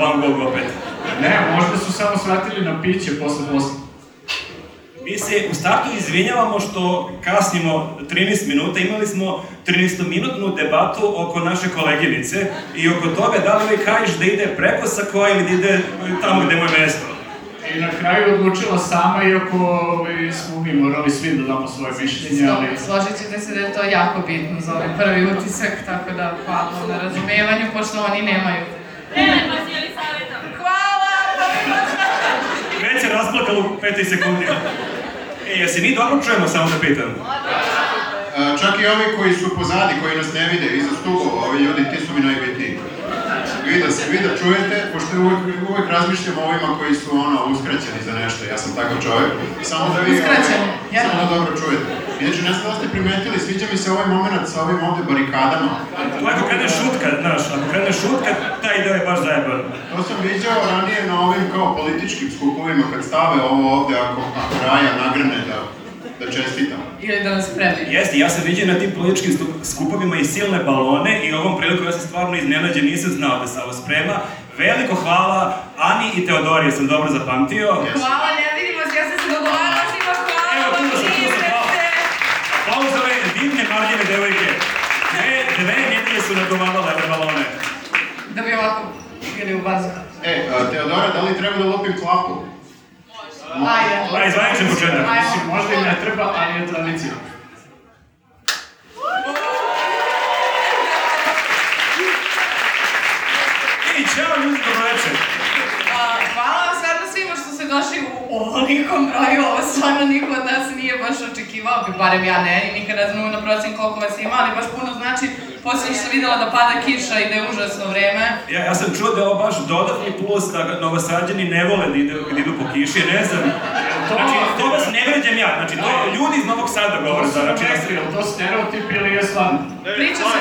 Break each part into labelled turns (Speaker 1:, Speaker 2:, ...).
Speaker 1: longog opet.
Speaker 2: Ne, možda su samo shvatili na piće posle posle.
Speaker 1: Mi se u startu izvinjavamo što kasnimo 13 minuta. Imali smo 13-minutnu debatu oko naše koleginice i oko toga da li vi kažeš da ide preko sakoa ili da ide tamo gde mu je mesto.
Speaker 2: I na kraju odlučila sama, iako ovaj, smo mi morali svi da damo svoje mišljenje, ali...
Speaker 3: Složit ćete se da je to jako bitno za ovaj prvi utisak, tako da hvala na razumevanju, pošto oni nemaju.
Speaker 4: Nenad vas je li savjetom?
Speaker 3: Hvala!
Speaker 1: Već je rasplakalo u petoj sekundi. E, jesi mi dobro čujemo, samo da pitam?
Speaker 5: A, E, Čak i ovi koji su pozadi, koji nas ne vide, iza stubova, ovi ljudi, ti su mi najbitniji. Vi da, se, vi da čujete, pošto uvek, uvek razmišljam o ovima koji su ono, uskraćeni za nešto, ja sam takav čovjek, samo da vi ovaj,
Speaker 3: Uskraćeni, ja.
Speaker 5: samo da dobro čujete. Inače, ne znam da ste primetili, sviđa mi se ovaj moment sa ovim ovde barikadama.
Speaker 1: To ako krene šutka, znaš, ako krene šutka, taj deo je baš zajeban.
Speaker 5: To sam viđao ranije na ovim kao političkim skupovima, kad stave ovo ovde, ako, ako Raja nagrne da, da čestitam.
Speaker 3: Ili da nas prebi.
Speaker 1: Jeste, ja sam vidio na tim političkim stu- skupovima i silne balone i ovom prilikom ja sam stvarno iznenađen, nisam znao da se ovo sprema. Veliko hvala Ani i Teodorije, sam dobro zapamtio.
Speaker 3: Hvala, ne vidimo se, ja sam se dogovarala s njima,
Speaker 1: Evo,
Speaker 3: hvala,
Speaker 1: tu sam, tu sam,
Speaker 3: živite
Speaker 1: hvala.
Speaker 3: se!
Speaker 1: Pauzove divne marljive devojke. Dve, dve nedelje su nadomadale ove balone.
Speaker 3: Da bi ovako bili u bazu.
Speaker 5: E, a, Teodora, da li treba da lupim klapu?
Speaker 3: Ajde.
Speaker 1: Pa, izvaničen početak.
Speaker 3: Ajmo.
Speaker 2: Mislim, možda i ne treba, ali je tradicija.
Speaker 1: I čao ljudi, dobroveče.
Speaker 3: A, Hvala vam stvarno svima što ste došli u ovolikom broju, ovo stvarno niko od nas nije baš očekivao, bi barem ja ne, i nikad ne znam na procen koliko vas ima, ali baš puno znači, poslije što sam videla da pada kiša i da je užasno vreme,
Speaker 1: Ja, ja sam čuo da je ovo baš dodatni plus da novosađani ne vole da idu, da idu po kiši, ne znam. Znači, to vas ne vređam ja, znači, to je ljudi iz Novog Sada govore,
Speaker 2: To su
Speaker 1: da, znači, ja
Speaker 2: mestri,
Speaker 1: sam...
Speaker 2: jel to stereotip ili je stvarno?
Speaker 3: priča se...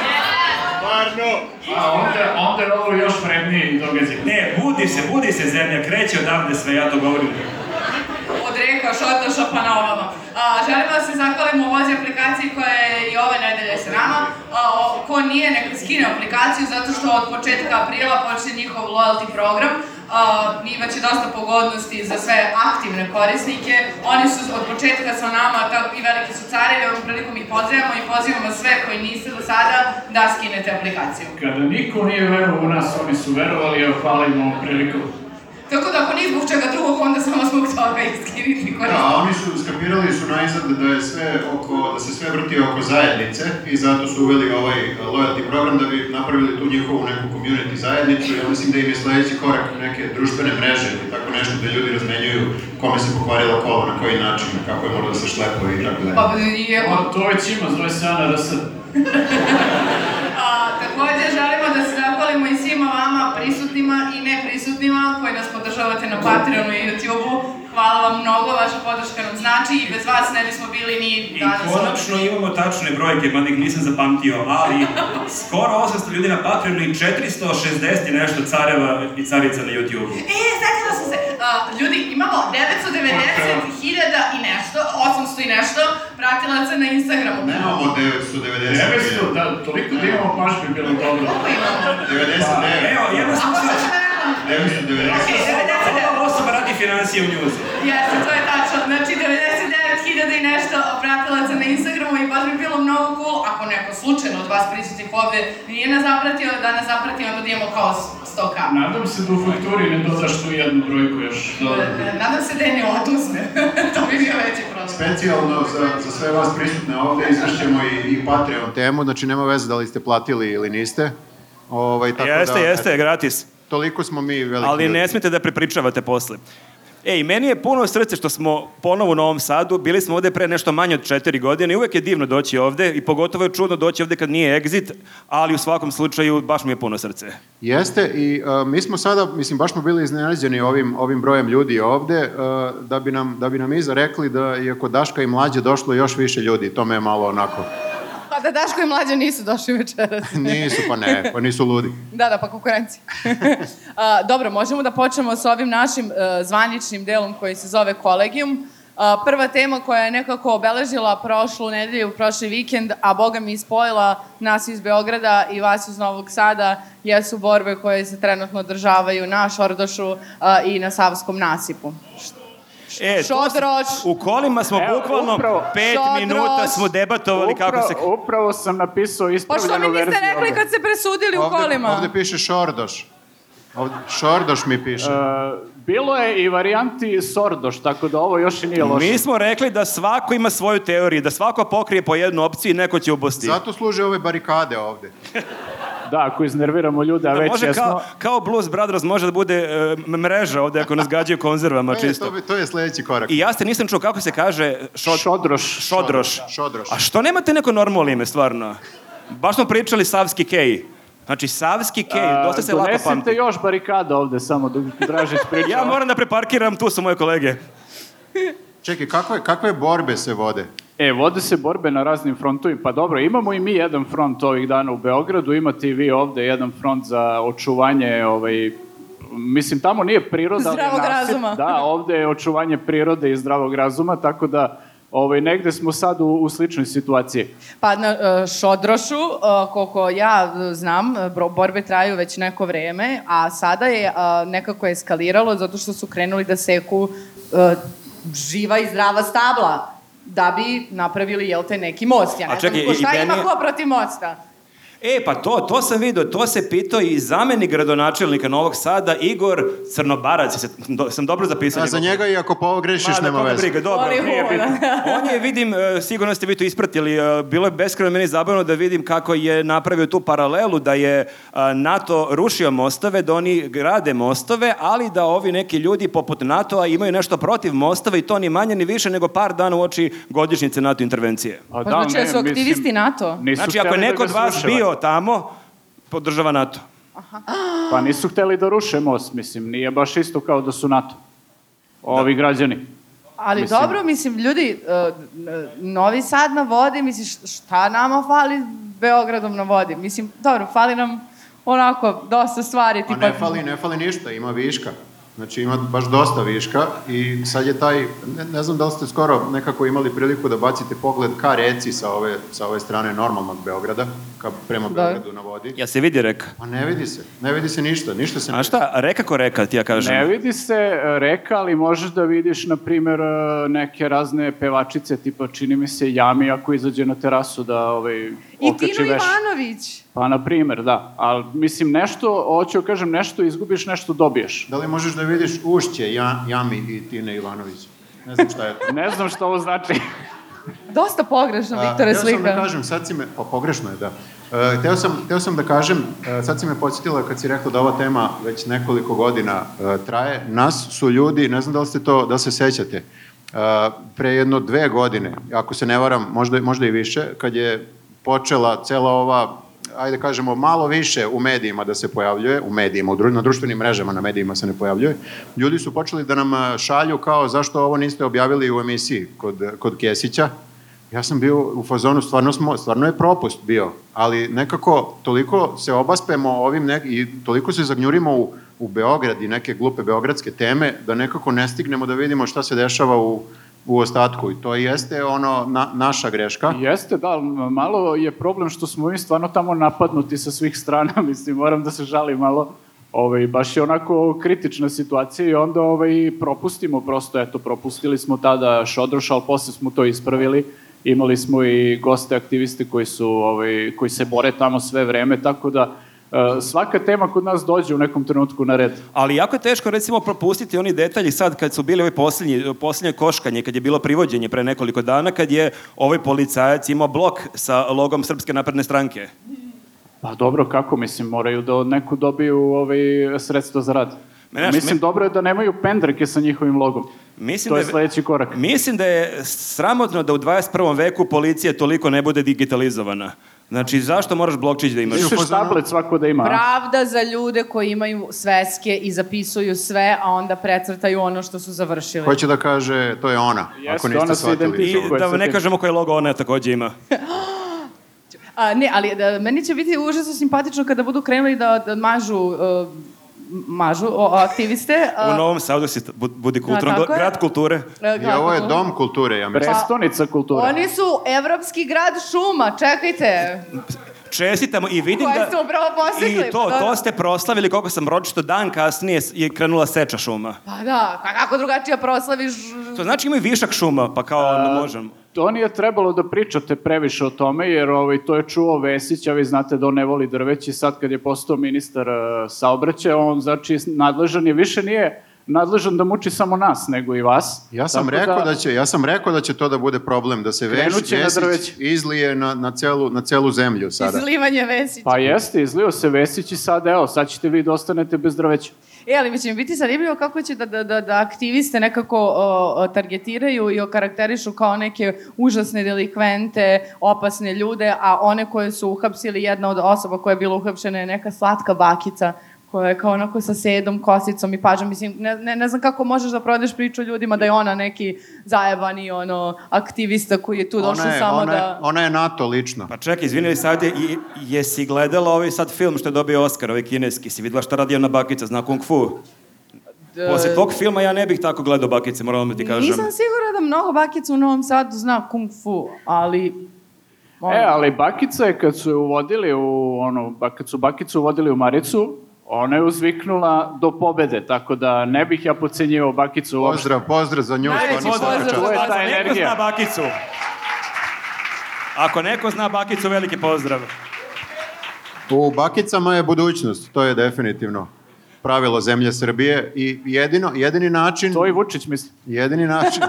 Speaker 2: A onda, onda je ovo još vredniji događaj.
Speaker 1: Ne, budi se, budi se zemlja, kreće odavde sve, ja to govorim.
Speaker 3: od reka, šotoša pa na ovamo. A, želimo da se zahvalimo ovozi aplikaciji koja je i ove nedelje sa nama. A, o, ko nije, neka skine aplikaciju zato što od početka aprila počne njihov loyalty program. A, imaće dosta pogodnosti za sve aktivne korisnike. Oni su od početka sa nama tako, i veliki su carevi, ovom prilikom ih pozdravljamo i pozivamo sve koji niste do sada da skinete aplikaciju.
Speaker 2: Kada niko nije verovao u nas, oni su verovali, evo, hvala im ovom prilikom.
Speaker 3: Tako da ako ni zbog čega drugog, onda samo zbog toga i skinite
Speaker 5: Da,
Speaker 3: koristite.
Speaker 5: a oni su skapirali su najzad da je sve oko, da se sve vrti oko zajednice i zato su uveli ovaj loyalty program da bi napravili tu njihovu neku community zajednicu ja mislim da im je sledeći korak neke društvene mreže ili tako nešto da ljudi razmenjuju kome se pokvarila kola, na koji način, kako je moralo da se šlepo i tako dalje.
Speaker 3: Pa, i evo,
Speaker 2: O, to već ima, zove se Ana RS.
Speaker 3: A, takođe želimo da se zahvalimo i svima vama prisutnima i neprisutnima koji nas podržavate na Patreonu i YouTubeu. Hvala vam mnogo, vaša podrška nam znači i bez vas ne bismo bili ni
Speaker 1: I
Speaker 3: danas.
Speaker 1: konačno imamo tačne brojke, mada ih nisam zapamtio, ali skoro 800 ljudi na Patreonu i 460 i nešto careva i carica na YouTube-u.
Speaker 3: E, setila sam se, a, ljudi, imamo 990.000 i nešto, 800 i nešto pratilaca na Instagramu.
Speaker 5: Nemamo 990.
Speaker 2: 900, da, toliko da imamo baš bi bilo dobro.
Speaker 3: Koliko imamo?
Speaker 5: 99.
Speaker 1: Evo, jedna sam
Speaker 3: Ako
Speaker 1: se...
Speaker 3: hoćete nekom...
Speaker 5: 990.
Speaker 3: Ok, 99.
Speaker 1: Ova osoba radi financije u njuzu.
Speaker 3: Jeste, to je tačno. Znači, 99.000 i nešto pratilaca na Instagramu i baš bi bilo mnogo cool ako neko slučajno od vas prisutnih ovde nije nas zapratio, da nas zaprati onda da imamo kao 100k.
Speaker 2: Nadam se da u fakturi ne dodaš tu jednu brojku još.
Speaker 3: E, Nadam se da je ne oduzme. to bi bio veći problem.
Speaker 5: Specijalno za, za sve vas prisutne ovde izvešćemo i, i Patreon temu, znači nema veze da li ste platili ili niste. Ovaj, tako da,
Speaker 1: gratis.
Speaker 5: Toliko smo mi veliki
Speaker 1: ali
Speaker 5: ljudi.
Speaker 1: ne smete da prepričavate posle. Ej, meni je puno srce što smo ponovo u Novom Sadu, bili smo ovde pre nešto manje od četiri godine i uvek je divno doći ovde i pogotovo je čudno doći ovde kad nije exit, ali u svakom slučaju baš mi je puno srce.
Speaker 5: Jeste i uh, mi smo sada, mislim, baš smo bili iznenađeni ovim, ovim brojem ljudi ovde, uh, da, bi nam, da bi nam iza rekli da je kod Daška i Mlađe došlo još više ljudi, to me je malo onako,
Speaker 3: Pa da Daško i Mlađa nisu došli večeras.
Speaker 5: nisu pa ne, pa nisu ludi.
Speaker 3: Da, da, pa konkurenci. A, dobro, možemo da počnemo sa ovim našim e, zvaničnim delom koji se zove kolegijum. Uh, A, Prva tema koja je nekako obeležila prošlu nedelju, prošli vikend, a Boga mi ispojila nas iz Beograda i vas iz Novog Sada, jesu borbe koje se trenutno održavaju na Šordošu a, i na Savskom nasipu.
Speaker 6: E, to s-
Speaker 3: Šodroš.
Speaker 6: u kolima smo
Speaker 2: Evo,
Speaker 6: bukvalno
Speaker 2: upravo.
Speaker 6: pet
Speaker 3: Šodroš.
Speaker 6: minuta smo debatovali kako se...
Speaker 2: Upravo- Upravo sam napisao
Speaker 3: Pa što mi
Speaker 2: ispravljenu verziju.
Speaker 3: niste
Speaker 2: da
Speaker 3: rekli
Speaker 2: ovde.
Speaker 3: kad ste presudili u kolima?
Speaker 7: ovde piše Šordoš. Ovde, šordoš mi piše.
Speaker 2: E,
Speaker 3: da-
Speaker 2: bilo je i varijanti Sordoš, tako da ovo još i nije loše.
Speaker 6: Mi smo rekli da svako ima svoju teoriju, da svako pokrije po jednu opciju i neko će ubosti.
Speaker 7: Zato služe ove barikade ovde.
Speaker 2: Da, ako iznerviramo ljude, a
Speaker 6: Da
Speaker 2: već
Speaker 6: može
Speaker 2: jesmo.
Speaker 6: kao, kao Blues Brothers može da bude e, m- mreža ovde ako nas gađaju konzervama
Speaker 7: E, to,
Speaker 6: Pa čisto.
Speaker 7: bi, to je sledeći korak.
Speaker 6: I ja ste nisam čuo kako se kaže šod,
Speaker 2: Šodroš.
Speaker 6: šodroš.
Speaker 7: Šodroš.
Speaker 6: A što nemate neko normalno ime, stvarno? Baš smo pričali Savski Kej. Znači, Savski Kej,
Speaker 2: A,
Speaker 6: dosta se lako
Speaker 2: donesite
Speaker 6: pamti.
Speaker 2: još barikada ovde samo dok Dražić priča.
Speaker 6: Ja moram da preparkiram, tu su moje kolege.
Speaker 7: Čekaj, kakve, kakve borbe se vode?
Speaker 2: E, vode se borbe na raznim frontovima. Pa dobro, imamo i mi jedan front ovih dana u Beogradu, imate i vi ovde jedan front za očuvanje, ovaj, mislim, tamo nije priroda. ali je
Speaker 3: Zdravog
Speaker 2: nasip.
Speaker 3: razuma.
Speaker 2: Da, ovde je očuvanje prirode i zdravog razuma, tako da ovaj, negde smo sad u, u sličnoj situaciji.
Speaker 3: Pa na e, Šodrošu, e, koliko ja e, znam, e, bro- borbe traju već neko vreme, a sada je e, nekako eskaliralo zato što su krenuli da seku e, živa i zdrava stabla da bi napravili, jel te, neki most. Ja
Speaker 6: A
Speaker 3: ne znam
Speaker 6: čekaj,
Speaker 3: ko
Speaker 6: i
Speaker 3: šta ima
Speaker 6: meni-
Speaker 3: ko protiv mosta.
Speaker 6: E, pa to, to sam vidio, to se pitao i zamenik gradonačelnika Novog Sada, Igor Crnobarac, se, do, sam dobro zapisao.
Speaker 7: A za
Speaker 6: njegov-
Speaker 7: njega i ako pogrešiš,
Speaker 6: Ma, da,
Speaker 7: nema
Speaker 6: koga
Speaker 7: veze.
Speaker 6: briga, dobro,
Speaker 3: Oni
Speaker 6: nije
Speaker 3: hoda.
Speaker 6: bitno. On je, vidim, e, sigurno ste vi to ispratili, e, bilo je beskreno meni zabavno da vidim kako je napravio tu paralelu da je a, NATO rušio mostove, da oni grade mostove, ali da ovi neki ljudi poput NATO-a imaju nešto protiv mostova i to ni manje ni više nego par dana uoči godišnjice NATO intervencije.
Speaker 2: A da,
Speaker 3: Pa znači,
Speaker 2: ne,
Speaker 3: jesu aktivisti
Speaker 2: mislim,
Speaker 3: NATO?
Speaker 2: nisu
Speaker 6: Znači, ako je
Speaker 2: hteli da
Speaker 6: neko
Speaker 2: ga
Speaker 6: od vas
Speaker 2: sruše,
Speaker 6: bio tamo, podržava NATO.
Speaker 2: Pa nisu hteli da ruše most, mislim, nije baš isto kao da su NATO.
Speaker 6: Da.
Speaker 2: Ovi građani.
Speaker 3: Ali
Speaker 2: Mislim-
Speaker 3: dobro, mislim, ljudi, e, n- Novi Sad na vodi, mislim, š- šta nama fali Beogradom na vodi? Mislim, dobro, fali nam onako dosta stvari.
Speaker 7: Pa ne fali, ne fali ništa, ima viška. Znači ima baš dosta viška i sad je taj, ne, ne znam da li ste skoro nekako imali priliku da bacite pogled ka reci sa ove, sa ove strane normalnog Beograda, ka, prema
Speaker 3: Da.
Speaker 7: Beogradu na vodi.
Speaker 6: Ja se vidi reka.
Speaker 7: Pa ne vidi se, ne vidi se ništa, ništa se ne
Speaker 6: A šta, reka ko reka, ti ja kažem.
Speaker 2: Ne vidi se e, reka, ali možeš da vidiš, na primjer, e, neke razne pevačice, tipa čini mi se Jami ako izađe na terasu da ovaj,
Speaker 3: I
Speaker 2: okači
Speaker 3: Tino
Speaker 2: veš.
Speaker 3: Ivanović.
Speaker 2: Pa, na primjer, da. Ali, mislim, nešto, hoću da kažem, nešto izgubiš, nešto dobiješ.
Speaker 7: Da li možeš da vidiš ušće ja, Jami i Tine Ivanović? Ne znam šta je to.
Speaker 2: Ne znam šta ovo znači.
Speaker 3: Dosta pogrešno,
Speaker 7: A,
Speaker 3: Viktore,
Speaker 7: Hteo sam da
Speaker 3: slika.
Speaker 7: kažem, sad si me, pa pogrešno je, da. Uh, hteo, sam, hteo sam da kažem, uh, sad si me podsjetila kad si rekla da ova tema već nekoliko godina uh, traje. Nas su ljudi, ne znam da li ste to, da li se sećate, uh, pre jedno dve godine, ako se ne varam, možda, možda i više, kad je počela cela ova ajde da kažemo, malo više u medijima da se pojavljuje, u medijima, u dru, na društvenim mrežama, na medijima se ne pojavljuje, ljudi su počeli da nam a, šalju kao zašto ovo niste objavili u emisiji kod, kod Kesića, Ja sam bio u fazonu, stvarno, smo, stvarno je propust bio, ali nekako toliko se obaspemo ovim nek, i toliko se zagnjurimo u, u Beograd i neke glupe beogradske teme, da nekako ne stignemo da vidimo šta se dešava u, u ostatku. I to jeste ono na, naša greška.
Speaker 2: Jeste, da, ali malo je problem što smo mi stvarno tamo napadnuti sa svih strana, mislim, moram da se žalim malo. Ovaj, baš je onako kritična situacija i onda ovaj, propustimo prosto, eto, propustili smo tada Šodroš, ali posle smo to ispravili. Imali smo i goste aktiviste koji, su, ovaj, koji se bore tamo sve vreme, tako da e, svaka tema kod nas dođe u nekom trenutku na red.
Speaker 6: Ali jako je teško recimo propustiti oni detalji sad kad su bili ovi posljednji, posljednje koškanje, kad je bilo privođenje pre nekoliko dana, kad je ovaj policajac imao blok sa logom Srpske napredne stranke.
Speaker 2: Pa dobro, kako mislim, moraju da od neku dobiju ovaj, sredstva za rad.
Speaker 6: Ma, znaš,
Speaker 2: mislim,
Speaker 6: me-
Speaker 2: dobro je da nemaju pendreke sa njihovim logom.
Speaker 6: Mislim
Speaker 2: to je
Speaker 6: da je-
Speaker 2: sledeći korak.
Speaker 6: Mislim da je sramotno da u 21. veku policija toliko ne bude digitalizovana. Znači, zašto moraš blokčić da imaš?
Speaker 7: Mislim,
Speaker 2: Misliš
Speaker 7: fazonu-
Speaker 2: tablet svako da ima? a?
Speaker 3: Pravda za ljude koji imaju sveske i zapisuju sve, a onda precrtaju ono što su završili.
Speaker 7: Hoće da kaže, to je ona,
Speaker 2: Jeste,
Speaker 7: ako niste
Speaker 2: ona se
Speaker 6: I
Speaker 7: shvatili.
Speaker 2: identifikuje.
Speaker 6: da ne kažemo koje logo ona takođe ima.
Speaker 3: e, A, ne, ali da, meni će biti užasno simpatično kada budu krenuli da, da mažu uh, mažu o, aktiviste.
Speaker 6: U
Speaker 3: a,
Speaker 6: Novom Sadu si bu- budi
Speaker 3: Da,
Speaker 6: kulturan,
Speaker 3: Pa- tako je.
Speaker 6: grad kulture.
Speaker 3: e,
Speaker 7: I ovo je
Speaker 3: kako?
Speaker 7: dom kulture, ja mislim.
Speaker 2: Prestonica kulture.
Speaker 3: Pa, Oni su evropski grad šuma, čekajte.
Speaker 6: Čestitamo i vidim
Speaker 3: Koje
Speaker 6: da...
Speaker 3: ste upravo posjekli,
Speaker 6: I to,
Speaker 3: pa
Speaker 6: to
Speaker 3: dobro.
Speaker 6: ste proslavili koliko sam ročito dan kasnije je krenula seča šuma.
Speaker 3: Pa da, ka- kako drugačije proslaviš...
Speaker 6: To znači imaju višak šuma, pa kao ne možemo.
Speaker 2: To nije trebalo da pričate previše o tome, jer ovaj, to je čuo Vesić, a vi znate da on ne voli drveće i sad kad je postao ministar e, saobraćaja, on znači nadležan je, više nije nadležan da muči samo nas, nego i vas.
Speaker 7: Ja sam,
Speaker 2: Tako
Speaker 7: rekao da... će, ja sam rekao da će to da bude problem, da se veš,
Speaker 2: Krenut će na
Speaker 7: Vesić
Speaker 2: drveće.
Speaker 7: izlije na, na, celu, na celu zemlju sada.
Speaker 3: Izlivanje Vesića.
Speaker 2: Pa jeste, izlio se Vesić i sad, evo, sad ćete vi da ostanete bez drveća.
Speaker 3: E, ali mi će mi biti zanimljivo kako će da, da, da, da aktiviste nekako o, o, targetiraju i okarakterišu kao neke užasne delikvente, opasne ljude, a one koje su uhapsili, jedna od osoba koja je bila uhapšena je neka slatka bakica koja je kao onako sa sedom, kosicom i pažom. Mislim, ne, ne, ne znam kako možeš da prodeš priču ljudima da je ona neki zajebani ono, aktivista koji je tu došao
Speaker 7: ona, je,
Speaker 3: samo
Speaker 7: ona, je,
Speaker 3: da...
Speaker 7: ona je NATO lično.
Speaker 6: Pa čekaj, izvini li sad, je, jesi gledala ovaj sad film što je dobio Oscar, ovaj kineski, si videla šta radi ona bakica, zna kung fu? Posle tog filma ja ne bih tako gledao bakice, moram da ti kažem.
Speaker 3: Da. Nisam sigura da mnogo bakica u Novom Sadu zna kung fu, ali...
Speaker 2: E, ali bakica je kad su je uvodili u, ono, ba- kad su bakicu uvodili u Maricu, ona je uzviknula do pobede, tako da ne bih ja pocenjivao bakicu uopšte.
Speaker 7: Pozdrav, pozdrav za nju.
Speaker 3: Najveći
Speaker 7: stvarno svaka
Speaker 3: pozdrav za
Speaker 7: čast.
Speaker 2: To je ta
Speaker 6: Ako neko
Speaker 2: energija.
Speaker 6: zna bakicu. Ako neko zna bakicu, veliki pozdrav.
Speaker 7: U bakicama je budućnost, to je definitivno pravilo zemlje Srbije i jedino, jedini način...
Speaker 2: To i Vučić misli.
Speaker 7: Jedini način...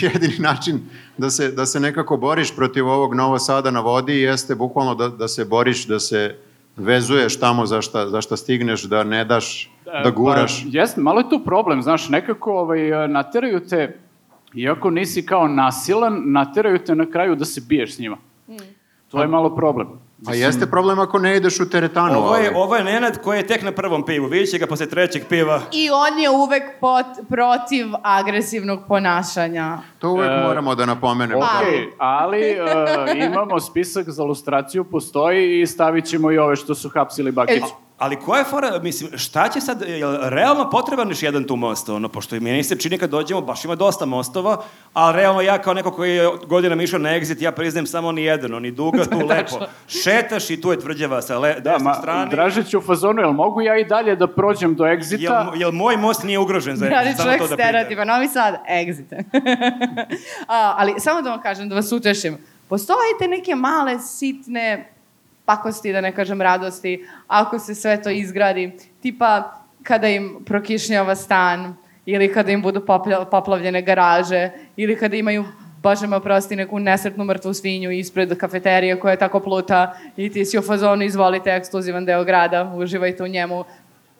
Speaker 7: jedini način da se, da se nekako boriš protiv ovog Novo Sada na vodi jeste bukvalno da, da se boriš, da se vezuješ tamo za šta, za šta stigneš, da ne daš, da
Speaker 2: E,
Speaker 7: guraš.
Speaker 2: Pa, jeste, malo je tu problem, znaš, nekako ovaj, e, nateraju te, iako nisi kao nasilan, nateraju te na kraju da se biješ s njima. To je malo problem.
Speaker 7: A jeste problem ako ne ideš u teretanu.
Speaker 6: Ovo je,
Speaker 7: ali-
Speaker 6: ovo je Nenad koji je tek na prvom pivu, vidjet će ga posle trećeg piva.
Speaker 3: I on je uvek pot, protiv agresivnog ponašanja.
Speaker 7: To uvek
Speaker 2: E,
Speaker 7: moramo da napomenemo.
Speaker 2: Ok,
Speaker 7: da.
Speaker 2: ali e, imamo spisak za lustraciju, postoji i stavit ćemo i ove što su hapsili bakicu.
Speaker 6: Ali koja je fora, mislim, šta će sad, je li realno potreban još jedan tu most, ono, pošto i meni se čini kad dođemo, baš ima dosta mostova, a realno ja kao neko koji je godinama išao na exit, ja priznajem samo ni jedan, oni duga tu lepo. Šetaš i tu je tvrđava sa le,
Speaker 2: Da,
Speaker 6: desne
Speaker 2: ma,
Speaker 6: strane.
Speaker 2: Dražić je u fazonu, jel mogu ja i dalje da prođem do
Speaker 6: Jel,
Speaker 2: egzita?
Speaker 6: jel moj most nije ugrožen za
Speaker 3: Radi
Speaker 6: exit? Samo
Speaker 3: čovjek
Speaker 6: to da pitam.
Speaker 3: stereotipa, novi sad, exit. A, ali samo da vam kažem, da vas utešim. Postojite neke male, sitne pakosti, da ne kažem radosti, ako se sve to izgradi. Tipa, kada im prokišnjava stan, ili kada im budu poplja- poplavljene garaže, ili kada imaju Bože me oprosti, neku nesretnu mrtvu svinju ispred kafeterije koja tako pluta i ti si u fazonu, izvolite, ekskluzivan deo grada, uživajte u njemu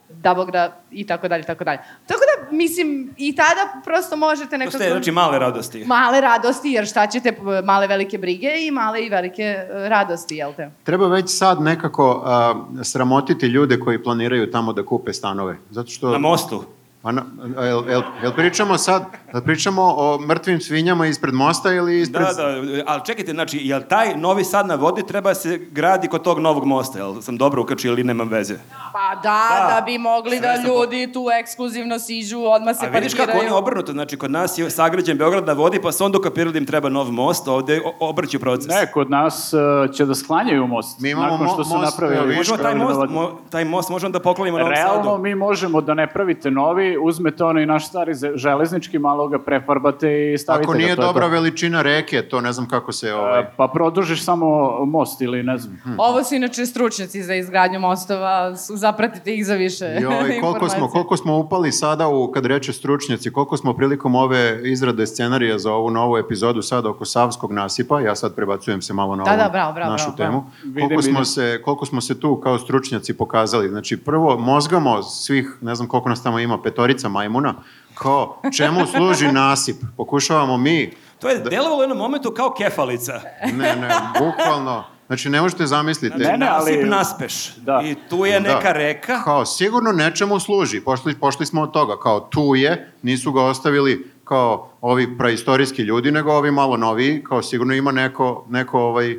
Speaker 3: da bog da, i tako dalje, tako dalje. Tako da, mislim, i tada prosto možete
Speaker 6: To
Speaker 3: nekako...
Speaker 6: ste, znači, male radosti.
Speaker 3: Male radosti, jer šta ćete, p- male velike brige i male i velike e, radosti, jel te?
Speaker 7: Treba već sad nekako a, sramotiti ljude koji planiraju tamo da kupe stanove. Zato što...
Speaker 6: Na mostu.
Speaker 7: Pa na- a jel, jel, jel pričamo sad, jel pričamo o mrtvim svinjama ispred mosta ili ispred...
Speaker 6: Da, da, ali čekajte, znači, jel taj novi sad na vodi treba se gradi kod tog novog mosta, jel sam dobro ukačio ili nemam veze?
Speaker 3: Pa da,
Speaker 6: Da.
Speaker 3: da, bi mogli da
Speaker 6: Sve sam po-
Speaker 3: ljudi tu ekskluzivno siđu, odmah se
Speaker 6: A vidiš kako oni obrnuto, znači kod nas je sagrađen Beograd na vodi, pa su onda ukapirali da im treba nov most, ovde o- obrću proces.
Speaker 2: Ne, kod nas e, će da sklanjaju most.
Speaker 7: Mi imamo
Speaker 2: nakon što su
Speaker 7: mo- most, evo,
Speaker 2: napravili.
Speaker 7: vidiš
Speaker 6: možemo taj most,
Speaker 2: Beograd.
Speaker 6: mo, taj most možemo da poklonimo Novom
Speaker 2: Realno
Speaker 6: Sadu.
Speaker 2: mi možemo da ne pravite novi, uzmete onaj naš stari ze- železnički, malo ga prefarbate i stavite
Speaker 7: Ako
Speaker 2: ga,
Speaker 7: nije
Speaker 2: to je
Speaker 7: dobra
Speaker 2: to.
Speaker 7: veličina reke, to ne znam kako se... Ovaj,
Speaker 2: E, Pa produžiš samo most ili ne znam.
Speaker 3: Ovo su inače stručnjaci za izgradnju mostova, su- zapratite ih za više
Speaker 7: i ovaj, koliko, smo,
Speaker 3: informacija.
Speaker 7: koliko smo upali sada, u, kad reče stručnjaci, koliko smo prilikom ove izrade scenarija za ovu novu epizodu sada oko Savskog nasipa, ja sad prebacujem se malo na
Speaker 3: Da,
Speaker 7: ovu
Speaker 3: da, bravo, bravo,
Speaker 7: našu
Speaker 3: bravo,
Speaker 7: temu,
Speaker 3: bravo.
Speaker 2: Vidim,
Speaker 7: koliko, smo
Speaker 2: vidim.
Speaker 7: se, koliko smo se tu kao stručnjaci pokazali. Znači, prvo mozgamo svih, ne znam koliko nas tamo ima, petorica majmuna, kao čemu služi nasip? Pokušavamo mi
Speaker 6: To je delovalo u jednom momentu kao kefalica.
Speaker 7: Ne, ne, bukvalno. Znači, ne možete zamisliti.
Speaker 2: Ne, ne, ali-
Speaker 6: Nasip naspeš.
Speaker 2: Da.
Speaker 6: I tu je
Speaker 7: Da.
Speaker 6: neka reka.
Speaker 7: Kao, sigurno nečemu služi. Pošli, pošli smo od toga. Kao, tu je, nisu ga ostavili kao ovi praistorijski ljudi, nego ovi malo noviji. Kao, sigurno ima neko, neko ovaj,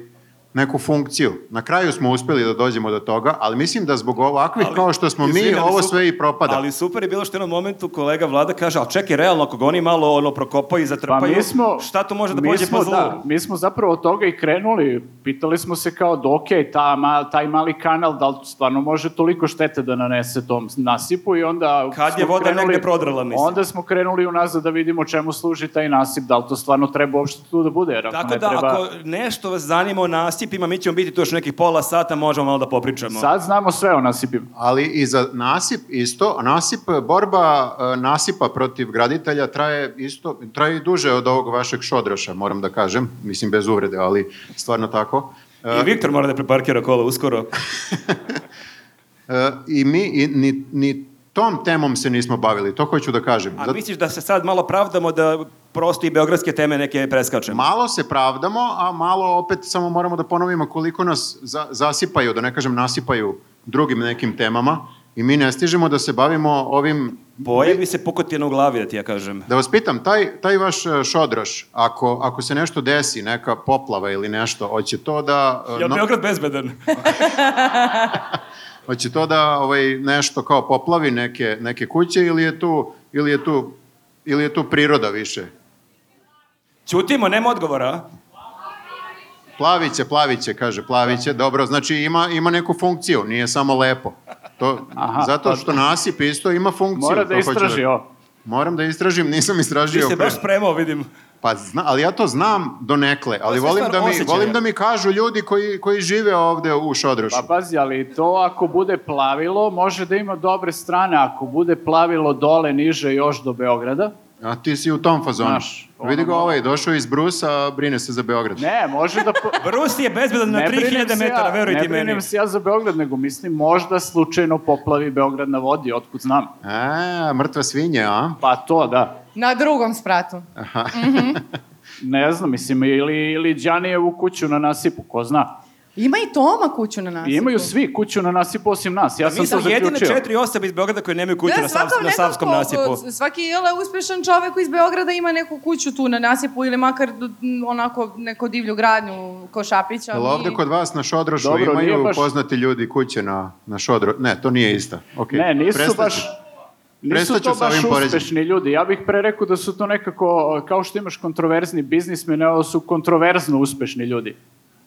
Speaker 7: neku funkciju. Na kraju smo uspeli da dođemo do toga, ali mislim da zbog ovakvih
Speaker 6: Ali,
Speaker 7: kao što smo mi,
Speaker 6: izvini, ali
Speaker 7: ovo
Speaker 6: su-
Speaker 7: sve i propada.
Speaker 6: Ali super je bilo što je u jednom momentu kolega Vlada kaže, ali čekaj, realno, ako ga oni malo ono, prokopaju i
Speaker 2: Pa
Speaker 6: zatrpaju,
Speaker 2: mi smo...
Speaker 6: šta to može da
Speaker 2: mi
Speaker 6: pođe
Speaker 2: smo,
Speaker 6: po zlu?
Speaker 2: Da, mi smo zapravo od toga i krenuli. Pitali smo se kao, da, ok, ta, ma, taj mali kanal, da li stvarno može toliko štete da nanese tom nasipu i onda...
Speaker 6: Kad je
Speaker 2: smo
Speaker 6: voda negde prodrala, mislim.
Speaker 2: Onda smo krenuli unazad da vidimo čemu služi taj nasip, da li to stvarno treba uopšte tu da bude, jer ako
Speaker 6: Tako
Speaker 2: ne
Speaker 6: da,
Speaker 2: treba...
Speaker 6: ako nešto vas zanima o nasipima, mi ćemo biti tu još nekih pola sata, možemo malo da popričamo.
Speaker 2: Sad znamo sve o nasipima.
Speaker 7: Ali i za nasip isto, nasip, borba e, nasipa protiv graditelja traje isto, traje i duže od ovog vašeg šodroša, moram da kažem, mislim bez uvrede, ali stvarno tako. E,
Speaker 6: I Viktor mora da preparkira kola uskoro.
Speaker 7: e, I mi i, ni, ni tom temom se nismo bavili, to hoću da kažem.
Speaker 6: A
Speaker 7: Zato-
Speaker 6: misliš da se sad malo pravdamo da prosto i beogradske teme neke preskačemo?
Speaker 7: Malo se pravdamo, a malo opet samo moramo da ponovimo koliko nas za, zasipaju, da ne kažem nasipaju drugim nekim temama i mi ne stižemo da se bavimo ovim
Speaker 6: Boje mi se pukotina u glavi, da ti ja kažem.
Speaker 7: Da vas pitam, taj, taj vaš e, šodroš, ako, ako se nešto desi, neka poplava ili nešto, hoće to da... e,
Speaker 6: Jel
Speaker 7: no-
Speaker 6: Beograd bezbedan?
Speaker 7: hoće to da ovaj, nešto kao poplavi neke, neke kuće ili je tu, ili je tu, ili je tu priroda više?
Speaker 6: Ćutimo, nema odgovora.
Speaker 7: Plaviće, plaviće, kaže,
Speaker 2: Da.
Speaker 7: plaviće, dobro, znači ima, ima neku funkciju, nije samo lepo. To,
Speaker 2: Aha,
Speaker 7: zato
Speaker 2: pa-
Speaker 7: što nasip isto ima funkciju.
Speaker 2: Mora da
Speaker 7: to hoću
Speaker 2: istraži ovo.
Speaker 7: Moram da istražim, nisam
Speaker 6: Ti
Speaker 7: istražio.
Speaker 6: se
Speaker 7: pre.
Speaker 6: baš spremao, vidim.
Speaker 7: Pa zna, ali ja to znam donekle, ali
Speaker 6: sve
Speaker 7: volim
Speaker 6: stvar
Speaker 7: da mi
Speaker 6: osjećaja.
Speaker 7: volim da mi kažu ljudi koji koji žive ovde u Šodrošu.
Speaker 2: Pa pazi, ali to ako bude plavilo, može da ima dobre strane. Ako bude plavilo dole, niže, još do Beograda.
Speaker 7: A ti si u tom fazonu.
Speaker 2: Pa- Znaš, ono
Speaker 7: Vidi ga
Speaker 2: malo-
Speaker 7: ovaj, došao iz Brusa, a brine se za Beograd.
Speaker 2: Ne, može da... po-
Speaker 6: Brusi je bezbedan na
Speaker 2: Ne brinem
Speaker 6: 3000
Speaker 2: se
Speaker 6: metara,
Speaker 2: ja-
Speaker 6: verujte
Speaker 2: Ne
Speaker 6: meni.
Speaker 2: brinem se ja za Beograd, nego mislim možda slučajno poplavi Beograd na vodi, otkud znam.
Speaker 7: A, mrtva E, svinje, a?
Speaker 2: Pa to, da.
Speaker 3: Na drugom spratu.
Speaker 2: Ne znam, mislim, ili, ili Đanijevu kuću na nasipu, ko zna.
Speaker 3: Ima i Toma kuću na nasipu.
Speaker 2: I imaju svi kuću na nasipu osim nas, ja sam
Speaker 6: Mi
Speaker 2: to
Speaker 6: smo jedine
Speaker 2: zaključio.
Speaker 6: četiri osobe iz Beograda koje nemaju kuću
Speaker 3: Da,
Speaker 6: na,
Speaker 3: svakav
Speaker 6: Savs- na
Speaker 3: nekako,
Speaker 6: Savskom nasipu.
Speaker 3: Svaki jele uspešan čovek iz Beograda ima neku kuću tu na nasipu ili makar m, onako neku divlju gradnju ko Šapića.
Speaker 7: Jel ovde kod vas na Šodrošu
Speaker 2: Da, Dobro, nije
Speaker 7: imaju
Speaker 2: baš-
Speaker 7: poznati ljudi kuće na, na Šodrošu? Ne, to nije ista. Okay.
Speaker 2: Ne, nisu baš... Nisu
Speaker 7: prestaću
Speaker 2: to
Speaker 7: sa
Speaker 2: baš
Speaker 7: ovim poređenjem.
Speaker 2: uspešni ljudi. Ja bih pre rekao da su to nekako, kao što imaš kontroverzni biznismen, ovo su kontroverzno uspešni ljudi.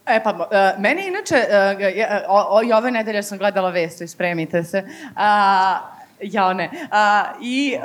Speaker 3: E pa, e, meni inače, e, ga- ja, e, o, o, i ove nedelje sam gledala vestu, ispremite se. A, jao ne. A, I e,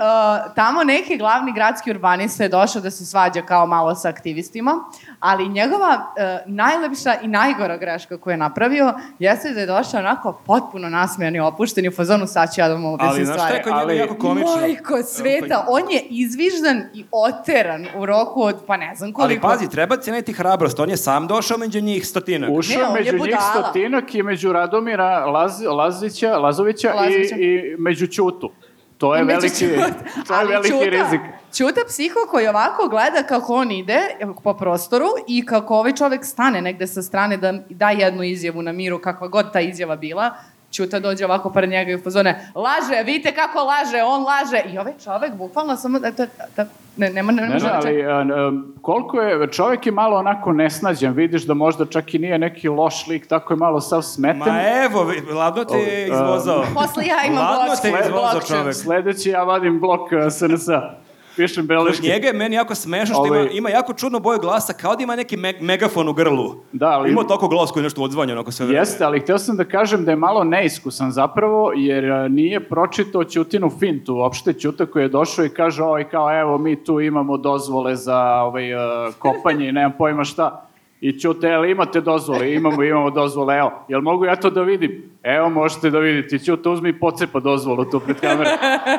Speaker 3: tamo neki glavni gradski urbanista je došao da se svađa kao malo sa aktivistima, ali njegova e, najlepša i najgora greška koju je napravio jeste da je došao onako potpuno nasmejan i opušten i u fazonu sad ću ja da vam
Speaker 6: Ali
Speaker 3: objasnim
Speaker 6: znaš šta
Speaker 3: stvari.
Speaker 6: je kod njega
Speaker 2: ali-
Speaker 6: jako komično? pa-
Speaker 3: Majko sveta, on je izviždan i oteran u roku od, pa ne znam
Speaker 6: Ali
Speaker 3: koliko.
Speaker 6: pazi, treba ceniti hrabrost. On je sam došao među njih stotinak.
Speaker 2: Ušao
Speaker 3: Ne, on je
Speaker 2: među njih
Speaker 3: budala.
Speaker 2: stotinak i među Radomira Laz, Lazića, Lazovića
Speaker 3: Lazovića.
Speaker 2: i, i među Ćutu. To je
Speaker 3: I među
Speaker 2: veliki,
Speaker 3: Ćut-
Speaker 2: to je
Speaker 3: ali
Speaker 2: veliki
Speaker 3: Ćuta-
Speaker 2: rizik.
Speaker 3: Ćuta psiho koji ovako gleda kako on ide po prostoru i kako ovaj čovek stane negde sa strane da da jednu izjavu na miru, kakva god ta izjava bila, Ćuta dođe ovako pored njega i u fazone, laže, vidite kako laže, on laže. I ovaj čovek bukvalno samo, da, da, da, ne, nema, nema,
Speaker 2: Ne, ne, ali a, um, koliko je, čovjek je malo onako nesnađen, vidiš da možda čak i nije neki loš lik, tako je malo sav smeten.
Speaker 6: Ma e- evo, vi- ladno te je
Speaker 2: O, a-
Speaker 6: izvozao.
Speaker 3: Posle ja imam
Speaker 6: Ladno te je
Speaker 3: blockchain,
Speaker 6: izvozao
Speaker 3: blockchain.
Speaker 6: čovek.
Speaker 2: Sledeći ja vadim blok e, a, SNS-a, pišem
Speaker 6: Kod
Speaker 2: beleške.
Speaker 6: njega je meni jako smešno što
Speaker 2: Ovaj-
Speaker 6: ima, ima jako čudnu boju glasa, kao da ima neki me- megafon u grlu.
Speaker 2: Da, ali-
Speaker 6: Ima toliko glas koji nešto odzvanja, onako sve.
Speaker 2: Jeste, ali hteo sam da kažem da je malo neiskusan zapravo, jer a, nije pročitao Ćutinu fintu, uopšte Ćuta koji je došao i kaže, oj, kao, evo, mi tu imamo dozvole za ovaj, e, kopanje i nemam pojma šta. I Ćuta, jel imate dozvole? Imamo, imamo dozvole, evo. Jel mogu ja to da vidim? Evo, možete da vidite. I Ćuta, uzmi i pocepa dozvolu tu pred kamerom.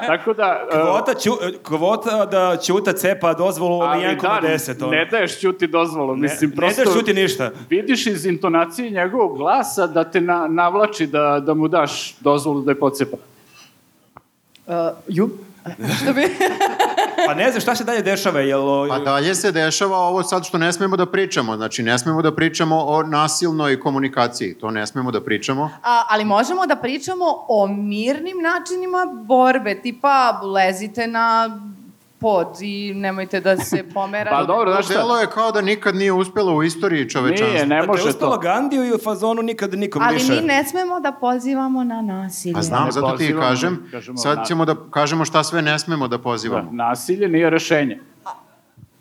Speaker 2: Tako da... e,
Speaker 6: Kvota, ću, kvota da Ćuta cepa dozvolu na
Speaker 2: ali da,
Speaker 6: 1,10. ono.
Speaker 2: ne daješ Ćuti dozvolu, mislim,
Speaker 6: ne
Speaker 2: prosto...
Speaker 6: daš Ćuti ništa.
Speaker 2: Vidiš iz intonacije njegovog glasa da te na, navlači da, da mu daš dozvolu da je pocepa.
Speaker 3: Uh, ju? Što bi...
Speaker 6: Pa ne znam šta se dalje dešava, jel... o-
Speaker 7: Pa dalje se dešava ovo sad što ne smemo da pričamo. Znači, ne smemo da pričamo o nasilnoj komunikaciji. To ne smemo da pričamo.
Speaker 3: A, ali možemo da pričamo o mirnim načinima borbe, tipa lezite na pod i nemojte da se pomera.
Speaker 2: Pa dobro, znaš šta?
Speaker 7: Delo je kao da nikad nije uspelo u istoriji čovečanstva.
Speaker 2: Nije, ne
Speaker 6: Da te je
Speaker 2: može
Speaker 6: uspelo
Speaker 2: to.
Speaker 6: Gandiju i u fazonu nikad nikom
Speaker 3: Ali
Speaker 6: više.
Speaker 3: mi ne smemo da pozivamo na nasilje.
Speaker 7: Pa znam,
Speaker 2: Ne
Speaker 7: zato ti i
Speaker 2: pozivamo,
Speaker 7: kažem.
Speaker 2: kažemo, na-
Speaker 7: Sad ćemo da kažemo šta sve ne smemo da pozivamo.
Speaker 2: Nasilje nije rešenje.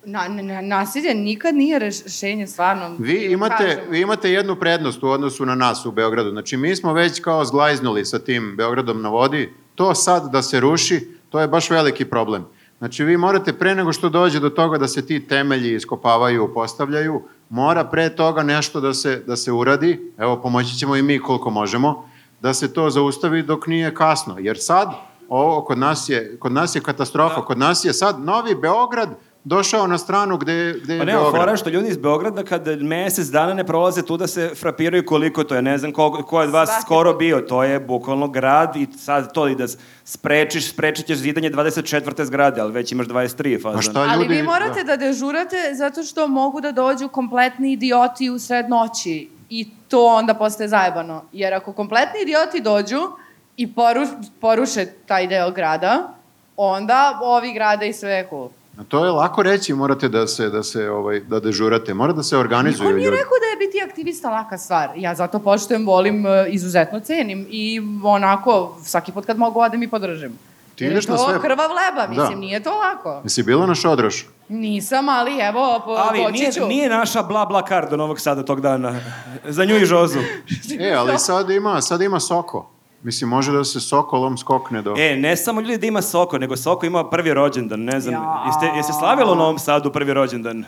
Speaker 3: Na, na- na- nasilje nikad nije rešenje, stvarno.
Speaker 7: Vi imate,
Speaker 3: Kažem.
Speaker 7: vi imate jednu prednost u odnosu na nas u Beogradu. Znači, mi smo već kao zglajznuli sa tim Beogradom na vodi. To sad da se ruši, to je baš veliki problem. Znači, vi morate pre nego što dođe do toga da se ti temelji iskopavaju, postavljaju, mora pre toga nešto da se, da se uradi. Evo, pomoći ćemo i mi koliko možemo da se to zaustavi dok nije kasno. Jer sad, ovo kod nas je, kod nas je
Speaker 6: Da.
Speaker 7: katastrofa, kod nas je sad Novi Beograd došao na stranu gde, gde je
Speaker 6: Pa nema,
Speaker 7: Mm, Beograd.
Speaker 6: fora je što ljudi iz Beograda kad mesec dana ne prolaze tu da se frapiraju koliko to je, ne znam ko, ko je od vas
Speaker 3: Svaki
Speaker 6: skoro bio, to je bukvalno grad i sad to i da s- sprečiš, sprečit ćeš zidanje 24. zgrade, ali već imaš 23 fazan.
Speaker 7: Ma šta
Speaker 3: Ali
Speaker 7: ljudi,
Speaker 3: vi morate da. dežurate zato što mogu da dođu kompletni idioti u sred noći i to onda postaje zajebano. Jer ako kompletni idioti dođu i poru, poruše taj deo grada, onda ovi grade i sve je cool.
Speaker 7: Na To je lako reći, morate da se da se ovaj da dežurate, mora da se organizuju
Speaker 3: Niko nije
Speaker 7: ljudi.
Speaker 3: rekao da je biti aktivista laka stvar. Ja zato poštujem, volim, e, izuzetno cenim i onako svaki put kad mogu odem i podržim.
Speaker 7: Ti
Speaker 3: Jer je
Speaker 7: ideš na
Speaker 3: to
Speaker 7: sve-
Speaker 3: krvav leba, mislim,
Speaker 7: Da.
Speaker 3: nije to lako.
Speaker 7: Jesi bila na Šodrošu?
Speaker 3: Nisam, ali evo, po,
Speaker 6: Ali nije,
Speaker 3: počet ću.
Speaker 6: nije naša bla bla kar do Novog Sada tog dana. Za nju i Žozu.
Speaker 7: E, ali sad ima, sad ima Soko. Mislim, može da se Sokolom skokne do...
Speaker 6: E, ne samo ljudi da ima Soko, nego Soko ima prvi rođendan, ne znam.
Speaker 3: Ja.
Speaker 6: Jeste, jeste slavilo u Novom Sadu prvi rođendan?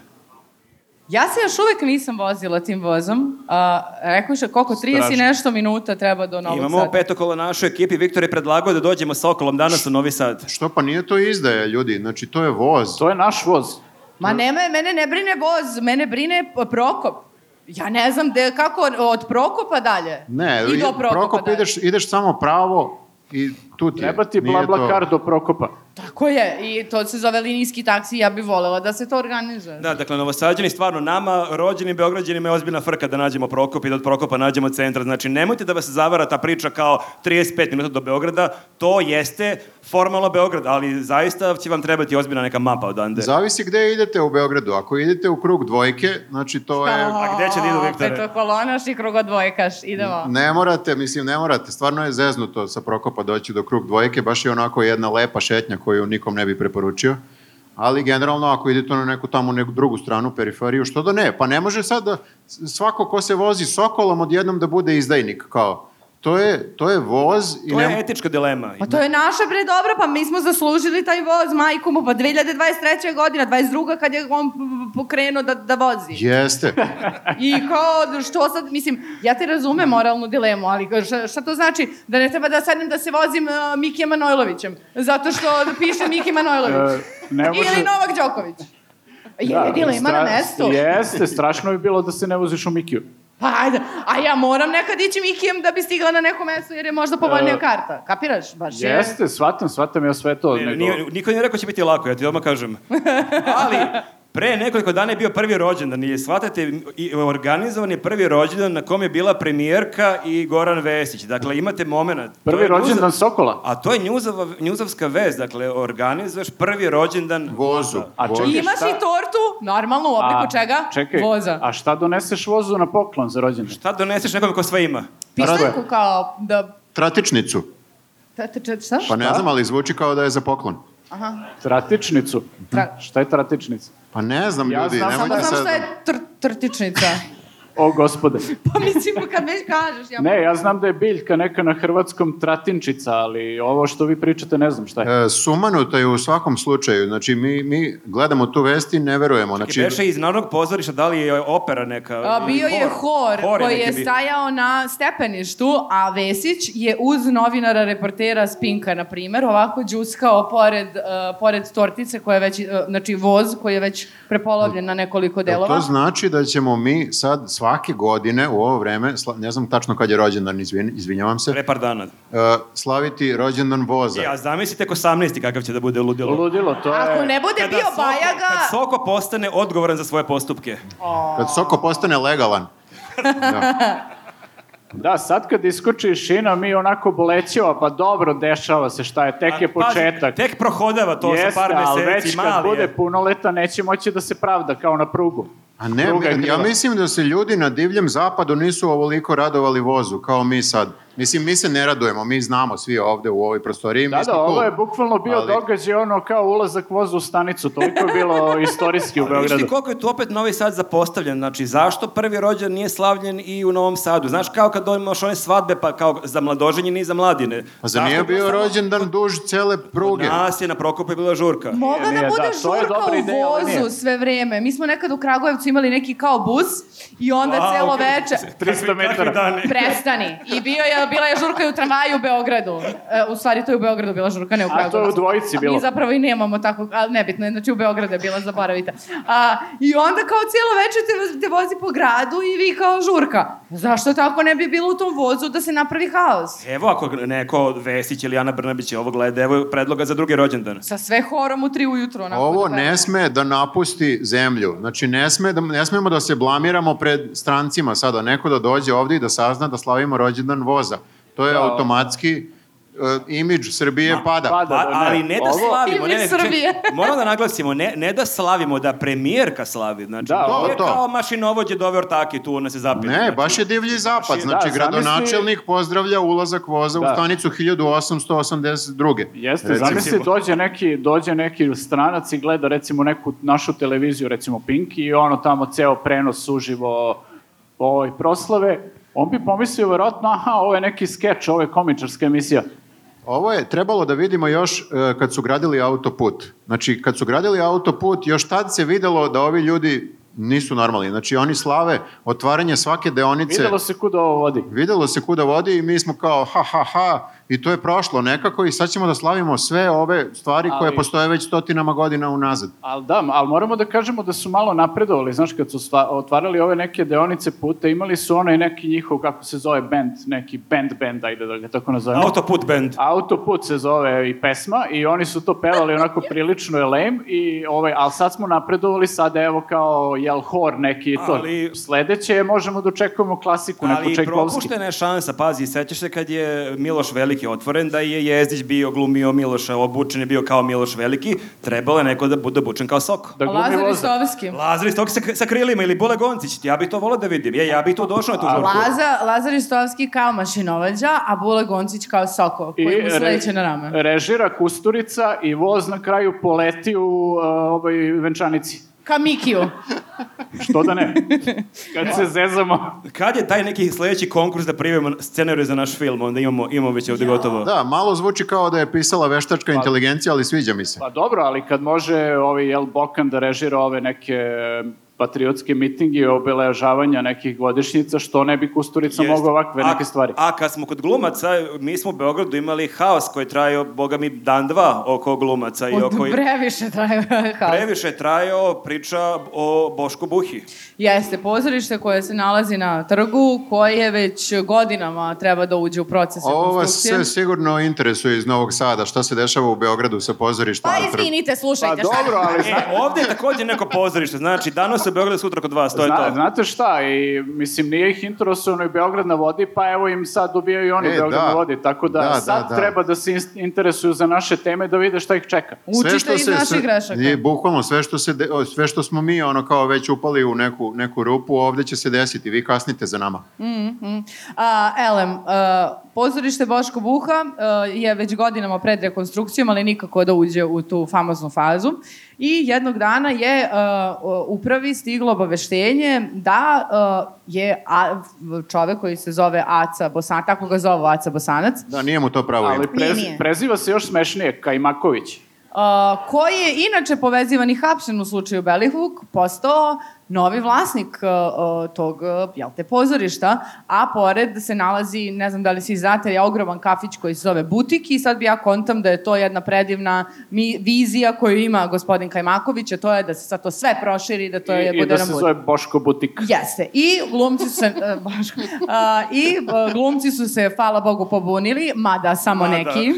Speaker 3: Ja se još uvek nisam vozila tim vozom. A, rekuše koliko, 30 i
Speaker 2: Strašno.
Speaker 3: nešto minuta treba do Novog
Speaker 6: Imamo
Speaker 3: Sada.
Speaker 6: petokolo na našoj ekipi, Viktor je predlagao da dođemo Sokolom danas u Novi Sad.
Speaker 7: Što pa nije to izdaja, ljudi? Znači, to je voz.
Speaker 2: To je naš voz.
Speaker 3: Ma nema, mene ne brine voz, mene brine p- Prokop. Ja ne znam gde, kako od Prokopa dalje.
Speaker 7: Ne,
Speaker 3: I do
Speaker 7: i-
Speaker 3: Prokopa
Speaker 7: Prokop
Speaker 3: dalje.
Speaker 7: ideš, ideš samo pravo i tu ti je.
Speaker 2: Treba ti
Speaker 7: Nije
Speaker 2: bla bla
Speaker 7: to-
Speaker 2: kar do Prokopa.
Speaker 3: Tako je, i to se zove linijski taksi, ja bih volela da se to organizuje.
Speaker 6: Da, dakle, novosađani stvarno nama, rođenim Beograđanima je ozbiljna frka da nađemo Prokop i da od Prokopa nađemo centar. Znači, nemojte da vas zavara ta priča kao 35 minuta do Beograda, to jeste formalno Beograd, ali zaista će vam trebati ozbiljna neka mapa odande.
Speaker 7: Zavisi gde idete u Beogradu. Ako idete u krug dvojke, znači to je...
Speaker 6: A gde će da idu, Viktore?
Speaker 3: Petokolonaš i krugodvojkaš, idemo.
Speaker 7: Ne morate, mislim, ne morate. Stvarno je zeznuto sa Prokopa doći do krug dvojke. Baš je onako jedna lepa šetnja koju nikom ne bi preporučio. Ali generalno, ako idete na neku tamo neku drugu stranu, periferiju, što da ne? Pa ne može sad da svako ko se vozi sokolom odjednom da bude izdajnik, kao. To je, to je voz i
Speaker 6: To
Speaker 7: ne...
Speaker 6: je etička dilema.
Speaker 3: Pa to je naša bre dobro, pa mi smo zaslužili taj voz, majku mu, pa 2023. godina, 22. kad je on p- p- pokrenuo da, da vozi.
Speaker 7: Jeste.
Speaker 3: I kao, što sad, mislim, ja te
Speaker 2: Da.
Speaker 3: razumem moralnu dilemu, ali šta, šta to znači? Da ne treba da sadnem da se vozim uh, Mikijem Manojlovićem, zato što piše Miki Manojlović.
Speaker 2: E, ne može-
Speaker 3: Ili Novak Đoković. Je li dilema na
Speaker 2: Da, stra-
Speaker 3: mestu?
Speaker 2: Jeste, strašno bi bilo da se ne voziš u Mikiju.
Speaker 3: Pa ajde, a ja moram nekad ići Mikijem da bi stigla na neko mesto jer je možda povoljnija
Speaker 2: E,
Speaker 3: karta. Kapiraš? Baš je.
Speaker 2: Jeste, shvatam, shvatam ja sve to.
Speaker 6: Nije,
Speaker 2: nego-
Speaker 6: nije, niko nije rekao će biti lako, ja ti odmah kažem. Ali, pre nekoliko dana je bio prvi rođendan i shvatate, i organizovan je prvi rođendan na kom je bila premijerka i Goran Vesić. Dakle, imate moment.
Speaker 2: Prvi rođendan Sokola.
Speaker 6: A to je njuzava, njuzavska vez, dakle, organizuješ prvi rođendan
Speaker 7: Vozu.
Speaker 2: A
Speaker 7: vozu.
Speaker 2: čekaj,
Speaker 3: I imaš
Speaker 2: šta-
Speaker 3: i tortu, normalno u obliku
Speaker 2: A,
Speaker 3: čega?
Speaker 2: Čekaj,
Speaker 3: Voza.
Speaker 2: a šta doneseš vozu na poklon za rođendan?
Speaker 6: Šta doneseš nekom ko sve ima?
Speaker 3: Pištaljku kao da...
Speaker 7: Tratičnicu.
Speaker 3: Ta, ta, ta, šta?
Speaker 7: Pa ne znam, ali zvuči kao da je za poklon.
Speaker 3: Aha.
Speaker 2: Tratičnicu.
Speaker 3: Tra-
Speaker 2: Šta je tratičnica?
Speaker 7: Pa ne znam,
Speaker 2: Ja
Speaker 7: ljudi,
Speaker 2: znam da
Speaker 3: Samo
Speaker 7: nemojte
Speaker 3: znam
Speaker 7: da sad...
Speaker 3: šta je tr trtičnica.
Speaker 2: O, gospode.
Speaker 3: pa mislim, kad već kažeš, ja...
Speaker 2: Ne, ja znam da je biljka neka na hrvatskom tratinčica, ali ovo što vi pričate ne znam šta je.
Speaker 7: E, sumanuta je u svakom slučaju. Znači, mi, mi gledamo tu vest i ne verujemo.
Speaker 6: Znači,
Speaker 7: Znači,
Speaker 6: Beše iz narodnog pozorišta, da li je opera neka?
Speaker 3: A, bio
Speaker 6: ili
Speaker 3: je hor,
Speaker 6: Hor
Speaker 3: koji je
Speaker 6: neki bi-
Speaker 3: stajao na stepeništu, a Vesić je uz novinara reportera Spinka, na primer, ovako džuskao pored, uh, pored tortice koja je već, uh, znači voz koji je već prepolovljen na nekoliko
Speaker 7: Jel
Speaker 3: delova.
Speaker 7: To znači da ćemo mi sad svake godine u ovo vreme, sla- ne znam tačno kad je rođendan, izvin, izvinjavam se,
Speaker 6: Pre par dana.
Speaker 7: e, slaviti rođendan voza.
Speaker 6: E, a zamislite ko 18. kakav će da bude ludilo.
Speaker 2: Ludilo, to
Speaker 3: Ako
Speaker 2: je...
Speaker 3: ne bude
Speaker 6: Kada
Speaker 3: bio
Speaker 6: Soko-
Speaker 3: Bajaga...
Speaker 6: Kad Soko postane odgovoran za svoje postupke.
Speaker 7: Kad Soko postane legalan. Da.
Speaker 2: Da, sad kad iskoči šina, mi onako bolećeva, pa dobro, dešava se šta je, tek je početak.
Speaker 6: Tek prohodava to sa par
Speaker 2: ali
Speaker 6: meseci,
Speaker 2: već kad
Speaker 6: mali
Speaker 2: bude
Speaker 6: je.
Speaker 2: punoleta neće moći da se pravda kao na prugu.
Speaker 7: A ne,
Speaker 2: Pruga je
Speaker 7: ja
Speaker 2: kriva.
Speaker 7: mislim da se ljudi na divljem zapadu nisu ovoliko radovali vozu kao mi sad. Mislim, mi se ne radujemo, mi znamo svi ovde u ovoj prostoriji. mi
Speaker 2: Da,
Speaker 7: smo
Speaker 2: da, ovo
Speaker 7: cool.
Speaker 2: je bukvalno bio
Speaker 7: Ali-
Speaker 2: događaj ono kao ulazak voza u stanicu, toliko je bilo istorijski u
Speaker 6: Ali Viš ti
Speaker 2: Beogradu.
Speaker 6: koliko je tu opet Novi Sad zapostavljen, znači zašto prvi rođen nije slavljen i u Novom Sadu? Znaš kao kad imaš one svadbe pa kao za mladoženje i za mladine.
Speaker 7: Pa zar nije
Speaker 2: Dakle,
Speaker 7: bio rođendan duž cele
Speaker 6: Kod
Speaker 7: pruge?
Speaker 6: nas je na Prokopu je bila žurka.
Speaker 3: Mogla
Speaker 2: Nije,
Speaker 3: da
Speaker 2: nije,
Speaker 3: bude
Speaker 2: da, to je
Speaker 3: žurka
Speaker 2: dobra
Speaker 3: u
Speaker 2: ideja, ali nije.
Speaker 3: vozu sve vreme. Mi smo nekad u Kragujevcu imali neki kao bus i onda
Speaker 6: A,
Speaker 3: celo
Speaker 6: okej.
Speaker 3: veče...
Speaker 2: 300 metara.
Speaker 6: Kakvi dani?
Speaker 3: Prestani. I bio je, bila je žurka i u tramvaju u Beogradu. E, u stvari to je u Beogradu bila žurka, ne u
Speaker 2: A, to je
Speaker 3: Kragujevcu.
Speaker 2: u dvojici
Speaker 3: A
Speaker 2: bilo.
Speaker 3: Mi zapravo i nemamo tako, ali nebitno je, znači u Beogradu je bila, zaboravite. A, I onda kao cijelo večer te, te vozi po gradu i vi kao žurka. Zašto tako ne bi bilo u tom vozu da se napravi haos?
Speaker 6: Evo ako neko Vesić ili Ana Brnabić ovo gleda, evo predloga za drugi rođendan.
Speaker 3: Sa sve horom u tri ujutru. onako
Speaker 7: Ovo
Speaker 3: da
Speaker 7: ne sme da napusti zemlju. Znači, ne, sme da, ne smemo da se blamiramo pred strancima sada. Neko da dođe ovde i da sazna da slavimo rođendan voza. To
Speaker 2: Da.
Speaker 7: je automatski e, imidž Srbije pada.
Speaker 2: pada.
Speaker 6: Pa,
Speaker 2: da, ne.
Speaker 6: ali ne da
Speaker 2: Ovo-
Speaker 6: slavimo, ne, ne,
Speaker 3: Ili Srbije.
Speaker 6: ček, moramo da naglasimo, ne, ne da slavimo, da premijerka slavi, znači,
Speaker 2: Da,
Speaker 6: to,
Speaker 7: ovo
Speaker 6: je
Speaker 7: to.
Speaker 6: kao mašinovođe dove ortake, tu ona se znači, zapila.
Speaker 7: Ne, baš je divlji zapad. Znači,
Speaker 2: Znači, da,
Speaker 7: gradonačelnik pozdravlja ulazak voza
Speaker 2: Da.
Speaker 7: u stanicu 1882.
Speaker 2: Jeste,
Speaker 7: Recimo.
Speaker 2: zamisli dođe neki, dođe neki stranac i gleda recimo neku našu televiziju, recimo Pinky i ono tamo ceo prenos uživo ovaj, proslave, on bi pomislio verovatno, aha, ovo je neki skeč, ovo je komičarska emisija.
Speaker 7: Ovo je trebalo da vidimo još e, kad su gradili autoput. Znači, kad su gradili autoput, još tad se videlo da ovi ljudi nisu normalni. Znači, oni slave otvaranje svake deonice.
Speaker 2: Videlo se kuda ovo vodi.
Speaker 7: Videlo se kuda vodi i mi smo kao ha, ha, ha, i to je prošlo nekako i sad ćemo da slavimo sve ove stvari koje
Speaker 2: Ali-
Speaker 7: postoje već stotinama godina unazad.
Speaker 2: Ali da, ali moramo da kažemo da su malo napredovali, znaš, kad su stva, otvarali ove neke deonice puta, imali su onaj neki njihov, kako se zove, band, neki band band, ajde da ga tako nazovemo.
Speaker 6: Autoput band.
Speaker 2: Autoput se zove i pesma i oni su to pevali onako prilično je lame, i ovaj, ali sad smo napredovali, sad evo kao jel hor neki to.
Speaker 6: Ali-
Speaker 2: Ali... Sledeće je možemo da očekujemo klasiku, neku
Speaker 6: Ali
Speaker 2: Čajkovski.
Speaker 6: propuštena je šansa, pazi, sećaš se kad je Miloš Veliki otvoren, da je Jezdić bio glumio Miloša, obučen je bio kao Miloš Veliki, trebalo je neko da bude obučen kao Soko.
Speaker 2: Da glumi
Speaker 3: Lazar
Speaker 2: voza.
Speaker 3: Istovski.
Speaker 6: Lazar iz tog sa, sa krilima ili Bule Goncić, ja bi to volao da vidim, ja, ja bi to došao na tu žurku.
Speaker 3: Laza, Lazar Istovski kao mašinovađa, a Bule Goncić kao Soko, koji mu
Speaker 2: re-
Speaker 3: sledeće na rame.
Speaker 2: režira Kusturica i voz na kraju poleti u uh, ovoj venčanici.
Speaker 3: Ka Mikiju.
Speaker 2: Što da ne? Kad se zezamo.
Speaker 6: Kad je taj neki sledeći konkurs da prijavimo scenariju za naš film, onda imamo, imamo već ovde gotovo.
Speaker 7: Da, malo zvuči kao da je pisala veštačka inteligencija, ali sviđa mi se.
Speaker 2: Pa dobro, ali kad može ovaj, jel, Bokan da režira ove neke e, patriotske mitinge i obeležavanja nekih godišnjica, što ne bi Kusturica
Speaker 6: Jeste.
Speaker 2: mogao ovakve
Speaker 6: A-
Speaker 2: neke stvari.
Speaker 6: A kad smo kod glumaca, mi smo u Beogradu imali haos koji je trajao, boga mi, dan dva oko glumaca i
Speaker 3: Od
Speaker 6: oko...
Speaker 3: previše traje haos.
Speaker 6: Previše je trajao priča o Boško Buhi.
Speaker 3: Jeste, pozorište koje se nalazi na trgu, koje već godinama treba da uđe u proces
Speaker 7: Ovo
Speaker 2: Pa-
Speaker 7: vas
Speaker 3: rekonstrukcije.
Speaker 7: sve sigurno interesuje iz Novog Sada, šta se dešava u Beogradu sa pozorištem.
Speaker 3: Pa
Speaker 7: na trgu.
Speaker 3: izvinite,
Speaker 2: Pa
Speaker 3: slušajte šta.
Speaker 2: dobro, ali
Speaker 6: E, ovde je takođe neko pozorište, znači danas u Beogradu, sutra kod vas, to je
Speaker 2: Zna,
Speaker 6: to.
Speaker 2: znate šta, i, mislim, nije ih interesovano i Beograd na vodi, pa evo im sad dobijaju i oni
Speaker 7: E,
Speaker 2: Beograd
Speaker 7: da.
Speaker 2: na vodi, tako da,
Speaker 7: Da, da,
Speaker 2: sad
Speaker 7: da.
Speaker 2: treba da se in- interesuju za naše teme da vide šta ih čeka.
Speaker 7: Sve
Speaker 3: Učite
Speaker 7: što
Speaker 3: iz
Speaker 7: se- sve-
Speaker 3: naših grešaka.
Speaker 7: Je, bukvalno, sve što, se, de- o, sve što smo mi ono kao već upali u neku, neku rupu, ovde će se desiti, vi kasnite za nama.
Speaker 3: Mhm. A, elem, a, pozorište Boško Buha a, je već godinama pred rekonstrukcijom, ali nikako da uđe u tu famoznu fazu. I jednog dana je a, o- upravi stiglo obaveštenje da a, je a, čovek koji se zove Aca Bosanac, tako ga zove Aca Bosanac,
Speaker 7: Da, nije mu to pravo ime.
Speaker 2: Ali prez,
Speaker 3: nije.
Speaker 2: preziva se još smešnije, Kajmaković.
Speaker 3: a, koji je inače povezivan i hapšen u slučaju Belivuk, postao novi vlasnik a, a, tog, a, jel te, pozorišta, a pored se nalazi, ne znam da li svi znate, je ogroman kafić koji se zove Butik i sad bi ja kontam da je to jedna predivna mi, vizija koju ima gospodin Kajmaković, a to je da se sad to sve proširi, da to je
Speaker 2: I, I da
Speaker 3: bude
Speaker 2: se
Speaker 3: nam
Speaker 2: zove Boško Butik.
Speaker 3: Jeste. I glumci su se, e, baš, a, i e, glumci su se, hvala Bogu, pobunili, mada samo
Speaker 6: Mada.
Speaker 3: neki.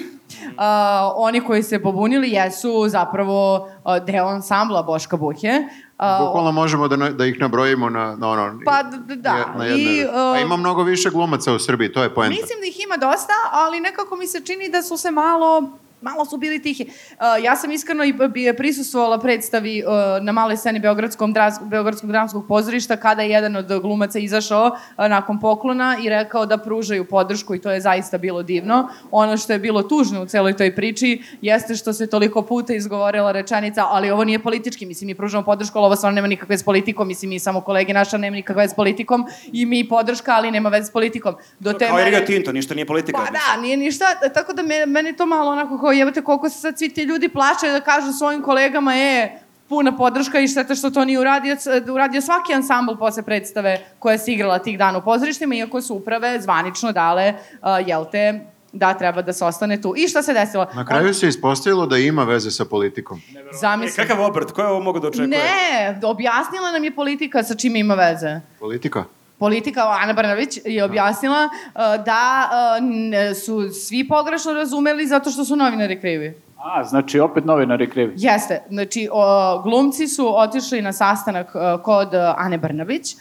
Speaker 3: A, oni koji se pobunili jesu zapravo a, deo ansambla Boška Buhe. E, A,
Speaker 7: Bukvalno možemo da, na- da ih nabrojimo na, na ono...
Speaker 3: Pa, d- d- da.
Speaker 7: Na
Speaker 3: I,
Speaker 7: I,
Speaker 3: uh,
Speaker 7: A ima mnogo više glumaca u Srbiji, to je poenta.
Speaker 3: Mislim da ih ima dosta, ali nekako mi se čini da su se malo malo su bili tihi. Uh, ja sam iskreno i bi prisustvovala predstavi uh, na maloj sceni Beogradskom, dras, Beogradskog dramskog pozorišta kada je jedan od glumaca izašao uh, nakon poklona i rekao da pružaju podršku i to je zaista bilo divno. Ono što je bilo tužno u celoj toj priči jeste što se toliko puta izgovorila rečenica ali ovo nije politički, mislim mi pružamo podršku, ali ovo stvarno nema nikakve s politikom, mislim mi samo kolege naša nema nikakve s politikom i mi podrška, ali nema veze s politikom. Do te
Speaker 6: Kao i
Speaker 3: mere-
Speaker 6: Rio Tinto, ništa nije politika.
Speaker 3: Pa da, nije ništa, tako da me, meni to malo onako kao jebate koliko se sad svi ti ljudi plaše da kažu svojim kolegama, e, puna podrška i šteta što to nije uradio, uradio svaki ansambl posle predstave koja se igrala tih dana u pozorištima, iako su uprave zvanično dale, uh, jel te, da treba da se ostane tu. I šta se desilo?
Speaker 7: Na kraju se ispostavilo da ima veze sa politikom.
Speaker 6: E,
Speaker 3: Zamislim.
Speaker 6: kakav obrt, ko je ovo mogo da očekuje?
Speaker 3: Ne, objasnila nam je politika sa čime ima veze.
Speaker 7: Politika?
Speaker 3: politika Ana Brnabić je objasnila uh, da uh, n- su svi pogrešno razumeli zato što su novinari krivi.
Speaker 2: A, znači opet novinari krivi.
Speaker 3: Jeste, znači o, glumci su otišli na sastanak e, kod e, Ane Brnabić e,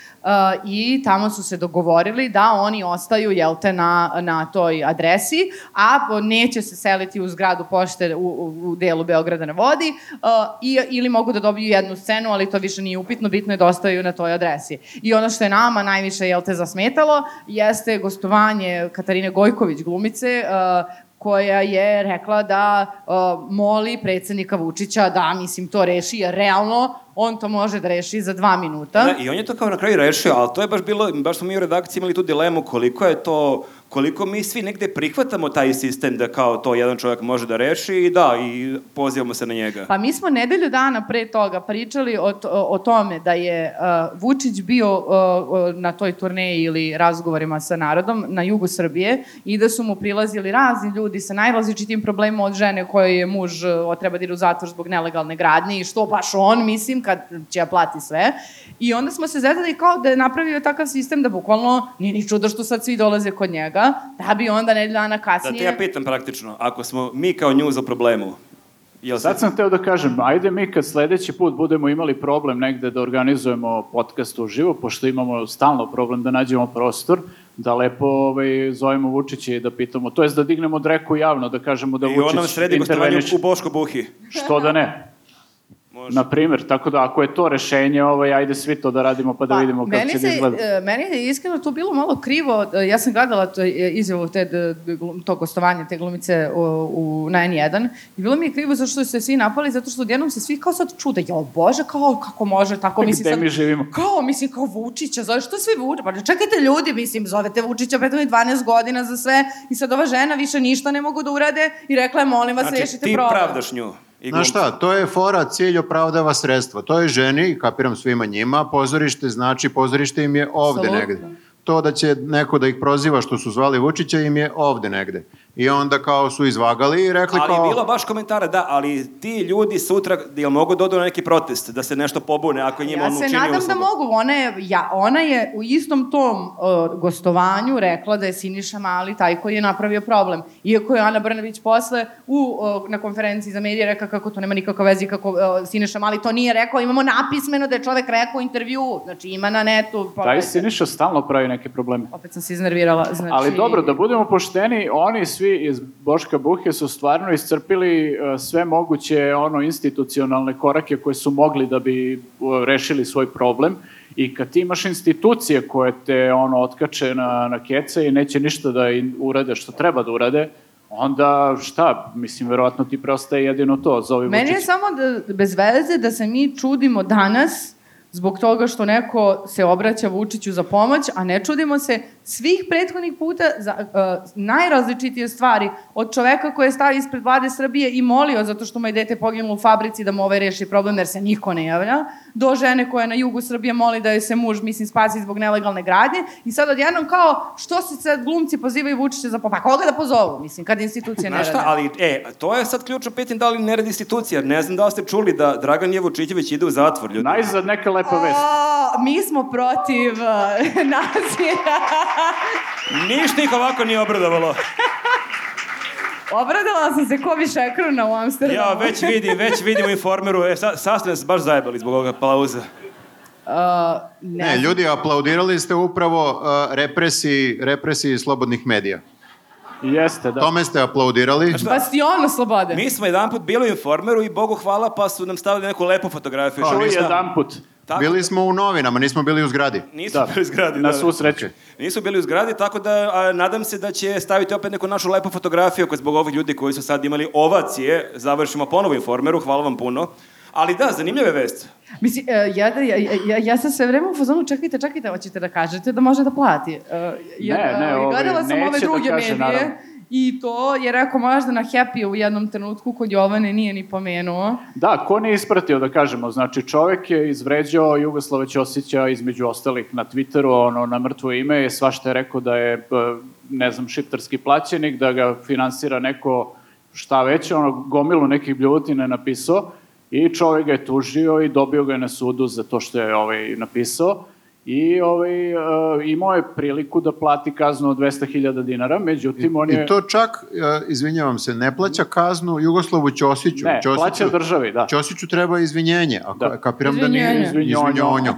Speaker 3: i tamo su se dogovorili da oni ostaju, jel te, na, na toj adresi, a po- neće se seliti u zgradu pošte u, u, u delu Beograda na vodi e, i, ili mogu da dobiju jednu scenu, ali to više nije upitno, bitno je da ostaju na toj adresi. I ono što je nama najviše, jel te, zasmetalo, jeste gostovanje Katarine Gojković, glumice, e, koja je rekla da uh, moli predsednika Vučića da, mislim, to reši, jer realno on to može da reši za dva minuta.
Speaker 6: Da, I on je to kao na kraju rešio, ali to je baš bilo, baš smo mi u redakciji imali tu dilemu koliko je to, koliko mi svi negde prihvatamo taj sistem da kao to jedan čovjek može da reši i da, i pozivamo se na njega.
Speaker 3: Pa mi smo nedelju dana pre toga pričali o, to- o tome da je uh, Vučić bio uh, uh, na toj turneji ili razgovorima sa narodom na jugu Srbije i da su mu prilazili razni ljudi sa najrazličitim problemima od žene kojoj je muž uh, treba da ide u zatvor zbog nelegalne gradnje i što baš on, mislim, kad će ja plati sve. I onda smo se zezali kao da je napravio takav sistem da bukvalno nije ni čudo što sad svi dolaze kod njega, da bi onda nedelju dana
Speaker 6: Da
Speaker 3: kasnije...
Speaker 6: te ja pitam praktično, ako smo mi kao njuz u problemu, jel se-
Speaker 2: Sad sam hteo da kažem, ajde mi kad sledeći put budemo imali problem negde da organizujemo podcast uživo, pošto imamo stalno problem da nađemo prostor, da lepo ovaj, zovemo Vučića i da pitamo, to jest da dignemo dreku javno, da kažemo da
Speaker 6: I on nam
Speaker 2: Vučić
Speaker 6: sredi gostovanje
Speaker 2: interveniše.
Speaker 6: u Boško Buhi.
Speaker 2: Što da ne? Na primer, tako da ako je to rešenje, ovaj, ajde svi to da radimo pa da vidimo kako
Speaker 3: meni
Speaker 2: će
Speaker 3: se,
Speaker 2: da izgleda.
Speaker 3: e, Meni je iskreno tu bilo malo krivo. e, Ja sam gledala to, e, izjavu te, d- d- glum- to gostovanje, te glumice u, u, na N1 i bilo mi je krivo zašto su se svi napali, zato što odjednom se svi kao sad čude, jao bože, kao kako može, tako mislim
Speaker 2: Gde
Speaker 3: sad...
Speaker 2: mi živimo?
Speaker 3: Kao, mislim, kao Vučića, zove, što svi Vučića? Pa čekajte ljudi, mislim, zovete Vučića, prethodno je 12 godina za sve i sad ova žena više ništa ne mogu da urade i rekla je, molim vas,
Speaker 6: Znači,
Speaker 3: rešite
Speaker 6: ti
Speaker 3: problem.
Speaker 6: pravdaš nju. I
Speaker 7: Znaš
Speaker 6: glumca.
Speaker 7: šta, to je fora, cilj opravdava sredstva. To je ženi, kapiram svima njima, pozorište znači pozorište im je ovde
Speaker 3: Apsolutno.
Speaker 7: negde. To da će neko da ih proziva što su zvali Vučića im je ovde negde. I onda kao su izvagali i
Speaker 2: Dakle,
Speaker 7: rekli
Speaker 6: Ali
Speaker 7: kao...
Speaker 6: je bilo baš komentara, da, ali ti ljudi sutra, jel mogu da odu na neki protest, da se nešto pobune ako njima
Speaker 3: Ja
Speaker 6: on
Speaker 3: se
Speaker 6: učini
Speaker 3: nadam da
Speaker 6: uslugu?
Speaker 3: mogu. Ona je, ja, ona je u istom tom uh, gostovanju rekla da je Siniša Mali taj koji je napravio problem. Iako je Ana Brnabić posle u, uh, na konferenciji za medije rekla kako to nema nikakve veze i kako uh, Siniša Mali to nije rekao. Imamo napismeno da je čovek rekao u intervju. Znači ima na netu.
Speaker 2: Taj
Speaker 3: pogledajte.
Speaker 2: Siniša stalno pravi neke probleme.
Speaker 3: Opet sam se iznervirala. Znači...
Speaker 2: Ali dobro, da budemo pošteni, oni svi iz Boška Buhe su stvarno iscrpili e, sve moguće ono institucionalne korake koje su mogli da bi e, rešili svoj problem i kad ti imaš institucije koje te ono otkače na, na kece i neće ništa da im urade što treba da urade, onda šta, mislim, verovatno ti preostaje jedino to, zovi
Speaker 3: Meni je
Speaker 2: Vučića.
Speaker 3: samo da, bez veze da se mi čudimo danas zbog toga što neko se obraća Vučiću za pomoć, a ne čudimo se svih prethodnih puta za uh, najrazličitije stvari. Od čoveka koji je stao ispred vlade Srbije i molio zato što mu je dete poginulo u fabrici da mu ovaj reši problem jer se niko ne javlja, do žene koja na jugu Srbije moli da joj se muž, mislim, spasi zbog nelegalne gradnje i sad odjednom kao, što se sad glumci pozivaju Vučića za pomoć? Pa koga da pozovu, mislim, kad institucije ne
Speaker 6: Znaš šta,
Speaker 3: rade?
Speaker 6: ali, e, to je sad ključno pitanje da li ne radi institucija, jer ne znam da li ste čuli da Dragan Jevučićević ide u zatvor, ljudi.
Speaker 2: Najzad neka lepa vest.
Speaker 3: O, mi smo protiv uh, nasilja.
Speaker 6: Ništa ih ovako nije obradovalo.
Speaker 3: Obradila sam se ko bi šekruna u Amsterdamu.
Speaker 6: Ja već vidim, već vidim u informeru, e, sa, sastavljam se baš zajebali zbog ovoga aplauza.
Speaker 3: A, Uh, ne.
Speaker 7: Ne, ljudi, aplaudirali ste upravo uh, represiji, represiji slobodnih medija.
Speaker 2: Jeste, da.
Speaker 7: Tome ste aplaudirali.
Speaker 3: Bastionu slobode.
Speaker 6: Mi smo jedanput bili u informeru i Bogu hvala pa su nam stavili neku lepu fotografiju.
Speaker 2: To
Speaker 6: što
Speaker 2: je
Speaker 6: nisam-
Speaker 2: jedan put.
Speaker 6: tako-
Speaker 7: Bili smo u novinama, nismo bili u zgradi.
Speaker 6: Nisu
Speaker 2: Da,
Speaker 6: bili u zgradi.
Speaker 2: na
Speaker 6: da.
Speaker 2: svu sreću.
Speaker 6: Nisu bili u zgradi, tako da a, nadam se da će staviti opet neku našu lepu fotografiju ako zbog ovih ljudi koji su sad imali ovacije završimo ponovo informeru, hvala vam puno. Ali da, zanimljive vest.
Speaker 3: Mislim, e, ja, ja, ja, ja sam sve vreme u fazonu, čekajte, čekajte, hoćete da kažete da može da plati. E, jer,
Speaker 2: Ne, ne,
Speaker 3: e,
Speaker 2: ovaj,
Speaker 3: gledala sam
Speaker 2: neće
Speaker 3: ove
Speaker 2: da
Speaker 3: druge
Speaker 2: kaže,
Speaker 3: medije
Speaker 2: naravno.
Speaker 3: i to je rekao možda na Happy u jednom trenutku kod Jovane nije ni pomenuo.
Speaker 2: Da, ko nije ispratio, da kažemo, znači čovek je izvređao Jugoslava Ćosića između ostalih na Twitteru, ono, na mrtvo ime, je svašta je rekao da je, p- ne znam, šiptarski plaćenik, da ga finansira neko, šta već, ono, gomilu nekih bljutina je napisao i čovek ga je tužio i dobio ga je na sudu za to što je ovaj, napisao i ovaj, e, imao je priliku da plati kaznu od 200.000 dinara, međutim, on je...
Speaker 7: I to čak, e, izvinjavam se, ne plaća kaznu Jugoslavu Ćosiću.
Speaker 2: Ne,
Speaker 7: Ćosiću,
Speaker 2: plaća državi, da.
Speaker 7: Ćosiću treba izvinjenje, a
Speaker 2: Da.
Speaker 7: da. kapiram da nije
Speaker 2: Izvinjenje.
Speaker 7: izvinjonjo.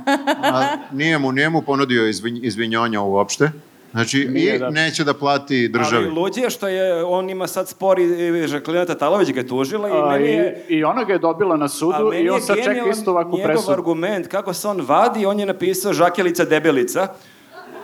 Speaker 7: A nije mu, nije mu ponudio izvin, izvinjonjo uopšte. Znači,
Speaker 2: Nije,
Speaker 7: i
Speaker 2: da.
Speaker 7: neće da plati državi.
Speaker 6: Ali luđe što je, on ima sad spor i, i Žaklina Tatalović ga je tužila i
Speaker 2: A,
Speaker 6: meni je...
Speaker 2: I, I ona ga je dobila na
Speaker 6: A
Speaker 2: sudu
Speaker 6: meni
Speaker 2: i
Speaker 6: je
Speaker 2: on sad čeka
Speaker 6: genijalan
Speaker 2: isto ovakvu
Speaker 6: njegov
Speaker 2: presudu.
Speaker 6: argument, kako se on vadi, on je napisao Žakelica debelica.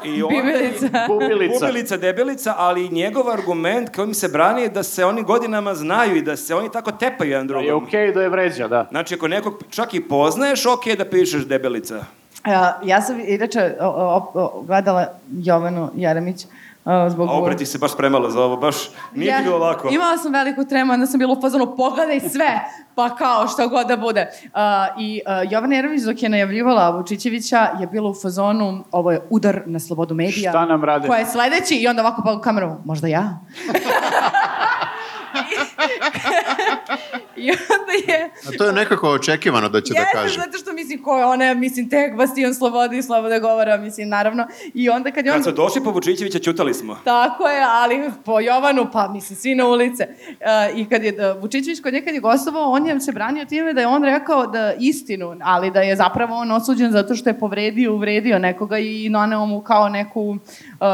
Speaker 6: I on,
Speaker 3: Bibelica.
Speaker 2: Gubilica.
Speaker 6: Gubilica debelica, ali njegov argument kojim se brani je da se oni godinama znaju i da se oni tako tepaju jedan
Speaker 2: Je
Speaker 6: drugom.
Speaker 2: okej da je vređa, da.
Speaker 6: Znači, ako nekog čak i poznaješ, ok je da pišeš debelica.
Speaker 3: Ja, E, ja sam inače o- o- o- gledala Jovanu Jeremić a, zbog...
Speaker 6: A obrati se baš premalo za ovo, baš nije ti bilo lako.
Speaker 3: Imala sam veliku tremu, onda sam bila u fazonu pogledaj sve, pa kao šta god da bude. A, I a, Jovana Jeremić dok je najavljivala Vučićevića je bila u fazonu ovo je udar na slobodu medija.
Speaker 2: Šta nam rade?
Speaker 3: Koja je sledeći i onda ovako pa u kameru, možda ja. I, I onda je...
Speaker 7: A to je nekako očekivano da će
Speaker 3: Jeste,
Speaker 7: da kaže.
Speaker 3: zato što mislim ko je ona, mislim tek bastion slobode i slobode govora, mislim naravno. I onda kad je on...
Speaker 6: Kad su došli po Vučićevića, čutali smo.
Speaker 3: Tako je, ali po Jovanu, pa mislim, svi na ulice. E, I kad je e, Vučićević kod nekad je gostovao, on je se branio time da je on rekao da istinu, ali da je zapravo on osuđen zato što je povredio, uvredio nekoga i naneo mu kao neku e,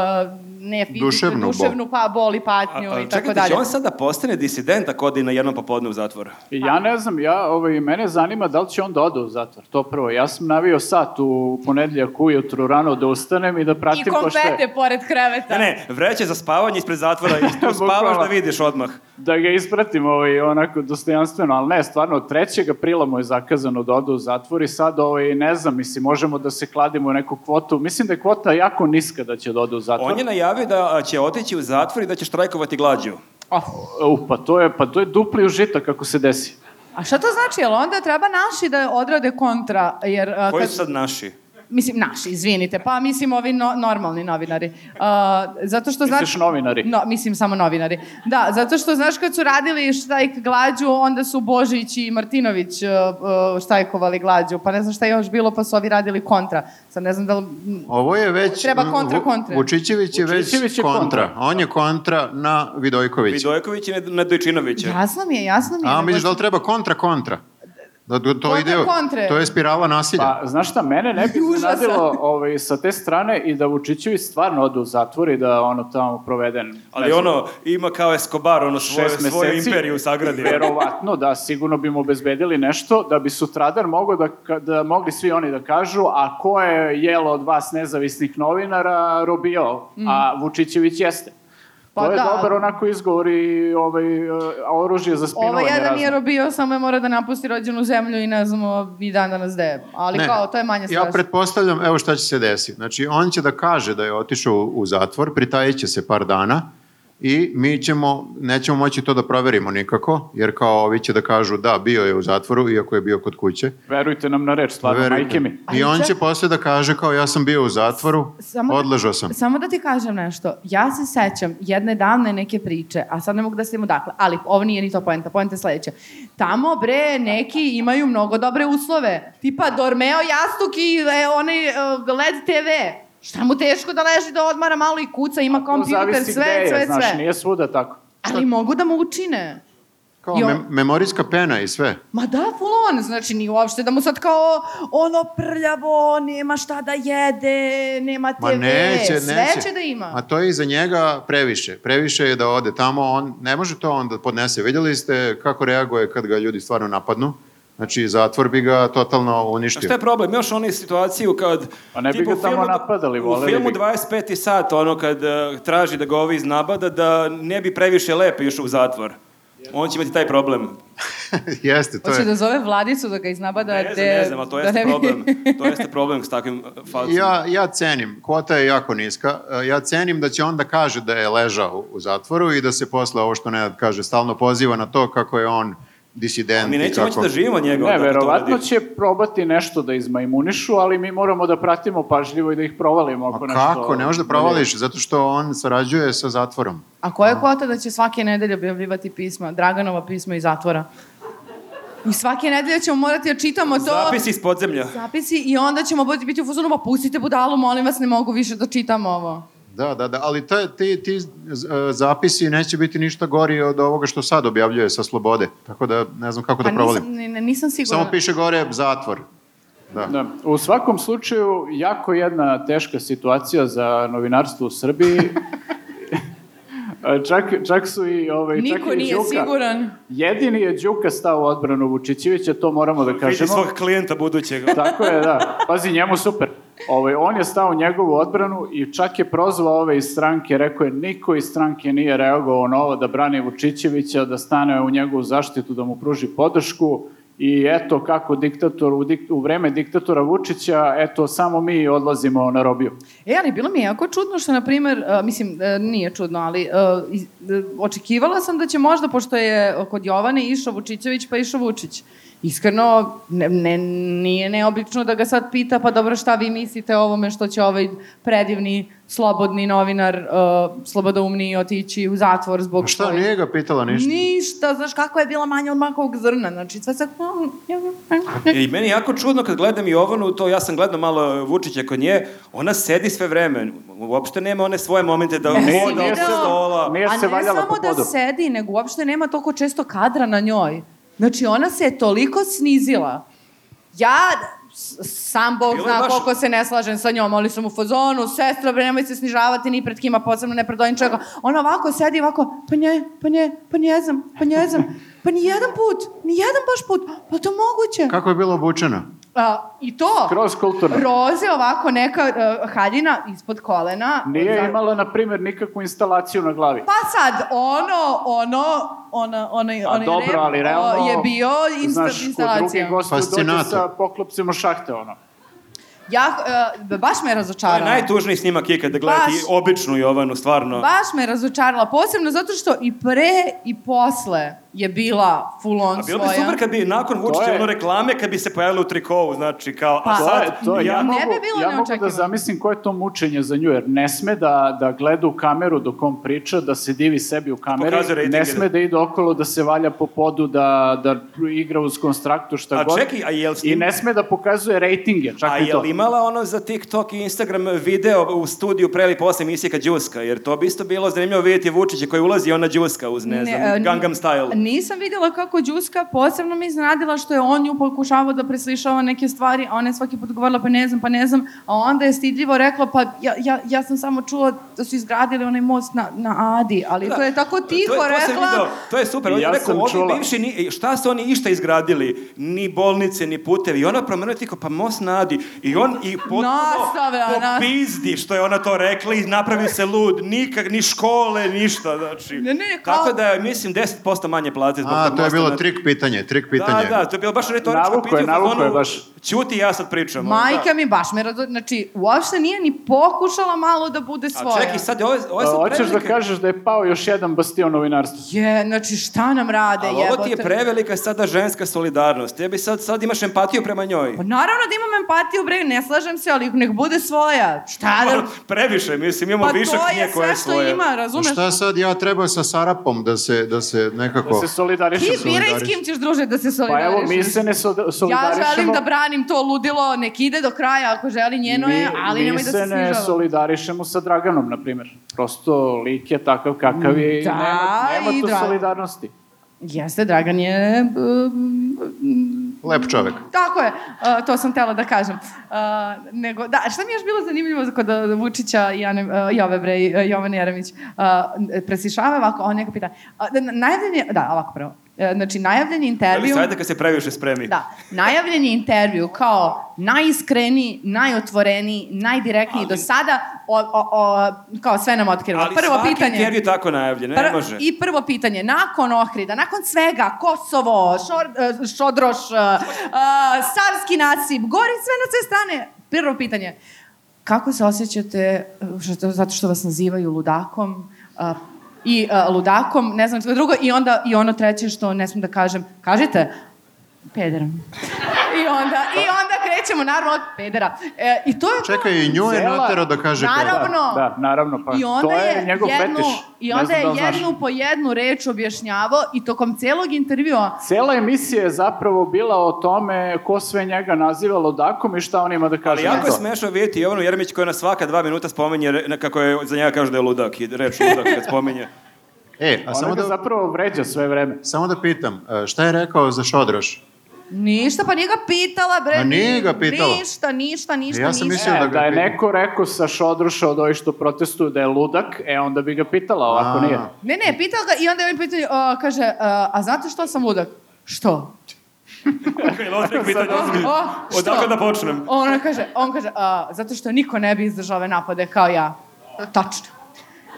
Speaker 3: ne fizičku,
Speaker 7: Duševnu
Speaker 3: duševnu,
Speaker 7: bol.
Speaker 3: pa bol i
Speaker 6: A,
Speaker 3: patnju
Speaker 6: a,
Speaker 3: i tako
Speaker 6: čekajte, će
Speaker 3: dalje.
Speaker 6: on sada da postane disident ako odi na jednom popodne u zatvor?
Speaker 2: I Ja ne znam, ja, ovaj, mene zanima da li će on da ode u zatvor, to prvo. Ja sam navio sat u ponedeljak ujutru rano da ustanem i da
Speaker 3: I
Speaker 2: pratim ko šta je.
Speaker 3: kompete pored kreveta.
Speaker 6: Ne, ne, vreće za spavanje ispred zatvora i tu spavaš
Speaker 2: Bukvalno.
Speaker 6: da vidiš odmah.
Speaker 2: Da ga ispratim ovaj, onako dostojanstveno, ali ne, stvarno, 3. aprila mu je zakazano da ode u zatvor i sad, ovaj, ne znam, mislim, možemo da se kladimo u neku kvotu. Mislim da je kvota jako niska da će da ode u zatvor.
Speaker 6: On je najavio da a, će otići u zatvor i da će štrajkovati glađu.
Speaker 3: Oh.
Speaker 2: U, pa to je, pa to je dupli užitak kako se desi.
Speaker 3: A šta to znači? Jel onda treba naši da odrade kontra? Jer, a,
Speaker 6: Koji
Speaker 3: kad-
Speaker 6: su sad naši?
Speaker 3: Mislim, naši, izvinite. Pa mislim ovi no, normalni novinari. A, zato što
Speaker 2: Misliš
Speaker 3: znaš...
Speaker 2: novinari?
Speaker 3: No, mislim samo novinari. Da, zato što znaš kad su radili štajk glađu, onda su Božić i Martinović e, e, štajkovali glađu, pa ne znam šta je još bilo, pa su ovi radili kontra. Sad ne znam da li...
Speaker 7: Ovo je već...
Speaker 3: Treba kontra,
Speaker 7: Vu-
Speaker 3: kontra.
Speaker 7: Vučićević je već
Speaker 2: Vučićević je
Speaker 7: kontra.
Speaker 2: kontra.
Speaker 7: On je kontra na Vidojkovića.
Speaker 6: Vidojković i Ned- Nedojčinovića.
Speaker 3: Jasno mi je, jasno mi je.
Speaker 7: A
Speaker 3: nego
Speaker 7: misliš da
Speaker 3: što-
Speaker 7: li treba kontra, kontra? Da, da to
Speaker 3: Kontra,
Speaker 7: ide,
Speaker 3: kontre.
Speaker 7: To je spirala nasilja.
Speaker 2: Pa, znaš šta, mene ne bi
Speaker 3: Užasan.
Speaker 2: iznadilo ovaj, sa te strane i da Vučićević stvarno ode u zatvor i da ono tamo proveden...
Speaker 6: Ali ono, ima kao Escobar, ono svoje,
Speaker 2: šest
Speaker 6: svoju
Speaker 2: meseci.
Speaker 6: imperiju sagradio.
Speaker 2: Verovatno, da, sigurno bi mu obezbedili nešto, da bi sutradan mogo da, ka- da mogli svi oni da kažu, a ko je jelo od vas nezavisnih novinara robio, a Vučićević jeste.
Speaker 3: Mm. Pa
Speaker 2: to je
Speaker 3: da.
Speaker 2: dobar onako izgovor i ovaj, e, oružje za spinovanje
Speaker 3: Ovo jedan
Speaker 2: razno.
Speaker 3: nije robio, samo je mora da napusti rođenu zemlju i ne znamo i dan danas gde je. Ali
Speaker 7: Ne.
Speaker 3: kao, to je manje strašno.
Speaker 7: Ja pretpostavljam, evo šta će se desiti. Znači, on će da kaže da je otišao u- u zatvor, pritajit će se par dana i mi ćemo, nećemo moći to da proverimo nikako, jer kao ovi će da kažu da, bio je u zatvoru, iako je bio kod kuće.
Speaker 2: Verujte nam na reč, stvarno,
Speaker 7: Verujte.
Speaker 2: majke mi.
Speaker 3: Ali
Speaker 7: I on će
Speaker 3: čak-
Speaker 7: posle da kaže kao ja sam bio u zatvoru,
Speaker 3: Samo da-
Speaker 7: odležao sam.
Speaker 3: Samo da ti kažem nešto. Ja se sećam jedne davne neke priče, a sad ne mogu da se im dakle, ali ovo nije ni to poenta, poenta je sledeća. Tamo, bre, neki imaju mnogo dobre uslove. Tipa Dormeo jastuk i e, onaj e, LED TV. Šta mu teško da leži da odmara malo i kuca, ima kompjuter,
Speaker 2: To
Speaker 3: sve,
Speaker 2: zavisi gde je,
Speaker 3: sve,
Speaker 2: znaš,
Speaker 3: sve.
Speaker 2: nije svuda tako.
Speaker 3: Ali mogu da mu učine.
Speaker 7: Kao
Speaker 3: Jo.
Speaker 7: mem- memorijska pena i sve.
Speaker 3: Ma da, full on, znači ni uopšte da mu sad kao ono prljavo, nema šta da jede, nema TV,
Speaker 7: Ma neće, neće.
Speaker 3: sve će da ima.
Speaker 7: A to je i za njega previše. Previše je da ode tamo, on ne može to onda podnese. Vidjeli ste kako reaguje kad ga ljudi stvarno napadnu. Znači, zatvor bi ga totalno uništio.
Speaker 6: Šta je problem? Još oni situaciju kad...
Speaker 2: Pa ne bi
Speaker 6: tipa,
Speaker 2: ga
Speaker 6: u
Speaker 2: tamo
Speaker 6: filmu- da-
Speaker 2: napadali, voleli
Speaker 6: U filmu
Speaker 2: bi ga.
Speaker 6: 25. sat, ono kad e, traži da ga ovi iznabada, da ne bi previše lepe još u zatvor. On će imati taj problem.
Speaker 7: Jeste, to
Speaker 3: Hoće
Speaker 7: je.
Speaker 3: da zove vladicu da ga iznabada.
Speaker 6: Ne znam,
Speaker 3: te-
Speaker 6: ne znam, ali to
Speaker 3: da
Speaker 6: jeste
Speaker 3: ne bi-
Speaker 6: problem. To jeste problem s takvim e, falcima.
Speaker 7: Ja, ja cenim, kvota je jako niska, E, ja cenim da će onda kaže da je ležao u zatvoru i da se posle ovo što Nenad kaže, stalno poziva na to kako je on disident.
Speaker 6: Mi
Speaker 7: i
Speaker 6: nećemo moći
Speaker 7: kako...
Speaker 6: da živimo od njega.
Speaker 2: Ne,
Speaker 6: onda kad to
Speaker 2: verovatno
Speaker 6: uradi.
Speaker 2: će probati nešto da izmajmunišu, ali mi moramo da pratimo pažljivo i da ih provalimo. Ako
Speaker 7: A
Speaker 2: nešto,
Speaker 7: kako? Ne možeš da provališ, zato što on sarađuje sa zatvorom.
Speaker 3: A koja je kvota da će svake nedelje objavljivati pisma, Draganova pisma iz zatvora? I svake nedelje ćemo morati da čitamo to.
Speaker 6: Zapis iz podzemlja.
Speaker 3: Zapisi i onda ćemo biti- biti u fuzonu, ma pustite budalu, molim vas, ne mogu više da čitam ovo.
Speaker 7: Da, da, da, ali to, je- ti, ti z- e, zapisi neće biti ništa gori od ovoga što sad objavljuje sa slobode, tako da ne znam kako da provalim.
Speaker 3: Pa nisam, ni- ne- nisam sigurna.
Speaker 7: Samo piše gore zatvor. Da.
Speaker 2: Da. U svakom slučaju, jako jedna teška situacija za novinarstvo u Srbiji. čak, čak su i... Ovaj, čak
Speaker 3: Niko
Speaker 2: i
Speaker 3: nije
Speaker 2: Đuka.
Speaker 3: siguran.
Speaker 2: Jedini je Đuka stao u odbranu Vučićevića, to moramo da
Speaker 6: Vidi
Speaker 2: kažemo.
Speaker 6: svog klijenta budućeg.
Speaker 2: Tako je, da. Pazi, njemu super. Ovaj, on je stao u njegovu odbranu i čak je prozvao ove iz stranke, rekao je niko iz stranke nije reagovao na ovo da brani Vučićevića, da stane u njegovu zaštitu, da mu pruži podršku i eto kako diktator, u, dik, u vreme diktatora Vučića, eto samo mi odlazimo na robiju.
Speaker 3: E, ali bilo mi je jako čudno što, na primjer, e, mislim, e, nije čudno, ali e, iz- e, očekivala sam da će možda, pošto je kod Jovane išao Vučićević, pa išao Vučić. Iskreno, ne, ne, nije neobično da ga sad pita, pa dobro, šta vi mislite o ovome što će ovaj predivni, slobodni novinar, e, slobodoumni, otići u zatvor zbog...
Speaker 7: Pa šta,
Speaker 3: svojih-
Speaker 7: nije ga pitala ništa?
Speaker 3: Ništa, znaš kako je bila manja od makovog zrna, znači sve sad...
Speaker 6: I meni je jako čudno kad gledam Jovanu, to ja sam gledao malo Vučića kod nje, ona sedi sve vreme, uopšte nema one svoje momente da
Speaker 3: Jesi
Speaker 6: hoda
Speaker 3: video?
Speaker 6: od stola.
Speaker 2: Nije se
Speaker 3: A ne
Speaker 2: valjala po
Speaker 3: samo
Speaker 2: podu.
Speaker 3: da sedi, nego uopšte nema toliko često kadra na njoj. Znači, ona se je toliko snizila. Ja, s- sam Bog
Speaker 6: Bilo je
Speaker 3: zna
Speaker 6: baš-
Speaker 3: koliko se ne slažem sa njom, ali sam u fazonu, sestra, bre, nemoj se snižavati ni pred kima, posebno ne pred ovim čega. Ona ovako sedi, ovako, pa nje, pa nje, pa nje znam, pa nje znam, pa ni jedan put, ni jedan baš put, pa to moguće.
Speaker 7: Kako je bila obučena?
Speaker 3: A, I to,
Speaker 2: Kroz kulturno.
Speaker 3: roze ovako neka e, haljina ispod kolena.
Speaker 2: Nije
Speaker 3: Za-
Speaker 2: imala, na primjer, nikakvu instalaciju na glavi.
Speaker 3: Pa sad, ono, ono, ona, onaj,
Speaker 2: A
Speaker 3: onaj
Speaker 2: dobro,
Speaker 3: rem,
Speaker 2: ali
Speaker 3: o,
Speaker 2: realno...
Speaker 3: je bio insta,
Speaker 2: znaš, Znaš, ko drugi
Speaker 3: instalacija.
Speaker 2: gost dođe
Speaker 7: Fascinator.
Speaker 2: sa poklopcima šahte, ono.
Speaker 3: Ja, e, baš me
Speaker 6: To
Speaker 3: razočarala.
Speaker 6: je najtužniji snimak ikada gledati
Speaker 3: Baš.
Speaker 6: običnu Jovanu, stvarno.
Speaker 3: Baš me razočarala, posebno zato što i pre i posle je bila full on
Speaker 6: A bilo bi
Speaker 3: svoja.
Speaker 6: super kad bi nakon
Speaker 2: To
Speaker 6: Vučića
Speaker 2: je-
Speaker 6: ono reklame, kad bi se pojavili u trikovu, znači kao,
Speaker 3: Pa,
Speaker 6: a
Speaker 2: To je,
Speaker 6: sad,
Speaker 2: to je. Ja,
Speaker 6: ja,
Speaker 3: Ne
Speaker 2: mogu,
Speaker 3: bi bilo
Speaker 2: ja mogu
Speaker 3: neočekivano.
Speaker 2: da zamislim koje je to mučenje za nju, jer ne sme da, da gleda u kameru dok on priča, da se divi sebi u
Speaker 6: pokazuje
Speaker 2: kameri,
Speaker 6: rejtinge.
Speaker 2: ne sme da ide okolo, da se valja po podu, da, da igra uz konstraktu, šta
Speaker 6: A
Speaker 2: god.
Speaker 6: čekaj, a jel s
Speaker 2: I
Speaker 6: njim-
Speaker 2: ne sme da pokazuje rejtinge, čak
Speaker 6: A
Speaker 2: i to.
Speaker 6: je li imala ono za TikTok i Instagram video u studiju pre ili posle emisije kad Đuska? Jer to bi isto bilo zanimljivo vidjeti Vučića koji ulazi i ona Đuska uz, ne, znam,
Speaker 3: e, n-
Speaker 6: Gangnam Style.
Speaker 3: Nisam vidjela kako Đuska, posebno mi iznadila što je on nju pokušavao da preslišava neke stvari, a ona je svaki put govorila pa ne znam, pa ne znam, a onda je stidljivo rekla pa ja, ja, ja sam samo čula da su izgradili onaj most na, na Adi, ali to je tako tiho
Speaker 6: Da. to, je- to sam
Speaker 3: rekla.
Speaker 6: video, to je super. On
Speaker 2: Ja
Speaker 6: je rekao,
Speaker 2: sam
Speaker 6: ovi
Speaker 2: čula.
Speaker 6: bivši, ni, šta su oni išta izgradili? Ni bolnice, ni putevi. I ona promenuje ti kao, pa most nadi. I on i potpuno
Speaker 3: Nastavlja, nas-
Speaker 6: popizdi što je ona to rekla i napravi se lud. Nikak, ni škole, ništa. Znači.
Speaker 3: Ne, ne, kao-
Speaker 6: Tako da, mislim, 10% manje plate. zbog
Speaker 7: A,
Speaker 6: tog
Speaker 7: to je
Speaker 6: mosta
Speaker 7: bilo
Speaker 6: nadi.
Speaker 7: trik pitanje, trik pitanje.
Speaker 6: Da, da, to je bilo baš retoričko
Speaker 2: Navuko je,
Speaker 6: pitanje. u
Speaker 2: navuko je
Speaker 6: fazonu,
Speaker 2: baš.
Speaker 6: Ćuti, ja sad pričam. ono,
Speaker 3: Majka
Speaker 6: da.
Speaker 3: mi baš me razo... Znači, uopšte nije ni pokušala malo da bude svoja.
Speaker 6: A čekaj, sad je ovo, ovo je
Speaker 2: A,
Speaker 6: sad
Speaker 2: Hoćeš da
Speaker 6: prevelika-
Speaker 2: kažeš da je pao još jedan bastion novinarstva?
Speaker 3: Je, znači, šta nam rade,
Speaker 6: Ali ovo ti je
Speaker 3: jebote?
Speaker 6: prevelika sada ženska solidarnost. Ja bi sad, sad imaš empatiju prema njoj.
Speaker 3: Pa naravno da imam empatiju, bre, ne ne slažem se, ali nek bude svoja. Šta da...
Speaker 6: Previše, mislim, imamo
Speaker 3: Pa
Speaker 6: višak
Speaker 3: to
Speaker 6: nje
Speaker 3: je
Speaker 6: koja je
Speaker 3: sve što
Speaker 6: svoja.
Speaker 3: ima, razumeš?
Speaker 7: Šta sad ja treba sa Sarapom da se, da se nekako...
Speaker 2: Da se solidarišem.
Speaker 3: Ti biraj s kim ćeš druže da se
Speaker 2: Pa
Speaker 3: solidariš.
Speaker 2: evo, mi se ne soda-
Speaker 3: Ja
Speaker 2: solidarišemo.
Speaker 3: želim da branim to ludilo, nek ide do kraja ako želi, njeno je, ali
Speaker 2: mi
Speaker 3: nemoj da se
Speaker 2: Mi se ne
Speaker 3: snižava.
Speaker 2: solidarišemo sa Draganom, na primjer. Prosto lik je takav kakav je i
Speaker 3: Da,
Speaker 2: nema, nema
Speaker 3: i
Speaker 2: tu
Speaker 3: Dragan.
Speaker 2: solidarnosti.
Speaker 3: Jeste, Dragan je... um,
Speaker 7: Lep čovek.
Speaker 3: Tako je, uh, to sam tela da kažem. Uh, nego, da, šta mi je još bilo zanimljivo kod uh, Vučića i Jane, uh, Jove bre, i, uh, Jovan Jeremić? Uh, presišava ovako, on neka pita. Uh, da, najavljen je, da, ovako prvo. Uh, znači, najavljen je
Speaker 6: Ali
Speaker 3: intervju...
Speaker 6: sajte kad se previše spremi.
Speaker 3: Da, najavljen je intervju kao najiskreniji, najotvoreniji, najdirektniji do sada, o, o, o, kao sve nam otkriva.
Speaker 6: Ali
Speaker 3: Prvo
Speaker 6: svaki
Speaker 3: pitanje.
Speaker 6: intervju je tako najavljen, ne
Speaker 3: Pr-
Speaker 6: može.
Speaker 3: I prvo pitanje, nakon Ohrida, nakon svega, Kosovo, šor, eh, Šodroš, eh, eh, Savski nasip, gori sve na sve strane. Prvo pitanje, kako se osjećate, eh, što, zato što vas nazivaju ludakom, eh, i eh, ludakom, ne znam što drugo, i onda i ono treće što ne smem da kažem, kažite, pederom. I onda, i
Speaker 6: Pa-
Speaker 3: onda krećemo naravno od pedera. E, I to je to.
Speaker 7: Čekaj, i nju je
Speaker 2: Zela.
Speaker 7: notero da kaže...
Speaker 3: Naravno.
Speaker 7: pedera.
Speaker 2: Da, da, naravno, pa
Speaker 3: I onda
Speaker 2: to je,
Speaker 3: je,
Speaker 2: njegov
Speaker 3: jednu,
Speaker 2: fetiš.
Speaker 3: i
Speaker 2: Ne
Speaker 3: onda
Speaker 2: znam
Speaker 3: je
Speaker 2: da li znaš.
Speaker 3: jednu po jednu reč objašnjavao i tokom celog intervjua
Speaker 2: Cela emisija je zapravo bila o tome ko sve njega naziva ludakom i šta on ima da
Speaker 6: Ali
Speaker 2: kaže na
Speaker 6: jako je
Speaker 2: to.
Speaker 6: smešno vidjeti Jovanu Jeremić koja na svaka dva minuta spomenje, re- na- kako je, za njega kaže da je ludak i reč ludak kad spomenje.
Speaker 7: E, a
Speaker 2: Ona
Speaker 7: samo
Speaker 2: ga
Speaker 7: da,
Speaker 2: zapravo vređa sve vreme.
Speaker 7: samo da pitam, e, šta je rekao za Šodroš?
Speaker 3: ništa, pa nije ga pitala, bre.
Speaker 7: A nije ga pitala.
Speaker 3: Ništa, ništa, ništa,
Speaker 7: Ja sam
Speaker 3: ništa.
Speaker 7: mislio- Mislim
Speaker 2: E,
Speaker 7: da
Speaker 2: da,
Speaker 7: ga
Speaker 2: je
Speaker 7: pita.
Speaker 2: neko rekao sa Šodruša od ovih što protestuju da je ludak, e onda bi ga pitala, ovako
Speaker 7: A.
Speaker 2: nije.
Speaker 3: Ne, ne, pitao ga i onda je on pitao, a, kaže, a, a znate što sam ludak? Što?
Speaker 6: Kako je lotrik pitanje
Speaker 3: O,
Speaker 6: ozbiljno.
Speaker 3: o, što?
Speaker 6: Odakle da počnem?
Speaker 3: Ona kaže, on kaže, a, zato što niko ne bi izdržao ove napade kao ja. Tačno.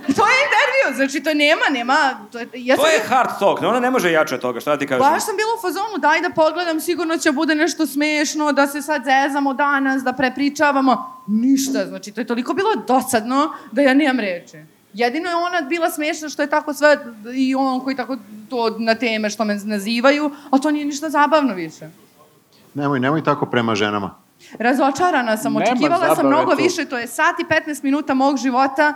Speaker 3: I to je intervju, znači to nema, nema, to je, ja sam
Speaker 6: To je hard talk, no ona ne može jače od toga, šta ti kažem?
Speaker 3: Baš sam bila u fazonu, daj da pogledam, sigurno će bude nešto smešno, da se sad zezamo danas, da prepričavamo. Ništa, znači to je toliko bilo dosadno da ja nemam reči. Jedino je ona bila smešna što je tako sve i on koji tako to na teme što me nazivaju, a to nije ništa zabavno više.
Speaker 7: Nemoj, nemoj tako prema ženama.
Speaker 3: Razočarana sam,
Speaker 2: Nema
Speaker 3: očekivala sam
Speaker 2: zabave
Speaker 3: mnogo
Speaker 2: tu.
Speaker 3: više, to je sat i 15 minuta mog života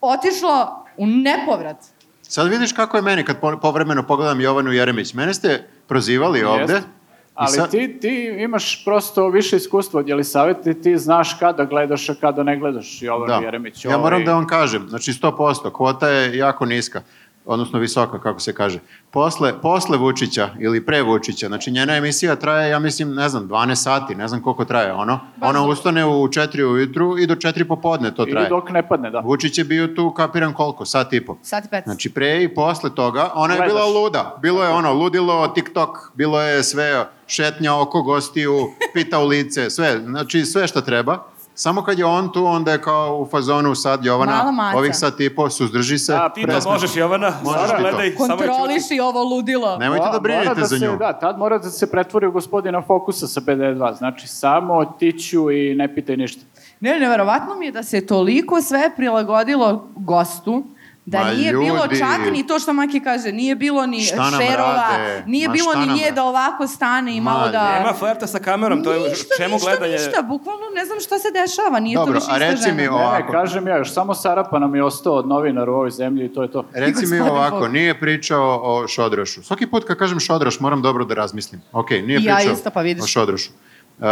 Speaker 3: otišlo u nepovrat.
Speaker 7: Sad vidiš kako je meni kad po- povremeno pogledam Jovanu Jeremić. Mene ste prozivali ovde.
Speaker 2: Jeste.
Speaker 7: i
Speaker 2: Ali
Speaker 7: sad-
Speaker 2: ti, ti imaš prosto više iskustva od Jelisavete, ti znaš kada gledaš, a kada ne gledaš Jovanu
Speaker 7: Da.
Speaker 2: Jeremić.
Speaker 7: ja moram
Speaker 2: ovaj-
Speaker 7: da vam kažem, znači 100%, kvota je jako niska, odnosno visoka, kako se kaže. Posle, posle Vučića ili pre Vučića, znači njena emisija traje, ja mislim, ne znam, 12 sati, ne znam koliko traje ono. Ona ustane u 4 ujutru i do 4 popodne to
Speaker 2: Ili
Speaker 7: traje.
Speaker 2: dok ne padne, da.
Speaker 7: Vučić je bio tu, kapiram koliko, sat i po.
Speaker 3: Sat i 15.
Speaker 7: Znači pre i posle toga, ona je
Speaker 2: Gledaš.
Speaker 7: bila luda. Bilo je ono, ludilo, TikTok, bilo je sve, šetnja oko gostiju, pita u lice, sve, znači sve što treba. Samo kad je on tu, onda je kao u fazonu sad
Speaker 3: Mala
Speaker 7: Jovana,
Speaker 3: maca.
Speaker 7: ovih sat i po, suzdrži se.
Speaker 2: Da,
Speaker 6: Ti to
Speaker 7: presmeš.
Speaker 6: možeš, Jovana.
Speaker 7: Možeš
Speaker 6: Sara,
Speaker 7: ti to.
Speaker 6: gledaj, samo je čuti.
Speaker 3: Kontroliši ovo ludilo.
Speaker 7: Nemojte
Speaker 2: Mora-
Speaker 7: da brinete
Speaker 2: mora da
Speaker 7: za
Speaker 2: se-
Speaker 7: nju.
Speaker 2: Da, tad mora da se pretvori u gospodina Fokusa sa BD2. Znači, samo tiću i ne pitaj ništa.
Speaker 3: Ne, neverovatno mi je da se toliko sve prilagodilo gostu, da
Speaker 7: Ma,
Speaker 3: nije bilo
Speaker 7: ljudi.
Speaker 3: čak ni to što Maki kaže, nije bilo ni
Speaker 7: Šta nam
Speaker 3: šerova,
Speaker 7: rade?
Speaker 3: nije
Speaker 7: Ma,
Speaker 3: bilo
Speaker 7: šta
Speaker 3: ni
Speaker 7: nam
Speaker 3: nje
Speaker 7: rade?
Speaker 3: da ovako stane i
Speaker 7: Ma,
Speaker 3: malo da...
Speaker 6: Nema flerta sa kamerom, to je
Speaker 3: ništa,
Speaker 6: čemu
Speaker 3: ništa,
Speaker 6: gledanje.
Speaker 3: ništa, bukvalno ne znam šta se dešava, nije
Speaker 7: Dobro,
Speaker 3: to više
Speaker 7: a
Speaker 3: ista
Speaker 7: reci mi
Speaker 3: žena.
Speaker 2: Ne, ne,
Speaker 7: ovako.
Speaker 2: E, kažem ja, još samo Sarapa nam je ostao od novinara u ovoj zemlji i to je to.
Speaker 7: da- Reci mi
Speaker 3: Gospodin
Speaker 7: ovako,
Speaker 3: Bog.
Speaker 7: nije pričao o Šodrošu. Svaki put kad kažem Šodroš, moram dobro da razmislim. Ok, nije
Speaker 3: I ja
Speaker 7: pričao
Speaker 3: isto, pa vidiš.
Speaker 7: o Šodrošu. Uh,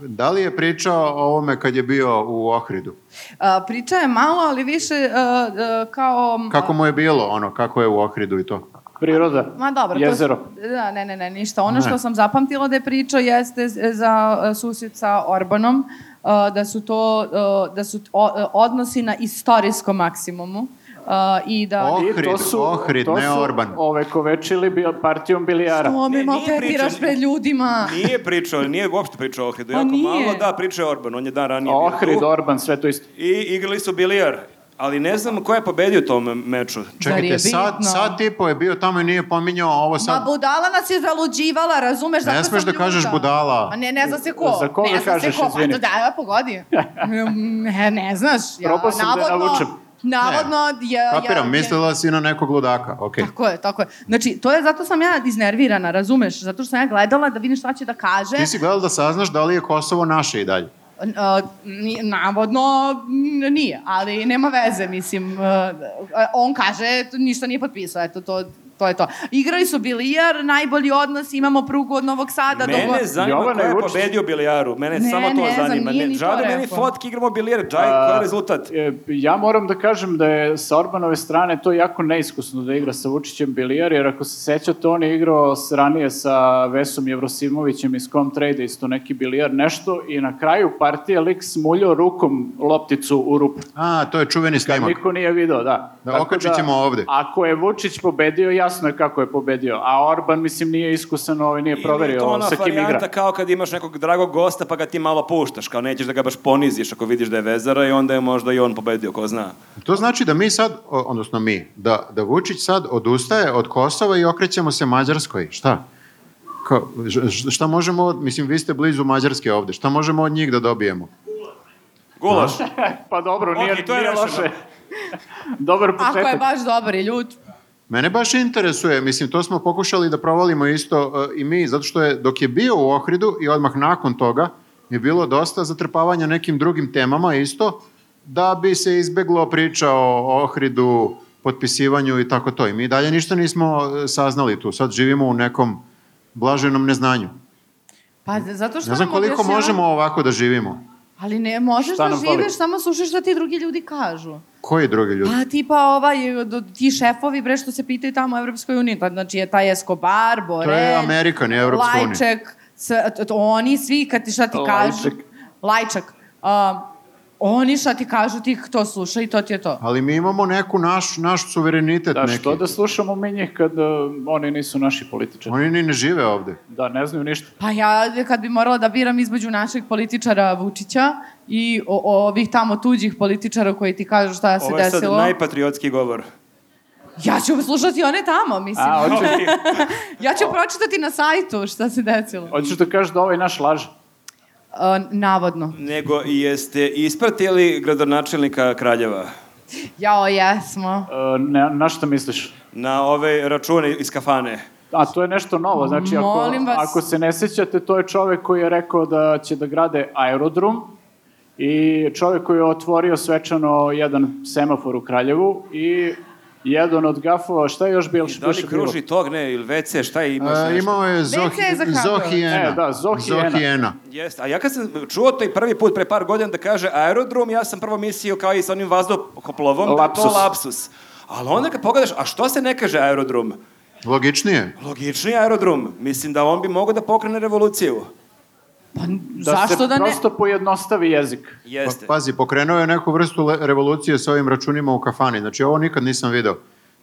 Speaker 7: da li je pričao o ovome kad je bio u Ohridu?
Speaker 3: A, priča je malo, ali više a, a, kao...
Speaker 7: Kako mu je bilo ono, kako je u Ohridu i to?
Speaker 2: Priroda,
Speaker 3: Ma dobro,
Speaker 2: jezero.
Speaker 3: to... Da, ne, ne, ne, ništa. Ono
Speaker 7: Ne.
Speaker 3: što sam zapamtila da je pričao jeste z- za e, susret sa Orbanom, e, da su to, e, da su o- e, odnosi na istorijskom maksimumu e, i da...
Speaker 7: O,
Speaker 2: I
Speaker 7: Ohrid, Ohrid, ne Orban.
Speaker 2: ovekovečili bio partijom bilijara.
Speaker 3: Što me
Speaker 6: Ne, nije
Speaker 3: maltretiraš
Speaker 6: pričao-
Speaker 3: pred ljudima?
Speaker 6: Nije pričao, nije uopšte pričao o Ohridu,
Speaker 3: A
Speaker 6: jako
Speaker 3: nije.
Speaker 6: malo. Da, pričao je Orban, on je dan ranije bio
Speaker 2: Ohrid,
Speaker 6: tu.
Speaker 2: Orban, sve to isto.
Speaker 6: I igrali su bilijar. Ali ne znam ko je pobedio u tom meču.
Speaker 3: Zar je
Speaker 7: Čekajte, sat,
Speaker 3: bitno?
Speaker 7: sat i po je bio tamo i nije pominjao ovo
Speaker 3: Ma
Speaker 7: sad.
Speaker 3: budala nas je zaluđivala, razumeš?
Speaker 7: Ne
Speaker 3: zato
Speaker 7: smeš
Speaker 3: sam
Speaker 7: da kažeš
Speaker 3: ljuta.
Speaker 7: budala.
Speaker 3: A ne, ne zna se ko.
Speaker 2: Za koga
Speaker 3: ne zna
Speaker 2: kažeš,
Speaker 3: se ko.
Speaker 2: izvini?
Speaker 3: Pa, da, ja pogodi. ne, ne znaš. Ja,
Speaker 2: Probao sam da je
Speaker 3: navodno,
Speaker 2: navučem.
Speaker 3: Navodno, je, je,
Speaker 7: Kapiram,
Speaker 3: je-
Speaker 7: mislila si na nekog ludaka, okej.
Speaker 3: Tako je, tako je. Znači, to je, zato sam ja iznervirana, razumeš? Zato što sam ja gledala da vidim šta će da kaže.
Speaker 7: Ti si gledala da saznaš da li je Kosovo naše i dalje.
Speaker 3: E, Uh, ni- navodno n- nije, ali nema veze, mislim. uh, on kaže, "Tu ništa nije potpisao, eto, to, to je to. Igrali su bilijar, najbolji odnos, imamo prugu od Novog Sada. do
Speaker 6: Mene
Speaker 3: Da, Bo-
Speaker 6: zanima
Speaker 2: Jovane
Speaker 6: ko je
Speaker 2: Vučić.
Speaker 6: pobedio u bilijaru. Mene
Speaker 3: Ne,
Speaker 6: samo to
Speaker 3: ne znam,
Speaker 6: zanima.
Speaker 3: nije
Speaker 6: Ne,
Speaker 3: ni to
Speaker 6: žao da meni
Speaker 3: rekao.
Speaker 6: fotke igramo bilijar. Džaj, koji je rezultat?
Speaker 2: E, Ja moram da kažem da je sa Orbanove strane to jako neiskusno da igra sa Vučićem bilijar, jer ako se sećate, on je igrao s- ranije sa Vesom Jevrosimovićem iz Comtrade, isto neki bilijar, nešto, i na kraju partije lik smuljao rukom lopticu u rupu.
Speaker 7: A, to je čuveni
Speaker 2: Kad
Speaker 7: snimak.
Speaker 2: niko nije video, da.
Speaker 7: Da,
Speaker 2: Tako
Speaker 7: okačit ćemo ovde.
Speaker 2: Ako je Vučić pobedio, jasno je kako je pobedio. A Orban, mislim, nije iskusan, ovaj nije
Speaker 6: Ili je
Speaker 2: proverio
Speaker 6: to ona
Speaker 2: sa kim
Speaker 6: varijanta
Speaker 2: igra.
Speaker 6: kao kad imaš nekog dragog gosta pa ga ti malo puštaš, kao nećeš da ga baš poniziš ako vidiš da je vezara i onda je možda i on pobedio, ko zna.
Speaker 7: To znači da mi sad, o- odnosno mi, da, da Vučić sad odustaje od Kosova i okrećemo se Mađarskoj. Šta? Kao, ž- ž- šta možemo, od- mislim, vi ste blizu Mađarske ovde, šta možemo od njih da dobijemo?
Speaker 6: Gulaš.
Speaker 2: Pa dobro, nije,
Speaker 6: Ok, to je
Speaker 2: nije
Speaker 6: rešeno.
Speaker 2: loše. Dobar
Speaker 3: Ako je
Speaker 2: početak.
Speaker 3: baš dobar i ljut,
Speaker 7: Mene baš interesuje, mislim, to smo pokušali da provalimo isto e, i mi, zato što je, dok je bio u Ohridu i odmah nakon toga, je bilo dosta zatrpavanja nekim drugim temama isto, da bi se izbeglo priča o Ohridu, potpisivanju i tako to. I mi dalje ništa nismo e, saznali tu. Sad živimo u nekom blaženom neznanju.
Speaker 3: pa zato što
Speaker 7: Ne znam
Speaker 3: nam
Speaker 7: koliko
Speaker 3: objašnjava-
Speaker 7: možemo ovako da živimo.
Speaker 3: Ali ne, možeš
Speaker 2: Šta
Speaker 3: da
Speaker 2: nam fali?
Speaker 3: živiš, samo slušaš šta ti drugi ljudi kažu.
Speaker 7: Koji drugi ljudi?
Speaker 3: Pa tipa ovaj, do- ti šefovi bre što se pitaju tamo u Evropskoj uniji, pa, znači je taj Escobar, Borel,
Speaker 7: To je Amerika, nije Evropska unija.
Speaker 3: Lajček, sve- t- t- oni svi kad ti šta ti kažu.
Speaker 2: Lajček.
Speaker 3: Lajčak. Um, oni šta ti kažu, ti to slušaj i to ti je to.
Speaker 7: Ali mi imamo neku naš, naš suverenitet
Speaker 2: Da,
Speaker 7: neki.
Speaker 2: što da slušamo mi njih kad uh, oni nisu naši političari?
Speaker 7: Oni ni ne žive ovde.
Speaker 2: Da, ne znaju ništa.
Speaker 3: Pa ja kad bi morala da biram između našeg političara Vučića i o, o- ovih tamo tuđih političara koji ti kažu šta Da se
Speaker 6: Ovo je sad
Speaker 3: desilo,
Speaker 6: najpatriotski govor.
Speaker 3: ja ću slušati one tamo, mislim.
Speaker 2: A, hoćeš,
Speaker 3: Ja ću pročitati na sajtu šta se desilo.
Speaker 2: hoćeš da kažeš da ovaj naš laže?
Speaker 3: A, navodno.
Speaker 6: Nego jeste ispratili gradonačelnika Kraljeva
Speaker 3: Jao, jesmo.
Speaker 2: E, ne, na šta misliš?
Speaker 6: na ove račune iz kafane.
Speaker 2: A to je nešto novo, znači ako,
Speaker 3: Molim vas.
Speaker 2: ako se ne sećate, to je čovek koji je rekao da će da grade aerodrom i čovek koji je otvorio svečano jedan semafor u Kraljevu i jedan od gafova, šta je još bilo?
Speaker 6: I da li kruži tog, ne, ili WC, šta je imaš
Speaker 7: E,
Speaker 6: Da nešto?
Speaker 7: imao je
Speaker 3: Veća je za
Speaker 7: Zohi,
Speaker 3: kabel.
Speaker 7: Zohijena.
Speaker 2: E, da, Zohijena.
Speaker 6: Jeste, a ja kad sam čuo to i prvi put pre par godina da kaže aerodrom, ja sam prvo mislio kao i sa onim vazduhoplovom, da je
Speaker 2: Lapsus.
Speaker 6: to lapsus. Ali onda kad pogledaš, a što se ne kaže aerodrom?
Speaker 7: Logičnije.
Speaker 6: Logični aerodrom. Mislim da on bi mogao da pokrene revoluciju.
Speaker 3: Pa,
Speaker 2: Da
Speaker 3: zašto
Speaker 2: se
Speaker 3: da ne?
Speaker 2: prosto pojednostavi jezik.
Speaker 6: Jeste.
Speaker 7: Pa, pazi, pokrenuo je neku vrstu le- revolucije sa ovim računima u kafani. Znači, ovo nikad nisam video.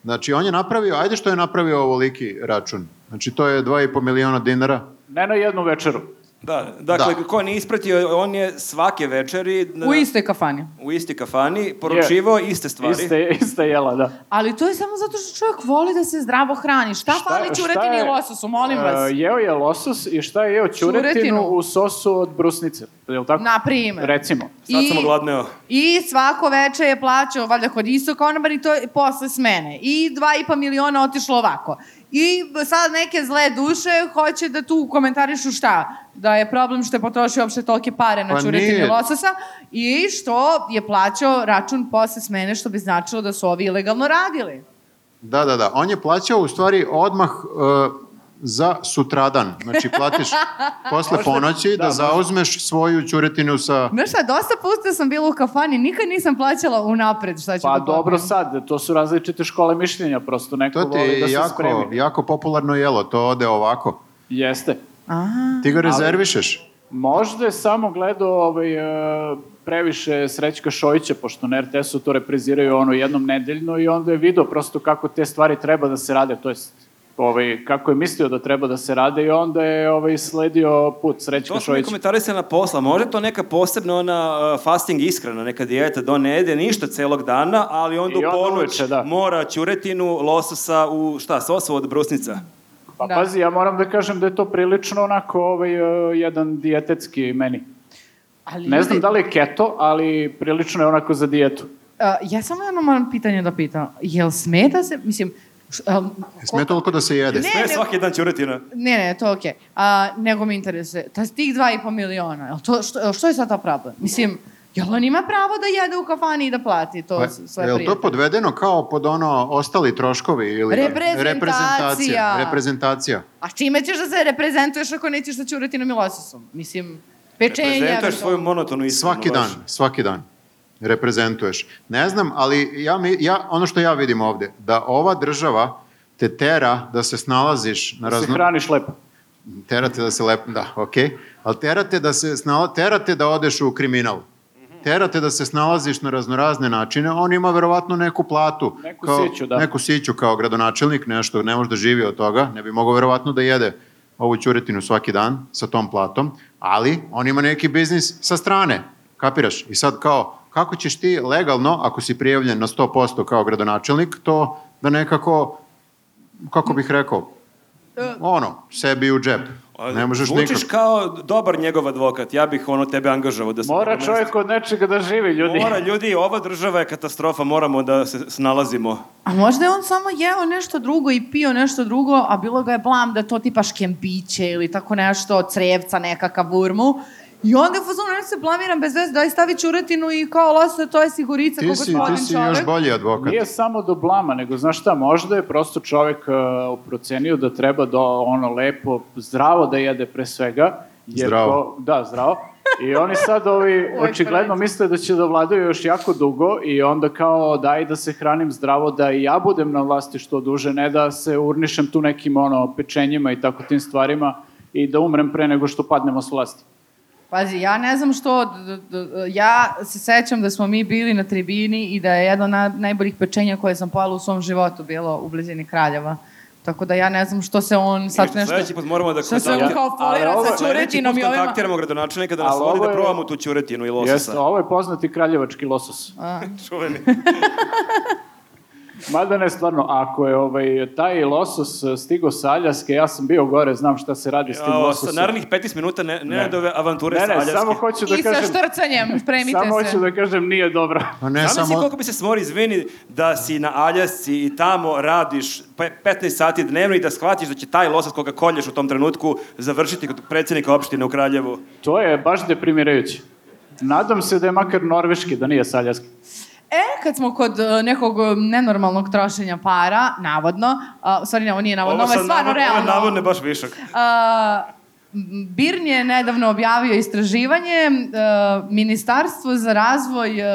Speaker 7: Znači, on je napravio, ajde što je napravio ovoliki račun. Znači, to je 2,5 miliona dinara.
Speaker 2: Ne na jednu večeru.
Speaker 6: Da, dakle,
Speaker 7: Da.
Speaker 6: ko nije ispratio, on je svake večeri na,
Speaker 3: U istoj kafani.
Speaker 6: u isti kafani poručivao iste stvari.
Speaker 2: Iste, iste jela, da.
Speaker 3: Ali to je samo zato što čovjek voli da se zdravo hrani. Šta, fali
Speaker 2: šta
Speaker 3: čuretini
Speaker 2: je-
Speaker 3: i lososu, molim vas?
Speaker 2: E, jeo je losos i šta je jeo? Ćuretinu,
Speaker 3: Ćuretinu.
Speaker 2: u sosu od brusnice. Je li tako?
Speaker 3: Na primer.
Speaker 2: Recimo.
Speaker 6: Sad sam
Speaker 3: I-
Speaker 6: ogladneo.
Speaker 3: I svako veče je plaćao, valjda kod istog konobar i to je posle smene. I dva i pa miliona otišlo ovako. I sad neke zle duše hoće da tu komentarišu šta? Da je problem što je potrošio uopšte tolike pare na
Speaker 7: Pa
Speaker 3: pa čuretinu
Speaker 7: nije.
Speaker 3: lososa i što je plaćao račun posle smene što bi značilo da su ovi ilegalno radili.
Speaker 7: Da, da, da. On je plaćao u stvari odmah e, za sutradan. Znači, platiš posle ponoći da,
Speaker 2: da,
Speaker 7: zauzmeš svoju ćuretinu sa...
Speaker 3: Znaš šta, dosta puta sam bila u kafani, nikad nisam plaćala unapred šta ću
Speaker 2: Pa
Speaker 3: da
Speaker 2: dobro
Speaker 3: popijem.
Speaker 2: sad, to su različite škole mišljenja, prosto neko
Speaker 7: To ti
Speaker 2: voli da
Speaker 7: je
Speaker 2: se
Speaker 7: jako,
Speaker 2: spremi.
Speaker 7: jako popularno jelo, to ode ovako.
Speaker 2: Jeste.
Speaker 3: A,
Speaker 7: Ti ga rezervišeš?
Speaker 2: Možda je samo gledao ovaj, e, previše Srećka Šojića, pošto na RTS-u to repriziraju ono jednom nedeljno i onda je video prosto kako te stvari treba da se rade, to jest ovaj, kako je mislio da treba da se rade i onda je ovaj, sledio put Srećka
Speaker 6: To smo mi
Speaker 2: Šojića.
Speaker 6: komentarisali na posla. Možda je to neka posebna ona uh, fasting ishrana, neka dijeta da on ne jede ništa celog dana, ali onda
Speaker 2: I
Speaker 6: u
Speaker 2: onda
Speaker 6: ponoć
Speaker 2: uveče, da.
Speaker 6: mora ćuretinu, lososa u, šta, sosu od brusnica.
Speaker 2: Pa
Speaker 3: Da.
Speaker 2: pazi, ja moram da kažem da je to prilično onako ovaj, e, jedan dijetetski meni.
Speaker 3: ali
Speaker 2: Ne znam
Speaker 3: ljudi-
Speaker 2: da li je keto, ali prilično je onako za dijetu.
Speaker 3: Uh, ja samo jedno moram pitanje da pitam. Jel smeta se, mislim, Š- a,
Speaker 7: Sme toliko da se jede.
Speaker 3: Ne.
Speaker 6: Sve svaki dan ćuretina.
Speaker 3: Ne, ne, to je okej. A, Nego mi interesuje, ta, tih dva i po miliona, jel to, što, jel što je sad ta problem? Mislim, jel on ima pravo da jede u kafani i da plati to
Speaker 7: Pa,
Speaker 3: s- sve
Speaker 7: je li
Speaker 3: prije?
Speaker 7: to podvedeno kao pod ono ostali troškovi ili
Speaker 3: Reprezentacija.
Speaker 7: reprezentacija? Reprezentacija.
Speaker 3: A čime ćeš da se reprezentuješ ako nećeš da ćurati na milosisom? Mislim, pečenje...
Speaker 6: Prezentuješ
Speaker 3: eventualno.
Speaker 6: svoju monotonu i
Speaker 7: Svaki dan, svaki dan reprezentuješ. Ne znam, ali ja, mi- ja, ono što ja vidim ovde, da ova država te tera da se snalaziš na
Speaker 2: Da se
Speaker 7: razno...
Speaker 2: hraniš lepo.
Speaker 7: Terate da se lep... Da, okej. Ali terate da se snala... terate da odeš u kriminal.
Speaker 2: Mhm.
Speaker 7: Terate da se snalaziš na raznorazne načine. On ima verovatno neku platu.
Speaker 2: Neku siću, da.
Speaker 7: Neku siću kao gradonačelnik, nešto, ne može da živi od toga. Ne bi mogao verovatno da jede ovu ćuretinu svaki dan sa tom platom. Ali on ima neki biznis sa strane. Kapiraš? I sad kao, kako ćeš ti legalno, ako si prijavljen na 100% kao gradonačelnik, to da nekako, kako bih rekao,
Speaker 3: E,
Speaker 7: ono, sebi u džep. Ne možeš
Speaker 6: Pa, Zvučiš
Speaker 7: nikako.
Speaker 6: kao dobar njegov advokat. Ja bih ono tebe angažovao da se...
Speaker 2: Mora čovjek od nečega da živi, ljudi.
Speaker 6: Mora, ljudi, ova država je katastrofa, moramo da se snalazimo.
Speaker 3: A možda je on samo jeo nešto drugo i pio nešto drugo, a bilo ga je blam da je to tipa škembiće ili tako nešto, crevca, nekakav vurmu. I onda je fazon, ne se blamiram bez veze, daj stavi čuretinu i kao lasa, to je sigurica
Speaker 7: Ti
Speaker 3: kako
Speaker 7: si,
Speaker 3: gospodin
Speaker 7: ti si
Speaker 3: čovek.
Speaker 7: još bolji advokat.
Speaker 2: Nije samo do blama, nego znaš šta, možda je prosto čovek uh, procenio da treba da ono lepo, zdravo da jede pre svega. Jer
Speaker 7: Zdravo.
Speaker 2: To, da, zdravo. I oni sad ovi,
Speaker 3: Uvek
Speaker 2: očigledno
Speaker 3: prvi.
Speaker 2: misle da će da vladaju još jako dugo i onda kao daj da se hranim zdravo, da i ja budem na vlasti što duže, ne da se urnišem tu nekim ono, pečenjima i tako tim stvarima i da umrem pre nego što padnemo s vlasti.
Speaker 3: Pazi, ja ne znam što, d- d- d- ja se sećam da smo mi bili na tribini i da je jedno od na, najboljih pečenja koje sam pojela u svom životu bilo u blizini Kraljeva. Tako da ja ne znam što se on sad nešto...
Speaker 6: Sledeći put moramo da
Speaker 3: Što se on kao folira
Speaker 2: Ali ovo-
Speaker 3: sa čuretinom i ovima...
Speaker 6: kontaktiramo gradonačelnika da nas
Speaker 2: Ali
Speaker 6: vodi
Speaker 2: ovo
Speaker 6: da
Speaker 2: je-
Speaker 6: probamo tu čuretinu i lososa.
Speaker 2: Jeste, ovo je poznati kraljevački losos.
Speaker 3: A.
Speaker 6: Čuveni.
Speaker 2: Mada ne, stvarno, ako je ovaj, taj losos eh, stigo sa Aljaske, ja sam bio gore, znam šta se radi s tim
Speaker 6: A,
Speaker 2: lososom.
Speaker 6: Sa narednih 15 minuta ne, ne, ne. ove avanture
Speaker 2: ne,
Speaker 6: sa
Speaker 2: ne,
Speaker 6: Aljaske.
Speaker 2: samo hoću da
Speaker 3: I sa
Speaker 2: kažem...
Speaker 3: štrcanjem, spremite
Speaker 2: Samo
Speaker 3: se.
Speaker 2: hoću da kažem, nije dobro.
Speaker 7: Pa ne
Speaker 6: Zamisli
Speaker 7: samo...
Speaker 6: koliko bi se smori, izvini, da si na Aljasci i tamo radiš pe- 15 sati dnevno i da shvatiš da će taj losas koga kolješ u tom trenutku završiti kod predsednika opštine u Kraljevu.
Speaker 2: To je baš deprimirajuće. Nadam se da je makar norveški, da nije sa Aljaske.
Speaker 3: E, kad smo kod e, nekog e, nenormalnog trošenja para, navodno, a, u stvari ne, ovo nije navodno, ovo je
Speaker 6: sad
Speaker 3: stvarno
Speaker 6: navod- Ovo je
Speaker 3: realno.
Speaker 6: navodno baš višak.
Speaker 3: A, m, Birn je nedavno objavio istraživanje, e, Ministarstvo za razvoj e, e,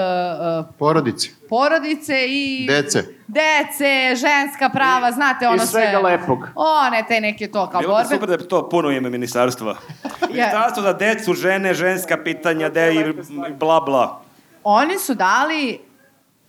Speaker 7: Porodici.
Speaker 3: porodice i...
Speaker 7: Dece.
Speaker 3: Dece, ženska prava, znate ono
Speaker 2: I svega
Speaker 3: sve.
Speaker 2: lepog.
Speaker 3: One, te neke to kao
Speaker 6: Bilo bi
Speaker 3: borbe.
Speaker 6: super da je to puno ime ministarstva. Ministarstvo za decu, žene, ženska pitanja, de i bla bla.
Speaker 3: Oni su dali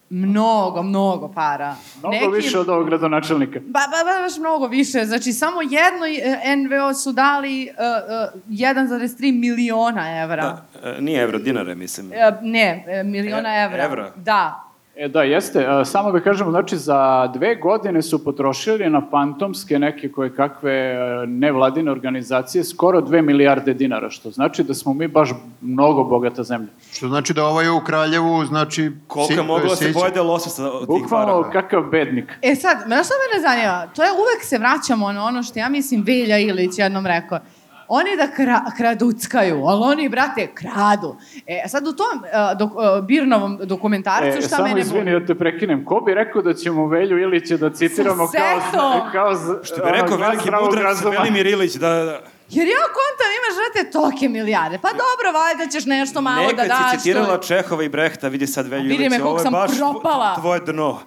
Speaker 3: mnogo, mnogo para.
Speaker 2: Mnogo više od ovog gradonačelnika.
Speaker 3: Ba, ba, ba, baš mnogo više. Znači, samo jedno eh, NVO su dali uh, uh, 1,3 miliona evra.
Speaker 6: Da, e, nije evro, dinare mislim.
Speaker 3: E, ne, e, miliona
Speaker 6: E-
Speaker 3: evra.
Speaker 6: evra.
Speaker 3: Da.
Speaker 2: E, da, jeste. E, Samo da kažemo, znači, za dve godine su potrošili na fantomske neke koje kakve e, nevladine organizacije skoro dve milijarde dinara, što znači da smo mi baš mnogo bogata zemlja.
Speaker 7: Što znači da ovaj u Kraljevu, znači...
Speaker 6: Koliko je
Speaker 7: si-
Speaker 6: moglo da se
Speaker 7: sića.
Speaker 6: pojede lososa od tih para?
Speaker 2: Bukvalno kakav bednik.
Speaker 3: E sad, znaš šta mene zanima? To je uvek se vraćamo na ono što ja mislim Velja Ilić jednom rekao. Oni da kra, kraduckaju, ali oni, brate, kradu. E, sad u tom uh, dok, uh, Birnovom dokumentarcu,
Speaker 2: E,
Speaker 3: šta
Speaker 2: samo
Speaker 3: mene
Speaker 2: izvini da te prekinem. Ko bi rekao da ćemo Velju Ilića da citiramo
Speaker 3: Sa
Speaker 2: kao,
Speaker 3: seksom!
Speaker 2: kao z,
Speaker 6: Što bi rekao veliki mudrac Velimir Ilić da... da
Speaker 3: Jer ja kontam imaš, brate, toke milijarde. Pa dobro, valjda ćeš nešto malo da daš.
Speaker 6: Nekad si
Speaker 3: to-
Speaker 6: citirala Čehova i Brehta, vidi sad Velju
Speaker 3: Vidi me
Speaker 6: Ilića,
Speaker 3: kako
Speaker 6: ovo je
Speaker 3: sam
Speaker 6: baš
Speaker 3: propala.
Speaker 6: tvoje dno.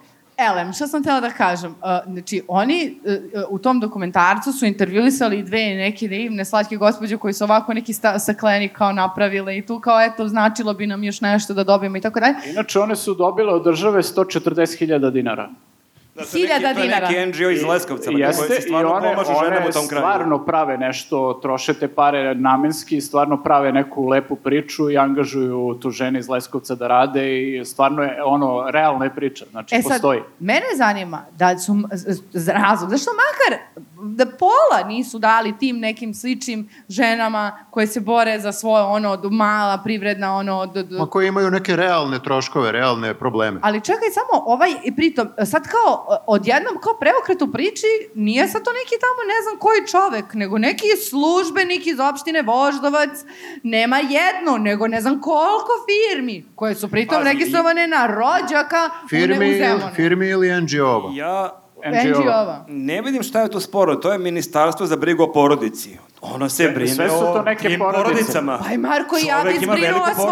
Speaker 3: Elem, šta sam htjela da kažem? Uh, znači, oni uh, u tom dokumentarcu su intervjuisali dve neke divne slatke gospođe koji su ovako neki sta, sakleni kao napravile i tu kao eto, značilo bi nam još nešto da dobijemo i tako dalje.
Speaker 2: Inače, one su dobile od države 140.000 dinara.
Speaker 6: Da, to je neki-
Speaker 3: Hiljada
Speaker 6: To
Speaker 3: dinara.
Speaker 6: je neki NGO iz Leskovca, na
Speaker 2: Jeste,
Speaker 6: koji se
Speaker 2: i
Speaker 6: stvarno
Speaker 2: one,
Speaker 6: pomažu ženama
Speaker 2: one
Speaker 6: u tom kraju.
Speaker 2: stvarno prave nešto, troše te pare namenski, stvarno prave neku lepu priču i angažuju tu žene iz Leskovca da rade i stvarno je, ono, realna je priča, znači,
Speaker 3: E sad,
Speaker 2: postoji.
Speaker 3: mene zanima da su, z- z- razlog, zašto makar da pola nisu dali tim nekim sličnim ženama koje se bore za svoje ono d- mala privredna ono d- d-
Speaker 7: Ma koji imaju neke realne troškove, realne probleme.
Speaker 3: Ali čekaj samo, ovaj, i pritom, sad kao, o- odjednom kao preokret u priči, nije sad to neki tamo ne znam koji čovek, nego neki službenik iz opštine Voždovac, nema jednu, nego ne znam koliko firmi, koje su pritom
Speaker 6: Pazi, i-
Speaker 3: registrovane na rođaka u, ne, u
Speaker 7: Firmi,
Speaker 3: Zemunu.
Speaker 7: firmi ili NGO-ova?
Speaker 6: Ja
Speaker 3: NGO-va.
Speaker 6: ne vidim šta je tu sporo. To je ministarstvo za brigu o porodici. Ono se brine
Speaker 2: sve su to
Speaker 6: o
Speaker 2: neke
Speaker 6: tim
Speaker 2: porodice.
Speaker 6: porodicama.
Speaker 3: Pa i Marko i ja
Speaker 6: Čovek
Speaker 3: bi
Speaker 6: ima
Speaker 3: zbrinula
Speaker 6: veliku
Speaker 3: svoju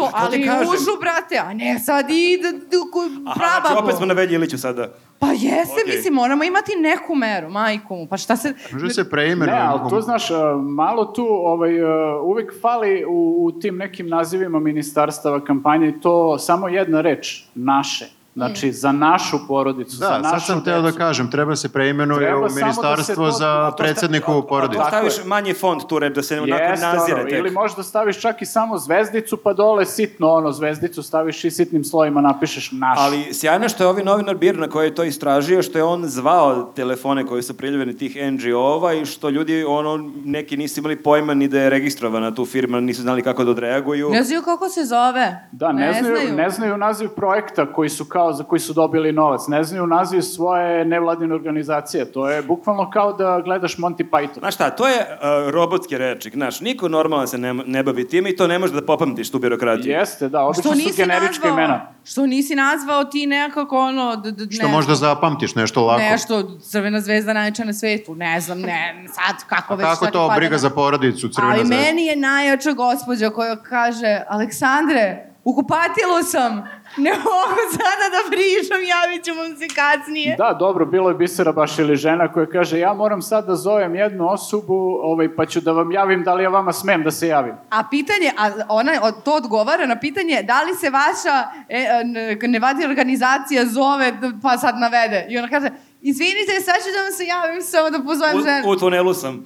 Speaker 3: porodicu,
Speaker 6: Pa to ti
Speaker 3: ali
Speaker 6: kažem.
Speaker 3: užu, brate, a ne sad i d- d- ku-
Speaker 6: Aha,
Speaker 3: prababu.
Speaker 6: znači opet smo na Velji Iliću sada.
Speaker 3: Pa jeste,
Speaker 6: Okej.
Speaker 3: mislim, moramo imati neku meru, majku mu, pa šta se...
Speaker 7: Može se
Speaker 2: Ne,
Speaker 7: preimenuje.
Speaker 2: ali to znaš, e, malo tu ovaj, e, uvek fali u, u tim nekim nazivima ministarstava kampanje i to samo jedna reč, naše. Znači, za našu porodicu, za
Speaker 7: Da,
Speaker 2: našu
Speaker 7: sad sam hteo da
Speaker 2: decu.
Speaker 7: kažem, treba se preimenuje
Speaker 2: Treba
Speaker 7: u
Speaker 2: samo da se
Speaker 7: ministarstvo
Speaker 2: to-
Speaker 7: za
Speaker 2: a to sta-
Speaker 7: predsedniku
Speaker 2: a-
Speaker 7: u
Speaker 2: a-
Speaker 7: porodici.
Speaker 6: To
Speaker 2: Tako
Speaker 6: staviš
Speaker 2: je.
Speaker 6: manji font tu rep da se onako
Speaker 2: Jeste,
Speaker 6: nazire
Speaker 2: ono,
Speaker 6: tek.
Speaker 2: Ili možda staviš čak i samo zvezdicu, pa dole sitno, ono, zvezdicu staviš i sitnim slojima napišeš naš.
Speaker 6: Ali sjajno je što je ovi novinar Birna koji je to istražio, što je on zvao telefone koji su priljeveni tih NGO-ova i što ljudi, ono, neki nisu imali pojma ni da je registrovana tu firma, nisu znali kako da odreaguju.
Speaker 3: Ne znaju kako se zove.
Speaker 2: Da, ne, znaju, ne znaju naziv projekta koji su kao za koji su dobili novac, ne znaju naziv svoje nevladine organizacije. To je bukvalno kao da gledaš Monty Python.
Speaker 6: Znaš šta, to je uh, robotski rečnik, znaš, niko normalan se ne, ne bavi time i to ne može da popamtiš tu birokratiju.
Speaker 2: Jeste, da, obično
Speaker 3: Što
Speaker 2: su
Speaker 3: nisi
Speaker 2: generička
Speaker 3: nazvao,
Speaker 2: imena.
Speaker 3: Što nisi nazvao ti nekako ono... D, d,
Speaker 7: Što
Speaker 3: ne,
Speaker 7: možda zapamtiš nešto lako.
Speaker 3: Nešto, crvena zvezda najjača na svetu, ne znam, ne, sad kako
Speaker 7: A
Speaker 3: već... šta
Speaker 7: kako
Speaker 3: ti
Speaker 7: to
Speaker 3: pada
Speaker 7: briga
Speaker 3: na-
Speaker 7: za porodicu, crvena
Speaker 3: Ali
Speaker 7: zvezda?
Speaker 3: meni je najjača gospođa koja kaže, Aleksandre, u kupatilu sam, ne mogu sada da prišam, javit ću vam se kasnije.
Speaker 2: Da, dobro, bilo je bisera baš ili žena koja kaže ja moram sad da zovem jednu osobu ovaj, pa ću da vam javim da li ja vama smem da se javim.
Speaker 3: A pitanje, a ona od- to odgovara na pitanje da li se vaša e, n- nevladina organizacija zove d- pa sad navede. I ona kaže, izvinite, sad ću da vam se javim samo da pozovem ženu.
Speaker 6: U, u tunelu sam.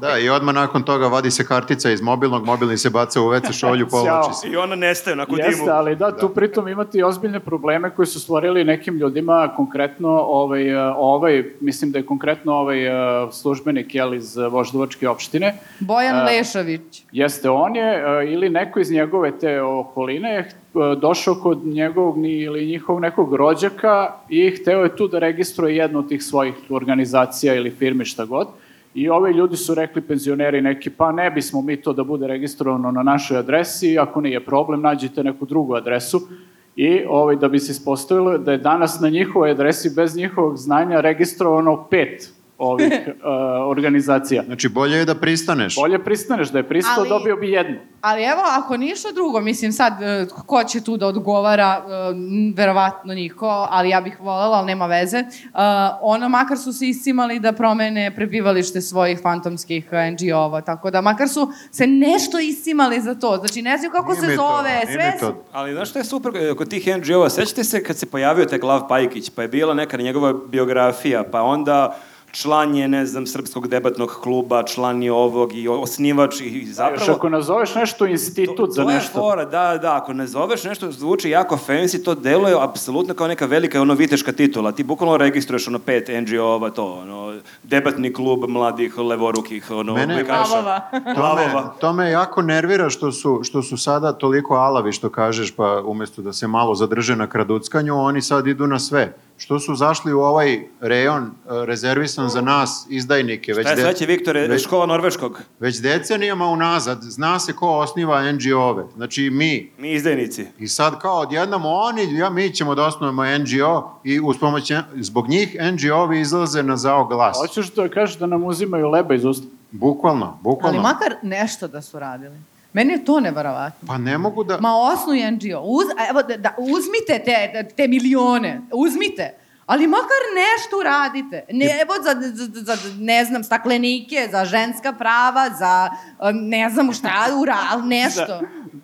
Speaker 7: Da, i odmah nakon toga vadi se kartica iz mobilnog, mobilni se baca u WC šolju, povlači se.
Speaker 6: I ona nestaje onako u dimu.
Speaker 2: Jeste, ali da, tu pritom imate i ozbiljne probleme koji su stvorili nekim ljudima, konkretno ovaj, e, ovaj mislim da je konkretno ovaj e, službenik jel, iz e, Voždovačke opštine,
Speaker 3: Bojan
Speaker 2: A-
Speaker 3: Lešović.
Speaker 2: Jeste, on je e, ili neko iz njegove te okoline je e, došao kod njegovog ni- ili njihovog nekog rođaka i hteo je tu da registruje jednu od tih svojih organizacija ili firmi šta god. I ovi ljudi su rekli penzioneri neki, pa ne bismo mi to da bude registrovano na našoj adresi, ako nije problem, nađite neku drugu adresu. I ovaj, da bi se ispostavilo da je danas na njihovoj adresi bez njihovog znanja registrovano pet ovih e, organizacija.
Speaker 7: Znači, bolje je da pristaneš.
Speaker 2: Bolje pristaneš da je pristao,
Speaker 3: Ali-
Speaker 2: dobio bi jednu.
Speaker 3: Ali evo, ako ništa drugo, mislim sad, e, ko će tu da odgovara, e, n- verovatno niko, ali ja bih volela, ali nema veze. E, Ono, makar su se iscimali da promene prebivalište svojih fantomskih e, NGO-ova, tako da, makar su se nešto iscimali za to. Znači, ne znam kako
Speaker 7: Nije
Speaker 3: se
Speaker 7: mi to-
Speaker 3: zove,
Speaker 7: nije
Speaker 3: sve
Speaker 7: mi
Speaker 3: su...
Speaker 7: to
Speaker 6: Ali znaš što je super e, kod tih NGO-a? Sećate se kad se pojavio taj Lav Pajkić, pa je bila neka njegova biografija, pa onda član je, ne znam, Srpskog debatnog kluba, član je ovog i o- osnivač i- i
Speaker 2: Da, Još
Speaker 6: zapravo...
Speaker 2: ako nazoveš nešto institut
Speaker 6: to,
Speaker 2: za
Speaker 6: to je
Speaker 2: nešto.
Speaker 6: fora, da, da, ako ne zoveš nešto zvuči jako fancy, to deluje apsolutno kao neka velika ono viteška titula. Ti bukvalno registruješ ono pet NGO-ova, to, ono, debatni klub mladih levorukih, ono,
Speaker 7: Mene-
Speaker 6: odlikaša.
Speaker 3: Lavova.
Speaker 7: To me,
Speaker 6: Lavova.
Speaker 7: to me jako nervira što su, što su sada toliko alavi što kažeš, pa umesto da se malo zadrže na kraduckanju, oni sad idu na sve. Što su zašli u ovaj rejon e, rezervisan za nas, izdajnike, već,
Speaker 6: Šta je
Speaker 7: de-
Speaker 6: sledeće, Viktore,
Speaker 7: već,
Speaker 6: škola norveškog?
Speaker 7: već decenijama unazad zna se ko osniva NGO-ve. Znači mi.
Speaker 6: Mi izdajnici.
Speaker 7: I sad kao odjednom oni, ja, mi ćemo da osnovamo NGO i uz pomoć, zbog njih NGO-vi izlaze na zao glas.
Speaker 2: Hoćeš da kažeš da nam uzimaju leba iz usta?
Speaker 7: Bukvalno,
Speaker 3: Ali
Speaker 7: bukvalno.
Speaker 3: makar nešto da su radili. Meni je to neverovatno.
Speaker 7: Pa ne mogu da...
Speaker 3: Ma osnuj NGO. Uz, a evo, da, da, uzmite te, te milione. Uzmite. Ali makar nešto uradite. Ne, evo za, za, za, ne znam, staklenike, za ženska prava, za um, ne znam šta, ura, ali nešto.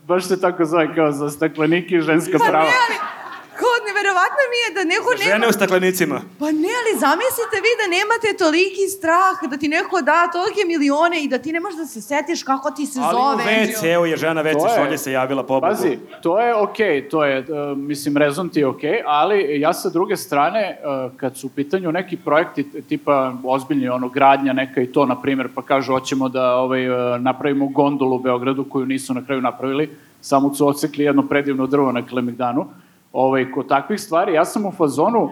Speaker 2: Baš se tako zove kao za stakleniki i ženska
Speaker 3: Pa
Speaker 2: prava.
Speaker 3: ne, ali kao nevjerovatno mi je da neko nema...
Speaker 6: Žene u staklenicima.
Speaker 3: Pa ne, ali zamislite vi da nemate toliki strah da ti neko da tolike milione i da ti ne možeš da se setiš kako ti se
Speaker 6: Ali u
Speaker 3: zove.
Speaker 6: WC-u je žena WC
Speaker 2: To je-
Speaker 6: šolje se javila pobogu.
Speaker 2: Pazi, to je okej, to je, e, mislim, rezon ti je okej, ali ja sa druge strane, e, kad su u pitanju neki projekti t- tipa ozbiljni, ono, gradnja neka i to, na primjer, pa kažu, hoćemo da ovaj, e, napravimo gondolu u Beogradu koju nisu na kraju napravili, samo su odsekli jedno predivno drvo na Kalemegdanu. Ovaj, kod takvih stvari, ja sam u fazonu,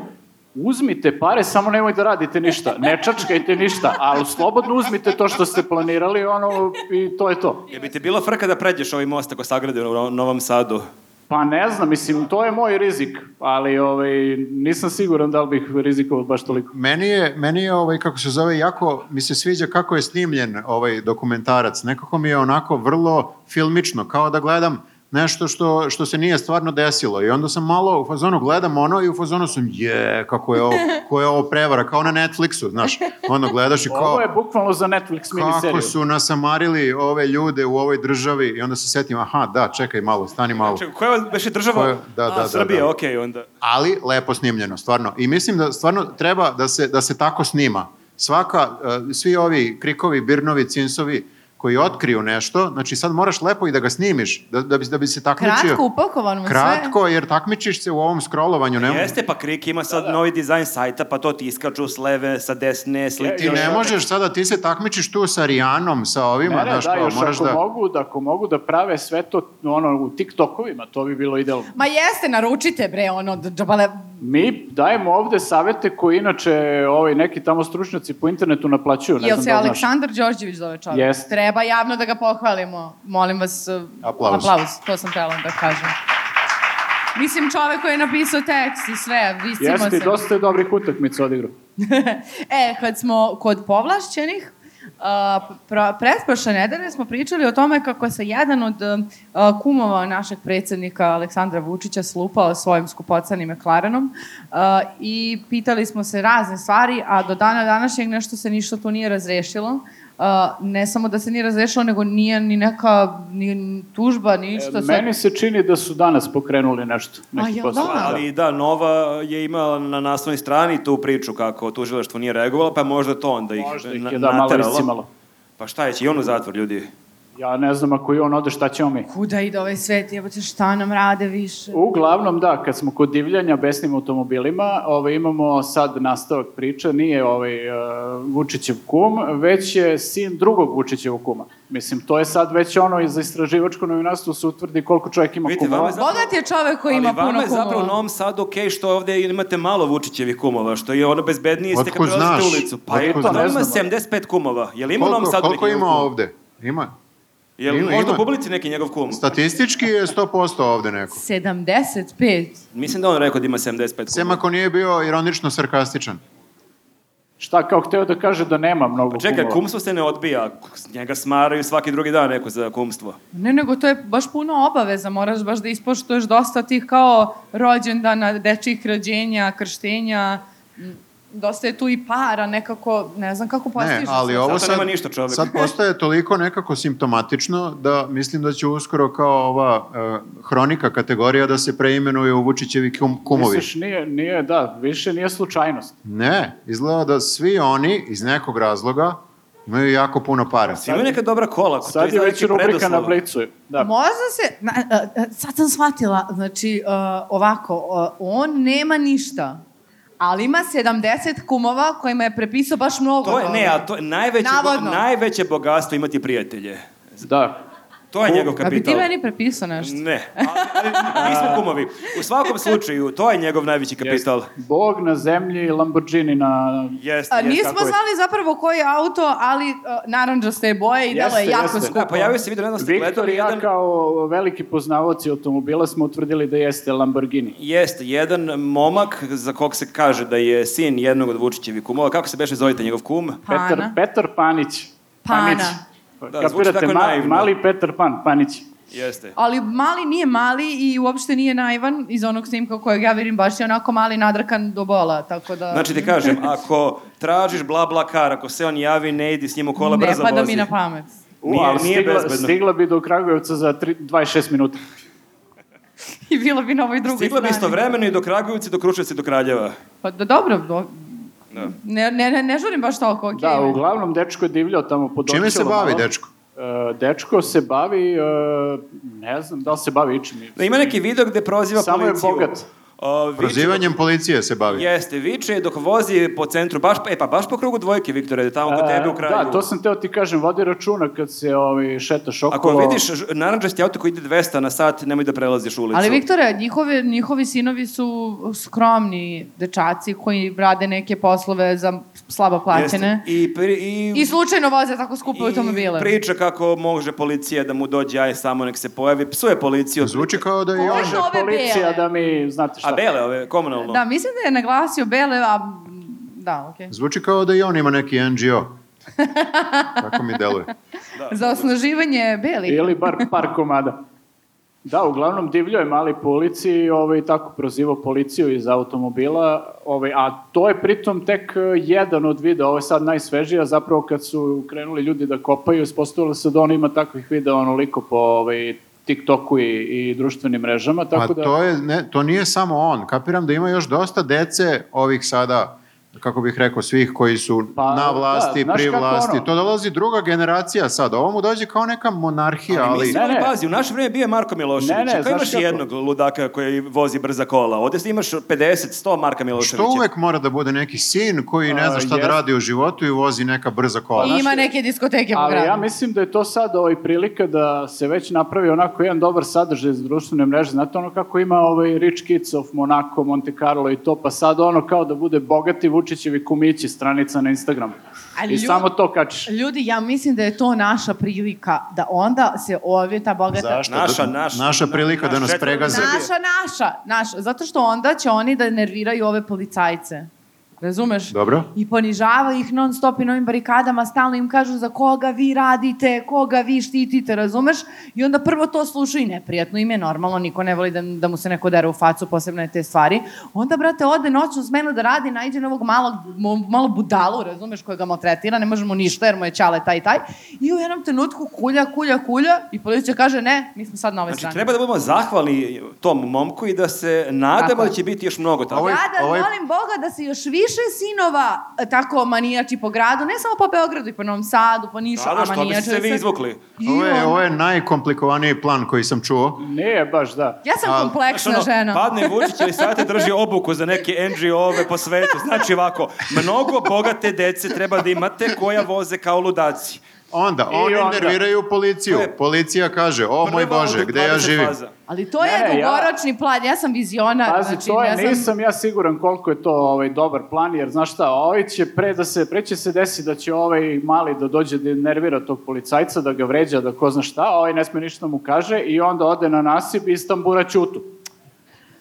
Speaker 2: uzmite pare, samo nemoj da radite ništa, ne čačkajte ništa, ali slobodno uzmite to što ste planirali, ono, i to je to.
Speaker 6: Je bi ti bilo frka da pređeš ovaj most ako sagrade u Ro- Novom Sadu?
Speaker 2: Pa ne znam, mislim, to je moj rizik, ali ovaj, nisam siguran da li bih rizikovao baš toliko.
Speaker 7: Meni je, meni je ovaj, kako se zove, jako mi se sviđa kako je snimljen ovaj dokumentarac. Nekako mi je onako vrlo filmično, kao da gledam nešto što, što se nije stvarno desilo. I onda sam malo u fazonu gledam ono i u fazonu sam, je, kako je ovo, ko je ovo prevara, kao na Netflixu, znaš. Onda gledaš i kao,
Speaker 2: Ovo je bukvalno za Netflix
Speaker 7: kako
Speaker 2: miniseriju.
Speaker 7: su nasamarili ove ljude u ovoj državi i onda se setim, aha, da, čekaj malo, stani malo.
Speaker 6: Čekaj, koja je baš je država?
Speaker 7: Koja- da, da,
Speaker 6: A,
Speaker 7: da,
Speaker 6: Srbija,
Speaker 7: da.
Speaker 6: okej, onda.
Speaker 7: ali lepo snimljeno, stvarno. I mislim da stvarno treba da se, da se tako snima. Svaka, e, svi ovi krikovi, birnovi, cinsovi koji otkriju nešto, znači sad moraš lepo i da ga snimiš, da, da, bi, da bi se takmičio.
Speaker 3: Kratko upakovano sve.
Speaker 7: Kratko, jer takmičiš se u ovom scrollovanju. Ne,
Speaker 6: Jeste, pa Krik ima
Speaker 2: Da,
Speaker 6: sad novi dizajn sajta, pa to ti iskaču s leve, sa desne, slike.
Speaker 2: E,
Speaker 7: Ti
Speaker 2: da.
Speaker 7: ne možeš sada, ti se takmičiš tu sa Rijanom, sa ovima,
Speaker 2: Mene,
Speaker 7: znaš
Speaker 2: da,
Speaker 7: kao,
Speaker 2: još
Speaker 7: moraš
Speaker 2: ako,
Speaker 7: da...
Speaker 2: Mogu, da, ako mogu da prave sve to ono, u TikTokovima, to bi bilo idealno.
Speaker 3: Ma jeste, naručite bre, ono, d- džabale,
Speaker 2: Mi dajemo ovde savete koji inače ovaj, neki tamo stručnjaci po internetu naplaćuju. Ne
Speaker 3: Jel
Speaker 2: znam
Speaker 3: se
Speaker 2: da li znaš.
Speaker 3: Aleksandar Đorđević zove čovjek?
Speaker 2: Jeste.
Speaker 3: Treba javno da ga pohvalimo. Molim vas, eh,
Speaker 7: Aplauz.
Speaker 3: aplauz. To sam htjela da kažem. Mislim, čovjek koji je napisao tekst i sve, visimo
Speaker 2: Jeste, i
Speaker 3: se.
Speaker 2: dosta je dobrih utakmica odigrao.
Speaker 3: e, kad smo kod povlašćenih, a, pra- pretprošle nedelje smo pričali o tome kako se jedan od a, kumova našeg predsednika Aleksandra Vučića slupao svojim skupocanim McLarenom a, i pitali smo se razne stvari, a do dana današnjeg nešto se ništa tu nije razrešilo. A, ne samo da se nije razrešilo, nego nije ni neka ni tužba, ni
Speaker 2: E,
Speaker 3: ništa.
Speaker 2: Meni se čini da su danas pokrenuli nešto.
Speaker 3: A,
Speaker 2: Neki
Speaker 3: jel
Speaker 2: posao.
Speaker 3: da?
Speaker 6: Ali da, Nova je imala na naslovnoj strani tu priču kako tužilaštvo nije reagovalo, pa možda to onda ih,
Speaker 2: Možda ih
Speaker 6: na-
Speaker 2: je da malo
Speaker 6: nateralo.
Speaker 2: iscimalo.
Speaker 6: Pa šta je, će i on u zatvor, ljudi?
Speaker 2: Ja ne znam ako i on ode šta ćemo mi.
Speaker 3: Kuda ide ovaj svet, jebote, šta nam rade više?
Speaker 2: Uglavnom da, kad smo kod divljanja besnim automobilima, ovaj, imamo sad nastavak priče, nije ovaj, uh, Vučićev kum, već je sin drugog Vučićevog kuma. Mislim, to je sad već ono, i za istraživačko novinarstvo se utvrdi koliko čovjek ima
Speaker 6: Vidite, vama
Speaker 2: kumova.
Speaker 6: je zapravo-
Speaker 3: Bogat je čovjek koji
Speaker 6: Ali
Speaker 3: ima puno
Speaker 6: vama
Speaker 3: kumova.
Speaker 6: je zapravo u Novom Sadu okej što ovde imate malo Vučićevih kumova, što je ono bezbednije ste kad
Speaker 7: Otkud
Speaker 6: prelazite
Speaker 7: znaš?
Speaker 6: ulicu. Pa
Speaker 7: Otkud
Speaker 6: je to
Speaker 2: znaš?
Speaker 6: ima 75 kumova. Je li ima u Novom
Speaker 7: Koliko,
Speaker 6: Sadu
Speaker 7: koliko
Speaker 6: neki
Speaker 7: ima
Speaker 6: njegov kum?
Speaker 7: ovde? Ima.
Speaker 6: Je li
Speaker 7: Ima,
Speaker 6: možda u
Speaker 7: ima.
Speaker 6: publici neki njegov kum?
Speaker 7: Statistički je 100% ovde neko.
Speaker 3: 75.
Speaker 6: Mislim da on rekao da ima 75
Speaker 7: Sem
Speaker 6: kumova.
Speaker 7: ako nije bio ironično sarkastičan.
Speaker 2: Šta kao hteo da kaže da nema mnogo
Speaker 6: Pa Čekaj,
Speaker 2: kumova.
Speaker 6: kumstvo se ne odbija, njega smaraju svaki drugi dan neko za kumstvo.
Speaker 3: Ne, nego to je baš puno obaveza, moraš baš da ispoštuješ dosta tih kao rođendana, dečijih rođenja, krštenja, m, dosta je tu i para, nekako, ne znam kako postižeš.
Speaker 7: Ne, ali ovo
Speaker 6: Zato
Speaker 7: sad,
Speaker 6: nema ništa čovek.
Speaker 7: sad postaje toliko nekako simptomatično da mislim da će uskoro kao ova eh, hronika kategorija da se preimenuje u Vučićevi kum, kumovi.
Speaker 2: Misliš, nije, nije, da, više nije slučajnost.
Speaker 6: Pa
Speaker 7: Ne, izgleda da svi oni iz nekog razloga imaju jako puno para.
Speaker 6: Ima neka dobra kola, to
Speaker 2: Sad je već
Speaker 6: znači
Speaker 2: rubrika na
Speaker 6: predoslov.
Speaker 2: blicu. Da.
Speaker 3: Možda se, na, a, a, sad sam shvatila, znači a, ovako, a, on nema ništa, ali ima 70 kumova kojima je prepisao baš mnogo.
Speaker 6: To je, ne,
Speaker 3: toga.
Speaker 6: a to je najveće,
Speaker 3: Navodno.
Speaker 6: najveće bogatstvo imati prijatelje.
Speaker 2: da.
Speaker 6: To je njegov
Speaker 3: Da bi ti
Speaker 6: kapital.
Speaker 3: meni prepisao nešto.
Speaker 6: Ne, ali, ali mi smo kumovi. U svakom slučaju, to je njegov najveći kapital.
Speaker 2: Bog na zemlji i Lamborghini na...
Speaker 6: Jeste,
Speaker 3: A,
Speaker 6: jeste.
Speaker 3: nismo
Speaker 2: tako je.
Speaker 3: znali zapravo koji je auto, ali e, a, narandžaste je boje i delo je
Speaker 2: Jeste,
Speaker 3: jako
Speaker 2: jeste.
Speaker 3: skupo.
Speaker 6: Da, pojavio se video, nedavno ste
Speaker 2: Viktor
Speaker 6: gledali
Speaker 2: i ja
Speaker 6: jedan...
Speaker 2: kao veliki poznavaoci automobila smo utvrdili da jeste Lamborghini.
Speaker 6: Jeste, jedan momak za kog se kaže da je sin jednog od Vučićevi kumova. Kako se beše zovite njegov kum?
Speaker 3: Pana.
Speaker 2: Petar, Petar Panić.
Speaker 3: Pana.
Speaker 6: Da, zvuči
Speaker 2: Kapirate,
Speaker 6: tako
Speaker 2: ma,
Speaker 6: naivno.
Speaker 2: mali Petar Pan, Panić.
Speaker 6: Jeste.
Speaker 3: Ali mali nije mali i uopšte nije naivan iz onog snimka kojeg ja vidim baš je onako mali nadrkan do bola, tako da...
Speaker 6: Znači ti kažem, ako tražiš bla bla kar, ako se on javi, ne idi s njim u kola,
Speaker 3: ne
Speaker 6: brzo
Speaker 3: pada
Speaker 6: vozi.
Speaker 3: mi na pamet.
Speaker 2: U,
Speaker 6: Nije-
Speaker 2: ali
Speaker 6: nije
Speaker 2: stigla,
Speaker 6: bezbedno.
Speaker 2: stigla bi do Kragujevca za tri, 26 minuta.
Speaker 3: I bilo bi na ovoj drugoj
Speaker 6: Stigla bi
Speaker 3: strani.
Speaker 6: istovremeno i do Kragujevca, i do Kruševca, i do Kraljeva.
Speaker 3: Pa do- dobro, do-
Speaker 6: Da.
Speaker 3: ne, ne, ne, ne žurim baš toliko. Okay.
Speaker 2: Da, uglavnom dečko je divljao tamo pod
Speaker 7: Čime se
Speaker 2: Ovčarom
Speaker 7: bavi
Speaker 2: malo.
Speaker 7: dečko?
Speaker 2: E, dečko se bavi, e, ne znam da li se bavi ičim.
Speaker 6: Da, ima neki video gde proziva
Speaker 2: Samo je
Speaker 6: policiju.
Speaker 2: bogat.
Speaker 6: O, viče-
Speaker 7: Prozivanjem policije se bavi.
Speaker 6: Jeste, viče dok vozi po centru, baš, e, pa baš po krugu dvojke, Viktore, tamo kod tebe u kraju.
Speaker 2: Da, to sam teo ti kažem, vodi računa kad se ovaj, šetaš okolo.
Speaker 6: Ako vidiš ž- narančasti auto koji ide 200 na sat, nemoj da prelaziš ulicu.
Speaker 3: Ali Viktore, njihovi, njihovi sinovi su skromni dečaci koji rade neke poslove za slabo
Speaker 6: Jeste.
Speaker 3: plaćene.
Speaker 6: I, pri, i,
Speaker 3: I slučajno voze tako skupe
Speaker 6: i
Speaker 3: automobile.
Speaker 6: Priča kako može policija da mu dođe, aj samo nek se pojavi, psuje policiju.
Speaker 7: Zvuči kao da je on...
Speaker 3: Može ove
Speaker 2: Policija
Speaker 3: bele.
Speaker 2: da mi, znate šta.
Speaker 6: A bele ove, komunalno.
Speaker 3: Da, mislim da je naglasio bele, a... Da, okej.
Speaker 7: Zvuči kao da i on ima neki NGO. Tako mi deluje.
Speaker 6: Da.
Speaker 3: Za osnaživanje belih.
Speaker 2: Ili bar par komada. Da, uglavnom divljao je mali po ulici i ovaj, tako prozivao policiju iz automobila, ovaj, a to je pritom tek eh, jedan od videa, ovo je sad najsvežija, zapravo kad su krenuli ljudi da kopaju, ispostavilo se da on ima takvih videa onoliko po ovaj, TikToku i, i društvenim mrežama, tako
Speaker 7: Pa
Speaker 2: da...
Speaker 7: to, je, ne, to nije samo on. Kapiram da ima još dosta dece ovih sada, kako bih rekao, svih koji su
Speaker 2: Pa,
Speaker 7: na
Speaker 2: da,
Speaker 7: vlasti,
Speaker 2: znaš
Speaker 7: pri
Speaker 2: kako
Speaker 7: vlasti.
Speaker 2: ono?
Speaker 7: To dolazi druga generacija sad. Ovo mu dođe kao neka monarhija,
Speaker 6: Ali,
Speaker 7: ali...
Speaker 6: mislim,
Speaker 2: Ne, ne.
Speaker 6: pazi, u naše vreme bio je Marko Milošević.
Speaker 2: Ne, ne,
Speaker 6: Ako
Speaker 2: znaš
Speaker 6: imaš
Speaker 2: kako?
Speaker 6: jednog ludaka koji vozi brza kola, ovde imaš 50, 100 Marka Miloševića.
Speaker 7: Što uvek mora da bude neki sin koji ne
Speaker 2: A,
Speaker 7: zna šta da
Speaker 2: jest.
Speaker 7: radi u životu i vozi neka brza kola?
Speaker 3: I ima neke diskoteke po
Speaker 2: Pa Ali
Speaker 3: gradu.
Speaker 2: ja mislim da je to sad ovaj prilika da se već napravi onako jedan dobar sadržaj iz društvene mreže. Znate ono kako ima ovaj Rich Kids of Monaco, Monte Carlo i to, pa sad ono kao da bude bogati Vučićevi kumići stranica na Instagramu.
Speaker 3: Ali
Speaker 2: I
Speaker 3: ljud-
Speaker 2: samo to kačiš.
Speaker 3: Ljudi, ja mislim da je to naša prilika da onda se ovi ta bogata...
Speaker 7: Zašto?
Speaker 6: Naša,
Speaker 7: Da-
Speaker 6: naša.
Speaker 7: naša prilika
Speaker 6: Naš
Speaker 7: da nas
Speaker 6: četvrti.
Speaker 7: pregaze.
Speaker 3: Naša, naša, naša. Zato što onda će oni da nerviraju ove policajce. Razumeš?
Speaker 7: Dobro.
Speaker 3: I ponižava ih non stop i novim barikadama, stalno im kažu za koga vi radite, koga vi štitite, razumeš? I onda prvo to slušaju i neprijatno im je normalno, niko ne voli da, da mu se neko dere u facu, posebno je te stvari. Onda, brate, ode noćnu smenu da radi, najde novog malog, mo- malo budalu, razumeš, koja ga maltretira, ne može mu ništa jer mu je čale taj taj. I u jednom trenutku kulja, kulja, kulja i policija kaže ne, mi smo sad na ovoj
Speaker 6: Znači,
Speaker 3: strani.
Speaker 6: treba da budemo zahvali tom momku i da se nadamo
Speaker 3: Tako je.
Speaker 6: da će biti još mnogo tako.
Speaker 7: Ovo je-
Speaker 3: ja da
Speaker 7: ovo je-
Speaker 3: molim Boga da se još više sinova e, tako manijači po gradu, ne samo po Beogradu i po Novom Sadu, po Nišu,
Speaker 6: Sada
Speaker 3: a
Speaker 6: što biste
Speaker 3: manijači...
Speaker 6: se vi izvukli.
Speaker 7: Ovo je, ovo je najkomplikovaniji plan koji sam čuo.
Speaker 2: Nije baš da.
Speaker 3: Ja sam
Speaker 7: A,
Speaker 3: kompleksna
Speaker 6: Znaš, ono,
Speaker 3: žena.
Speaker 6: Padne Vučić ili sate drži obuku za neke NGO-ove po svetu. Znači ovako, mnogo bogate dece treba da imate koja voze kao ludaci.
Speaker 7: Onda,
Speaker 2: I
Speaker 7: oni
Speaker 2: onda.
Speaker 7: nerviraju policiju.
Speaker 6: To je-
Speaker 7: Policija kaže, o moj
Speaker 6: Prva
Speaker 7: Bože,
Speaker 6: od
Speaker 7: gde ja
Speaker 6: 20
Speaker 7: živim?
Speaker 6: faza.
Speaker 3: Ali to je
Speaker 2: Ne, ne, ja-
Speaker 3: dugoročni plan, ja sam vizionar.
Speaker 2: Pazi,
Speaker 3: znači,
Speaker 2: to je,
Speaker 3: ja sam...
Speaker 2: nisam ja siguran koliko je to ovaj, dobar plan, jer znaš šta, ovaj će pre da se, pre će se desi da će ovaj mali da dođe da nervira tog policajca, da ga vređa, da ko zna šta, a ovaj ne sme ništa da mu kaže i onda ode na nasip i stambura ćutu.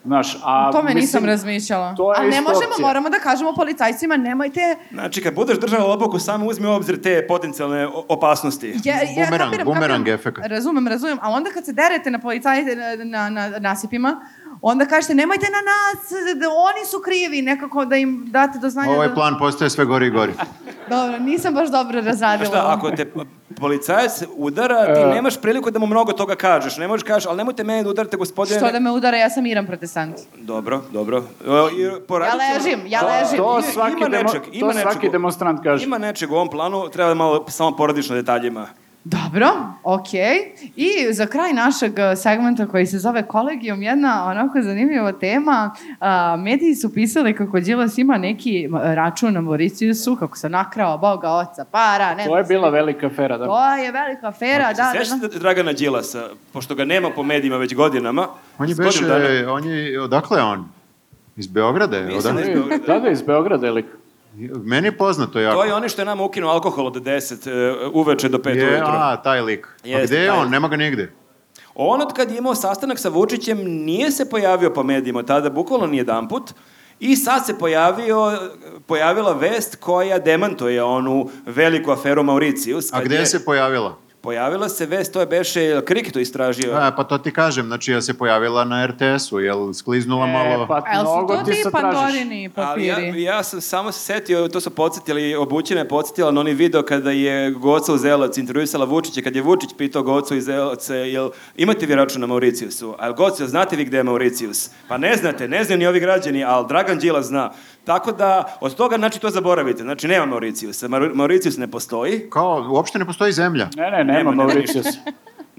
Speaker 2: Znaš, a...
Speaker 3: O tome nisam
Speaker 2: mislim,
Speaker 3: razmišljala.
Speaker 2: to je
Speaker 3: Ali ne
Speaker 2: isto
Speaker 3: možemo,
Speaker 2: opcija.
Speaker 3: moramo da kažemo policajcima, nemojte...
Speaker 6: Znači, kad budeš držao obuku, samo uzmi u obzir te potencijalne o- opasnosti.
Speaker 3: Ja, ja
Speaker 7: Bumerang, bumerang efekat.
Speaker 3: Razumem, razumem. A onda kad se derete na policajce na, na, na nasipima, onda kažete nemojte na nas, da oni su krivi, nekako da im date do znanja.
Speaker 7: Ovaj
Speaker 3: da...
Speaker 7: plan postaje sve gori i gori.
Speaker 3: Dobro, nisam baš dobro razradila.
Speaker 6: Znaš šta,
Speaker 3: ovo.
Speaker 6: ako te policajac udara,
Speaker 2: E.
Speaker 6: ti nemaš priliku da mu mnogo toga kažeš. Ne možeš kažeš, ali nemojte mene da udarite, gospodine.
Speaker 3: Što da me udara, ja sam Iran protestant.
Speaker 6: Dobro, dobro. E,
Speaker 3: Ja ležim, ja ležim.
Speaker 2: To
Speaker 6: Ima-
Speaker 2: svaki,
Speaker 6: ima
Speaker 2: demo,
Speaker 6: nečeg, ima
Speaker 2: to svaki
Speaker 6: nečeg.
Speaker 2: demonstrant kaže.
Speaker 6: Ima nečeg u ovom planu, treba da malo samo poradiš na detaljima.
Speaker 3: Dobro, okej. I za kraj našeg eh, segmenta koji se zove kolegijum, jedna onako zanimljiva tema. A, mediji su pisali kako Đilas ima neki m, račun na Mauriciusu, kako se nakrao boga oca para. Ne,
Speaker 2: To je bila velika afera, da.
Speaker 3: To je velika afera, da, da,
Speaker 6: Sjećaš
Speaker 3: da.
Speaker 6: se Dragana Đilasa, pošto ga nema po medijima već godinama?
Speaker 7: On je
Speaker 6: s godinu
Speaker 7: beše,
Speaker 6: dana-
Speaker 7: on je, odakle je on? Iz Beograda je,
Speaker 6: Mislim da
Speaker 7: odakle?
Speaker 6: je- Beograda.
Speaker 2: Da, da, iz Beograda je lik.
Speaker 7: Meni je poznato jako.
Speaker 6: To je ono što je nama ukinuo alkohol od 10 e, uveče do 5
Speaker 7: je,
Speaker 6: ujutro.
Speaker 7: a, taj lik. A
Speaker 6: Jeste,
Speaker 7: gde je
Speaker 6: taj
Speaker 7: on?
Speaker 6: lik.
Speaker 7: Nema ga nigde.
Speaker 6: On od kad je imao sastanak sa Vučićem nije se pojavio po medijima tada, bukvalno nijedan put. I sad se pojavio, pojavila vest koja demantuje onu veliku aferu Mauricijus.
Speaker 7: A
Speaker 6: kad
Speaker 7: gde
Speaker 6: je-
Speaker 7: se pojavila?
Speaker 6: Pojavila se vest, to je beše, jel Krik to istražio?
Speaker 7: A, pa to ti kažem, znači ja se pojavila na RTS-u, jel skliznula malo...
Speaker 2: E, pa
Speaker 8: A jel su
Speaker 2: mnogo
Speaker 8: to
Speaker 2: ti
Speaker 8: ti
Speaker 2: sad tražiš.
Speaker 8: Pandorini
Speaker 6: Ali
Speaker 8: papiri?
Speaker 6: ja, ja sam samo se setio, to su podsjetili, obućina je podsjetila na onaj video kada je Goca Uzelac intervjuisala Vučića, kad je Vučić pitao Gocu Uzelac, jel imate vi račun na Mauricijusu? A Goca, znate vi gde je Mauricijus? Pa ne znate, ne znaju ni ovi građani, ali Dragan Đilas zna. Tako da, od toga, znači, to zaboravite. Znači, nema Mauricijusa. Maur- Mauricijus ne postoji.
Speaker 7: Kao, uopšte ne postoji zemlja.
Speaker 2: Ne, ne, nema Mauricius.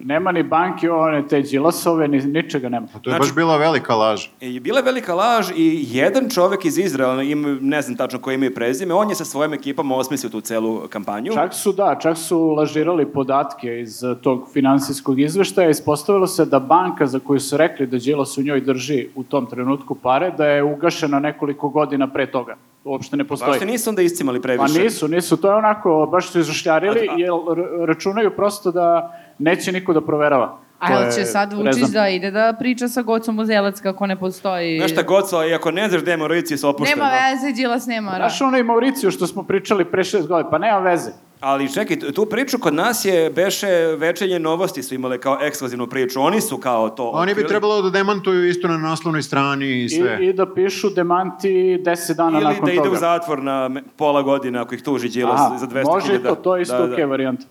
Speaker 2: Nema ni banki one, te Đilasove, ni, ničega nema.
Speaker 7: To je
Speaker 6: Znači-
Speaker 7: baš bila velika laž.
Speaker 6: I bila je velika laž i jedan čovek iz Izraela, im, ne znam tačno koje ime i prezime, on je sa svojim ekipama osmislio tu celu kampanju.
Speaker 2: Čak su, da, čak su lažirali podatke iz eh, tog finansijskog izveštaja. Ispostavilo se da banka za koju su rekli da Đilas u njoj drži u tom trenutku pare, da je ugašena nekoliko godina pre toga. Uopšte ne postoji.
Speaker 6: Baš te nisu onda iscimali
Speaker 2: Pa
Speaker 6: previše.
Speaker 2: nisu, nisu, to je onako, baš su izrašljarili,
Speaker 6: A- da- a-
Speaker 2: jer r- računaju prosto da neće niko da proverava.
Speaker 8: A
Speaker 2: To
Speaker 8: jel
Speaker 2: je
Speaker 8: će sad Vučić
Speaker 2: rezan.
Speaker 8: da ide da priča sa Gocom Uzelac kako ne postoji?
Speaker 6: Znaš šta goco, i ako ne znaš gde je da. Mauricijus opušteno.
Speaker 8: Nema veze, Đilas nema. ra-
Speaker 2: Znaš ono i Mauriciju što smo pričali pre šest godina, pa nema veze.
Speaker 6: Ali čekaj, tu- tu priču kod nas je beše večernje novosti su imale kao ekskluzivnu priču. Oni su kao to...
Speaker 7: Oni bi
Speaker 6: otkrili.
Speaker 7: trebalo da demantuju isto na naslovnoj strani i
Speaker 2: I,
Speaker 7: sve.
Speaker 2: I da pišu demanti deset dana
Speaker 6: Ili
Speaker 2: nakon toga.
Speaker 6: da ide u zatvor na me- pola godine ako ih tuži Đilas
Speaker 2: Aha,
Speaker 6: za 200.000.
Speaker 2: Može i to, to je isto
Speaker 6: Da,
Speaker 2: da,
Speaker 6: da.
Speaker 2: okej varijanta.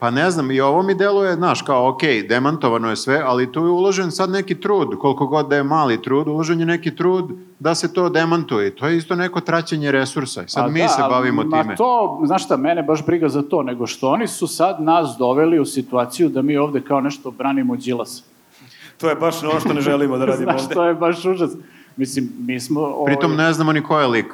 Speaker 7: Pa ne znam, i ovo mi deluje, znaš, kao, ok, demantovano je sve, ali tu je uložen sad neki trud, koliko god da je mali trud, uložen je neki trud da se to demantuje. To je isto neko traćenje resursa. I Sad
Speaker 2: A
Speaker 7: mi
Speaker 2: da,
Speaker 7: se
Speaker 2: ali
Speaker 7: bavimo
Speaker 2: ma
Speaker 7: time.
Speaker 2: to, znaš šta, mene baš briga za to, nego što oni su sad nas doveli u situaciju da mi ovde kao nešto branimo Đilasa.
Speaker 6: To je baš ono što ne želimo da radimo
Speaker 2: Znaš,
Speaker 6: ovde.
Speaker 2: to je baš užas. Mislim, mi smo... ovaj,
Speaker 7: Pritom ne znamo ni ko je lik.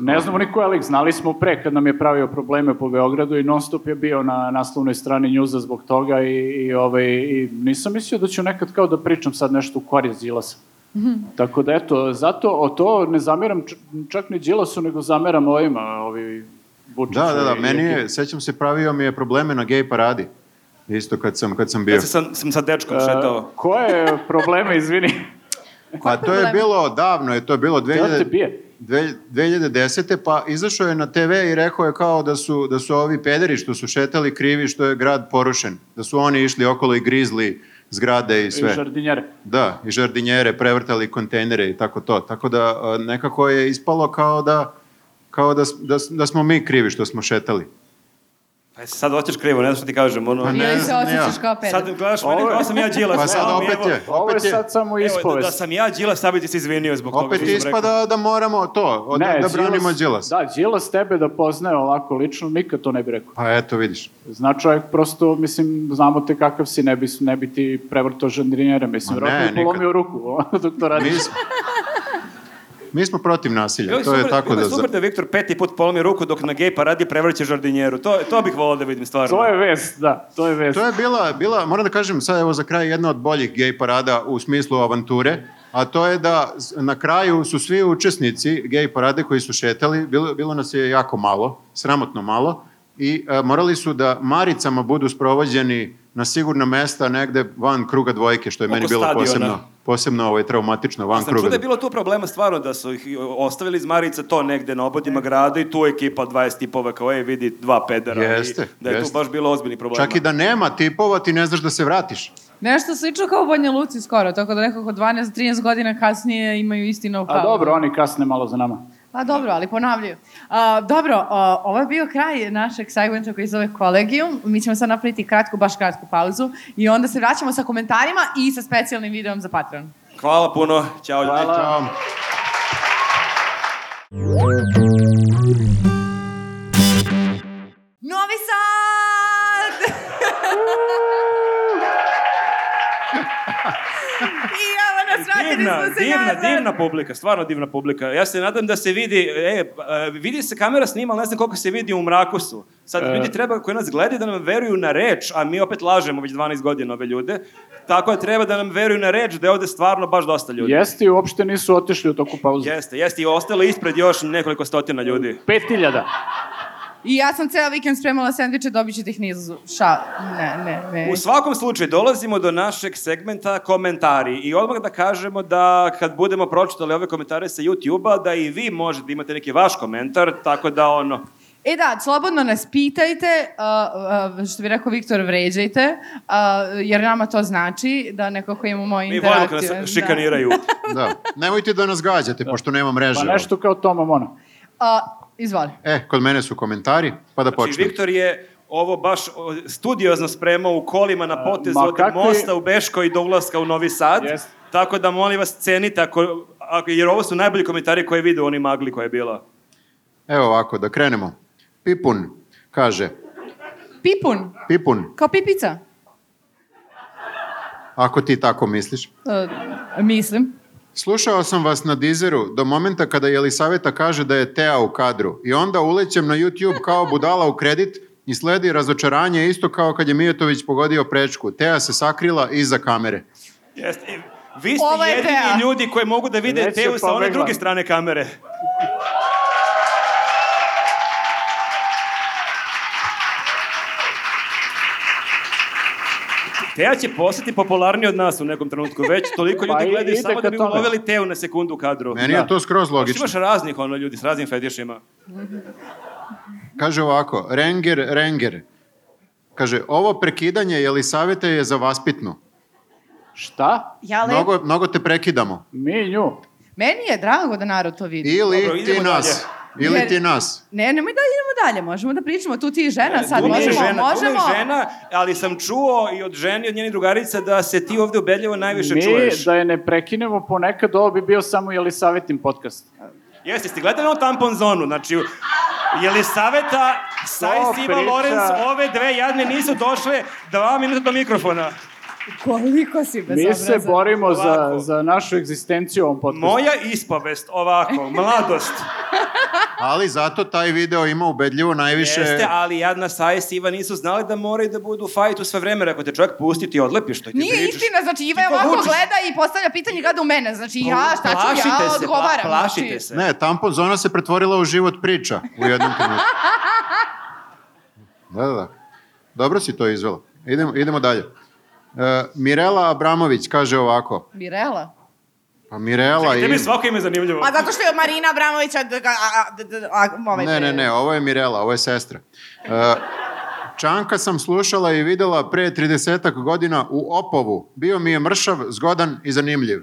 Speaker 7: Da,
Speaker 2: Ne znamo ni ko je lik, znali smo pre kad nam je pravio probleme po Beogradu i non stop je bio na naslovnoj strani njuza zbog toga i, i, ovaj, i nisam mislio da ću nekad kao da pričam sad nešto u korist Đilasa. Tako da eto, zato o to ne zameram č- čak ni Đilasu, nego zameram ovima, ovi Vučiću.
Speaker 7: Da, da, da,
Speaker 2: i
Speaker 7: meni
Speaker 2: ekipi.
Speaker 7: je, sećam se, pravio mi je probleme na gej paradi. Isto kad sam, kad sam bio.
Speaker 6: Kad sam, sam, sam sa dečkom
Speaker 2: E,
Speaker 6: šetao.
Speaker 2: koje probleme, izvini?
Speaker 7: Pa to je bilo davno, je to bilo
Speaker 2: Htio te
Speaker 7: 2000,
Speaker 2: bije.
Speaker 7: dve- 2010. pa izašao je na TV i rekao je kao da su, da su ovi pederi što su šetali krivi što je grad porušen. Da su oni išli okolo i grizli zgrade i
Speaker 2: Sve.
Speaker 7: sve.
Speaker 2: Žardinjare.
Speaker 7: Da, i žardinjere, prevrtali kontejnere i tako to. Tako da a, nekako je ispalo kao da kao da, s- da, s- da smo mi krivi što smo šetali.
Speaker 6: Pa jesi sad oćeš krivo, ne znam što ti kažem. Ono,
Speaker 7: Pa ne.
Speaker 8: Ili se
Speaker 7: znam ja.
Speaker 8: osjećaš kao
Speaker 6: Sad
Speaker 8: pedar?
Speaker 6: gledaš mene
Speaker 2: Ovo je-
Speaker 6: kao sam ja Đilas.
Speaker 7: Pa sad
Speaker 6: evo mi,
Speaker 7: opet
Speaker 6: evo-
Speaker 7: je,
Speaker 2: Ovo je
Speaker 7: opet je,
Speaker 2: sad samo
Speaker 6: Evo, da, da
Speaker 2: ispovest.
Speaker 6: sam ja Đilas, sad bi ti se izvinio zbog toga.
Speaker 7: opet
Speaker 6: što sam rekao.
Speaker 7: ispada da moramo to, od, da branimo Đilas.
Speaker 2: Da, Đilas tebe da poznaje ovako lično, nikad to ne bi rekao.
Speaker 7: Pa eto, vidiš.
Speaker 2: Zna čovjek prosto, mislim, znamo te kakav si, ne bi, ne bi ti prevrtao žandrinjere, mislim,
Speaker 7: Ma ne,
Speaker 2: vjerojatno bi
Speaker 7: nikad.
Speaker 2: polomio ruku dok to radiš.
Speaker 7: Mi smo, mi smo protiv nasilja,
Speaker 6: Bilo bi
Speaker 7: to je
Speaker 6: super,
Speaker 7: tako
Speaker 6: bilo
Speaker 7: da...
Speaker 6: bi
Speaker 7: za-
Speaker 6: super da Viktor peti put polomi ruku dok na gej paradi prevrće žardinjeru. To, to bih volao da vidim stvarno.
Speaker 2: To je vest, da, to je vest.
Speaker 7: E, To je bila, bila, moram da kažem, sad evo za kraj jedna od boljih gej parada u smislu avanture, a to je da s- na kraju su svi učesnici gej parade koji su šetali, bilo, bilo nas je jako malo, sramotno malo, i e, morali su da maricama budu sprovođeni na sigurna mesta negde van kruga dvojke, što je
Speaker 6: Oko
Speaker 7: meni bilo
Speaker 6: stadiona.
Speaker 7: posebno, posebno ovaj, traumatično, van
Speaker 6: Sam čuo
Speaker 7: kruga.
Speaker 6: da je bilo tu problema stvarno da su ih ostavili iz Marica to negde na obodima grada i tu ekipa od 20 tipova kao je vidi dva pedera i
Speaker 7: Jeste,
Speaker 6: da je tu
Speaker 7: jeste.
Speaker 6: baš bilo ozbiljni problema.
Speaker 7: Čak i da nema tipova, ti ne znaš da se vratiš.
Speaker 8: Nešto slično kao u Banja Luci skoro, tako da nekako 12-13 godina kasnije imaju isti know-how.
Speaker 2: A dobro, oni kasne malo za nama.
Speaker 8: Pa dobro, ali ponavljaju. A, dobro, a, ovo je bio kraj našeg segmenta koji se zove kolegijum. Mi ćemo sad napraviti kratku, baš kratku pauzu i onda se vraćamo sa komentarima i sa specijalnim videom za Patreon.
Speaker 6: Hvala puno, ćao ljudi.
Speaker 2: Hvala.
Speaker 7: Ćao.
Speaker 8: Novi Sad! I evo nas vratili
Speaker 6: Divna,
Speaker 8: smo se
Speaker 6: divna,
Speaker 8: nazad.
Speaker 6: divna publika, stvarno divna publika. Ja se nadam da se vidi, e, e, vidi se kamera snima, ali ne znam koliko se vidi u mraku su. Sad
Speaker 2: E.
Speaker 6: ljudi treba koji nas gledaju da nam veruju na reč, a mi opet lažemo već 12 godina ove ljude. Tako da treba da nam veruju na reč da je ovde stvarno baš dosta ljudi.
Speaker 2: Jeste i uopšte nisu otišli u toku pauze.
Speaker 6: Jeste, jeste i ostalo ispred još nekoliko stotina ljudi.
Speaker 2: Pet hiljada.
Speaker 8: I ja sam ceo vikend spremala sandviče, dobit ćete ih nizu. Ša, ne, ne, ne.
Speaker 6: U svakom slučaju dolazimo do našeg segmenta komentari i odmah da kažemo da kad budemo pročitali ove komentare sa YouTube-a da i vi možete da imate neki vaš komentar, tako da ono,
Speaker 8: E da, slobodno nas pitajte, a, a, što bi rekao Viktor, vređajte, a, jer nama to znači da nekako imamo
Speaker 6: Mi
Speaker 8: interakciju.
Speaker 6: volimo kad
Speaker 8: da.
Speaker 6: nas šikaniraju. Znači,
Speaker 7: Da. Nemojte da nas gađate, pošto nema mreže.
Speaker 2: Pa nešto kao Toma Mona.
Speaker 8: Da. A, izvoli.
Speaker 7: E, kod mene su komentari, pa da
Speaker 6: Znači,
Speaker 7: počnem.
Speaker 6: Viktor je ovo baš o, studiozno spremao u kolima na potezu
Speaker 2: ma
Speaker 6: od
Speaker 2: kakvi-
Speaker 6: mosta u Beškoj do ulaska u Novi Sad.
Speaker 2: Jeste.
Speaker 6: Tako da molim vas cenite, ako, ako, jer ovo su najbolji komentari koje je vidio u onim magli koja je bila.
Speaker 7: Evo ovako, da krenemo. Pipun kaže,
Speaker 8: Pipun,
Speaker 7: Pipun,
Speaker 8: kao pipica.
Speaker 7: ako ti tako misliš,
Speaker 8: E, mislim.
Speaker 7: Slušao sam vas na Deezeru do momenta kada Jelisaveta kaže da je Tea u kadru i onda ulećem na YouTube kao budala u kredit i sledi razočaranje isto kao kad je Mijatović pogodio prečku. Tea se sakrila iza kamere.
Speaker 6: Jeste. I Vi ste
Speaker 8: Ovo je
Speaker 6: jedini
Speaker 8: Tea.
Speaker 6: ljudi koji mogu da vide
Speaker 2: Već je
Speaker 6: Teu sa one
Speaker 2: pobegla.
Speaker 6: druge strane kamere. Teja će postati popularniji od nas u nekom trenutku već. Toliko ljudi
Speaker 2: Pa i-
Speaker 6: gledaju
Speaker 2: ide
Speaker 6: samo da
Speaker 2: ka
Speaker 6: bi
Speaker 2: tome.
Speaker 6: ulovili Teu na sekundu u kadru.
Speaker 7: Meni
Speaker 1: Da.
Speaker 7: je to skroz
Speaker 6: Znači,
Speaker 7: logično.
Speaker 6: Imaš raznih ono ljudi s raznim fetišima.
Speaker 7: Kaže ovako, Renger, Renger. Kaže, ovo prekidanje Jelisavete je za vaspitno.
Speaker 2: Šta?
Speaker 8: Ja le...
Speaker 7: Mnogo, mnogo te prekidamo.
Speaker 2: Mi nju.
Speaker 8: Meni je drago da narod to vidi.
Speaker 7: Ili
Speaker 6: Dobro,
Speaker 7: ti
Speaker 6: idemo
Speaker 7: nas. Ili
Speaker 8: Jer-
Speaker 7: ti nas.
Speaker 8: Ne, nemoj da idemo dalje, možemo da pričamo, tu ti i žena sad,
Speaker 6: Puno je
Speaker 8: možemo,
Speaker 6: žena, puno je
Speaker 8: možemo.
Speaker 6: žena, ali sam čuo i od žene i od njenih drugarica da se ti ovde ubedljivo najviše
Speaker 2: Mi,
Speaker 6: čuješ.
Speaker 2: da je ne prekinemo ponekad, ovo bi bio samo Jelisavetin podcast.
Speaker 6: Jeste, ste gledali onu tampon zonu, znači, je li saveta
Speaker 2: To
Speaker 6: Sajs, Iva,
Speaker 2: priča.
Speaker 6: Lorenz, ove dve jadne nisu došle dva minuta do mikrofona.
Speaker 8: Koliko si
Speaker 7: E,
Speaker 8: bez
Speaker 2: Mi se borimo za,
Speaker 6: Ovako.
Speaker 2: za našu egzistenciju u ovom podcastu.
Speaker 6: Moja ispovest, ovako, mladost.
Speaker 7: Ali zato taj video ima ubedljivo najviše...
Speaker 6: Jeste, ali jadna Sajs i Iva nisu znali da moraju da budu u fajtu sve vreme, ako te čovjek pusti, ti odlepiš, to ti
Speaker 8: Nije
Speaker 6: pričaš.
Speaker 8: istina, znači Iva
Speaker 6: Ti
Speaker 8: je
Speaker 6: to
Speaker 8: ovako
Speaker 6: vučeš.
Speaker 8: gleda i postavlja pitanje gleda u mene, znači ja šta ću,
Speaker 6: Plašite
Speaker 8: ja
Speaker 6: se, pla-
Speaker 8: odgovaram.
Speaker 6: plašite
Speaker 8: znači,
Speaker 6: se.
Speaker 7: Ne, tampon zona se pretvorila u život priča u jednom trenutku. Da, da, da. Dobro si to izvela. Idemo, idemo dalje. E, Mirela Abramović kaže ovako.
Speaker 8: Mirela.
Speaker 7: Pa Mirela i...
Speaker 6: Tebi je svako ime zanimljivo. E,
Speaker 9: A zato što je Marina Abramovića... d- ga- a- a- d- d- a- ovaj
Speaker 7: Ne, ne, ne, ovo je Mirela, ovo je sestra. E, Čanka sam slušala i videla pre 30 godina u Opovu. Bio mi je mršav, zgodan i zanimljiv.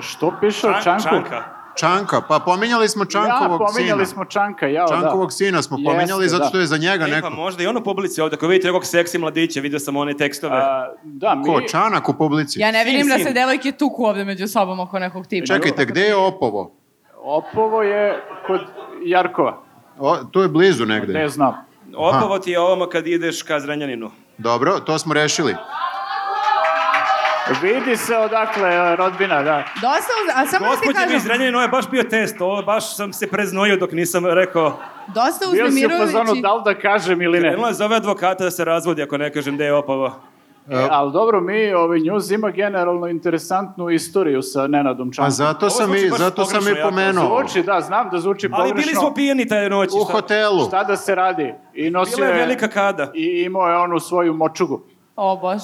Speaker 2: Što piše o
Speaker 6: Čan-
Speaker 2: Čanku?
Speaker 6: Čanka.
Speaker 7: Čanka, pa pominjali smo
Speaker 2: Ja,
Speaker 7: Čankovog
Speaker 2: pominjali
Speaker 7: sina.
Speaker 2: smo Čanka, jao
Speaker 7: Čankovog
Speaker 2: da.
Speaker 7: sina smo pominjali
Speaker 2: Jeste,
Speaker 7: zato
Speaker 2: da.
Speaker 7: što je za njega
Speaker 6: E, pa
Speaker 7: neko.
Speaker 6: možda i on u publici ovde, ako vidite nekog seksi mladića, vidio sam one tekstove.
Speaker 2: A, da,
Speaker 6: pa
Speaker 2: mi...
Speaker 7: Ko, Čanak u publici?
Speaker 8: Ja ne
Speaker 6: Sin,
Speaker 8: vidim da
Speaker 6: sin.
Speaker 8: se devojke tuku ovde među sobom oko nekog tipa.
Speaker 7: Čekajte, gde je Opovo?
Speaker 2: Opovo je kod Jarkova.
Speaker 7: O, tu je blizu negde.
Speaker 2: Ne znam.
Speaker 6: Opovo ti je ovamo kad ideš ka Zrenjaninu.
Speaker 7: Dobro, to smo rešili.
Speaker 2: Vidi se odakle e, rodbina, da.
Speaker 8: Dosta, uz- a samo da ti
Speaker 6: Gospodin iz
Speaker 8: kažem,
Speaker 6: Zrenjanina, ovo je baš bio test, ovo baš sam se preznojio dok nisam rekao.
Speaker 8: dosta
Speaker 2: Bio si u fazonu
Speaker 8: uznemirujući.
Speaker 2: da li da kažem ili ne.
Speaker 6: Krenula je zove advokata da se razvodi ako ne kažem da je opavo.
Speaker 2: E, ali dobro, mi, ovaj njuz ima generalno interesantnu istoriju sa Nenadom Čankom.
Speaker 7: Pa zato
Speaker 6: Ovo
Speaker 7: sam
Speaker 6: zvuči
Speaker 7: i,
Speaker 6: baš
Speaker 7: zato sam
Speaker 6: pogrešno
Speaker 7: i
Speaker 6: jako.
Speaker 7: pomenuo.
Speaker 2: Zvuči, da, znam da zvuči
Speaker 6: Ali
Speaker 2: pogrešno.
Speaker 6: bili smo pijeni taj noći.
Speaker 7: U
Speaker 6: šta?
Speaker 7: hotelu.
Speaker 2: Šta da se radi? I nosio
Speaker 6: Bila je velika kada.
Speaker 2: I imao je onu svoju močugu.
Speaker 8: O, bož.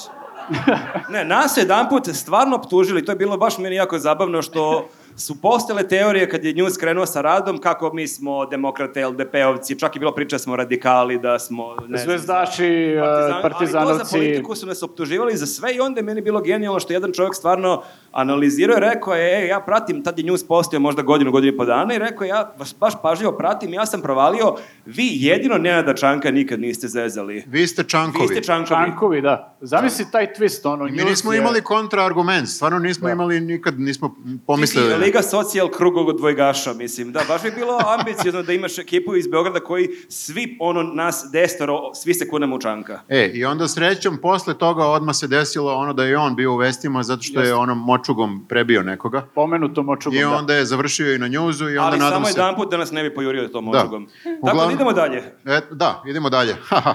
Speaker 6: Ne, nas su jedan put stvarno optužili, to je bilo baš meni jako zabavno što su postale teorije kad je News krenuo sa radom kako mi smo demokrate, LDP-ovci, čak je bilo priča da smo radikali, da smo... Ne, znam,
Speaker 2: Zvezdaši,
Speaker 6: Partizan-
Speaker 2: e,
Speaker 6: Ali to za
Speaker 2: partizanovci.
Speaker 6: politiku su nas optuživali za sve i onda je meni bilo genijalno što jedan čovjek stvarno analizirao i rekao je, e, ja pratim, tad je news postao možda godinu, godinu i po dana i rekao je, ja vas baš pažljivo pratim, ja sam provalio, vi jedino Nenada Čanka nikad niste zezali.
Speaker 7: Vi ste
Speaker 6: Vi
Speaker 7: čankovi.
Speaker 6: ste Čankovi.
Speaker 2: Čankovi, da. Zamisli taj twist, ono,
Speaker 7: Mi
Speaker 2: njuz
Speaker 7: nismo
Speaker 2: je-
Speaker 7: imali kontraargument, stvarno nismo imali nikad, nismo pomislili.
Speaker 6: Mislim, Da. Liga socijal krugog dvojgaša, mislim. Da, baš bi bilo ambiciozno da imaš ekipu iz Beograda koji svi, ono, nas destoro, svi se kunemo u Čanka.
Speaker 7: E, i onda srećom, posle toga odmah se desilo ono da je on bio u vestima zato što je onom močugom prebio nekoga.
Speaker 2: Pomenuto močugom,
Speaker 7: I
Speaker 2: da.
Speaker 7: onda je završio i na njuzu i onda
Speaker 6: Ali
Speaker 7: nadam
Speaker 6: samo
Speaker 7: se...
Speaker 6: jedan put da nas ne bi pojurio tom očugom. Tako da
Speaker 7: Uglavnom-
Speaker 6: idemo dalje.
Speaker 7: E, da, idemo dalje. Haha.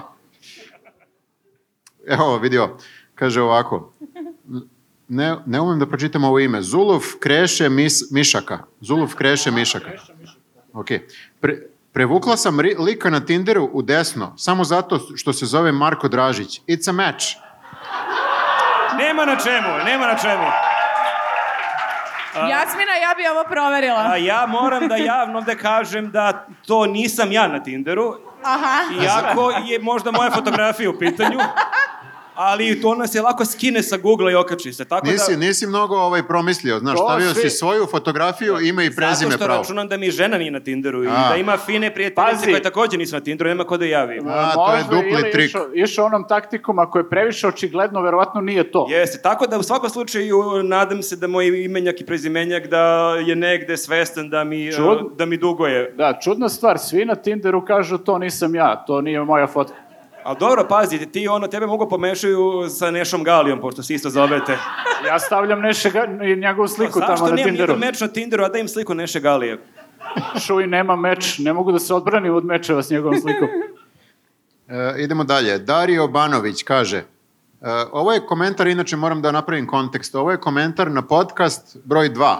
Speaker 7: Evo, ovo, vidi ovo. Kaže ovako. Ne, ne umem da pročitam ovo ime. Zuluf Kreše mis, Mišaka. Zuluf Kreše Mišaka. Ok. Pre, prevukla sam ri, lika na Tinderu u desno, samo zato što se zove Marko Dražić. It's a match.
Speaker 6: Nema na čemu, nema na čemu.
Speaker 3: Jasmina, ja bi ovo proverila.
Speaker 6: A ja moram da javno ovde kažem da to nisam ja na Tinderu,
Speaker 1: Aha.
Speaker 6: iako je možda moja fotografija u pitanju, ali to nas je lako skine sa Google i okači se. Tako
Speaker 7: Nisi,
Speaker 6: da,
Speaker 7: nisi mnogo ovaj promislio, znaš,
Speaker 2: To
Speaker 7: stavio
Speaker 2: svi-
Speaker 7: si svoju fotografiju, ime i prezime
Speaker 6: Zato što
Speaker 7: pravo.
Speaker 6: računam da mi žena nije na Tinderu i
Speaker 7: A.
Speaker 6: da ima fine prijateljice
Speaker 2: Pazi.
Speaker 6: koje takođe nisu na Tinderu, nema ko da javi.
Speaker 7: A, to je
Speaker 2: Možda
Speaker 7: dupli
Speaker 2: ili
Speaker 7: trik.
Speaker 2: Išao, išao onom taktikom, ako je previše očigledno, verovatno nije to.
Speaker 6: Jeste, tako da u svakom slučaju nadam se da moj imenjak i prezimenjak da je negde svestan da mi, e,
Speaker 2: Čud-
Speaker 6: da mi duguje.
Speaker 2: Da, čudna stvar, svi na Tinderu kažu to nisam ja, to nije moja fotka.
Speaker 6: Ali dobro, pazi, ti ono, tebe mogu pomešaju sa Nešom Galijom, pošto se isto zovete.
Speaker 2: Ja stavljam nešega, njegovu sliku
Speaker 6: Pa
Speaker 2: tamo
Speaker 6: Zašto
Speaker 2: na
Speaker 6: nemam
Speaker 2: Tinderu.
Speaker 6: nijedan meč na Tinderu, a da im sliku Neše Galije?
Speaker 2: Šuj, nema meč, ne mogu da se odbranim od mečeva s njegovom slikom.
Speaker 7: E, idemo dalje. Dario Banović kaže, e, ovo je komentar, inače moram da napravim kontekst, ovo je komentar na podcast broj 2.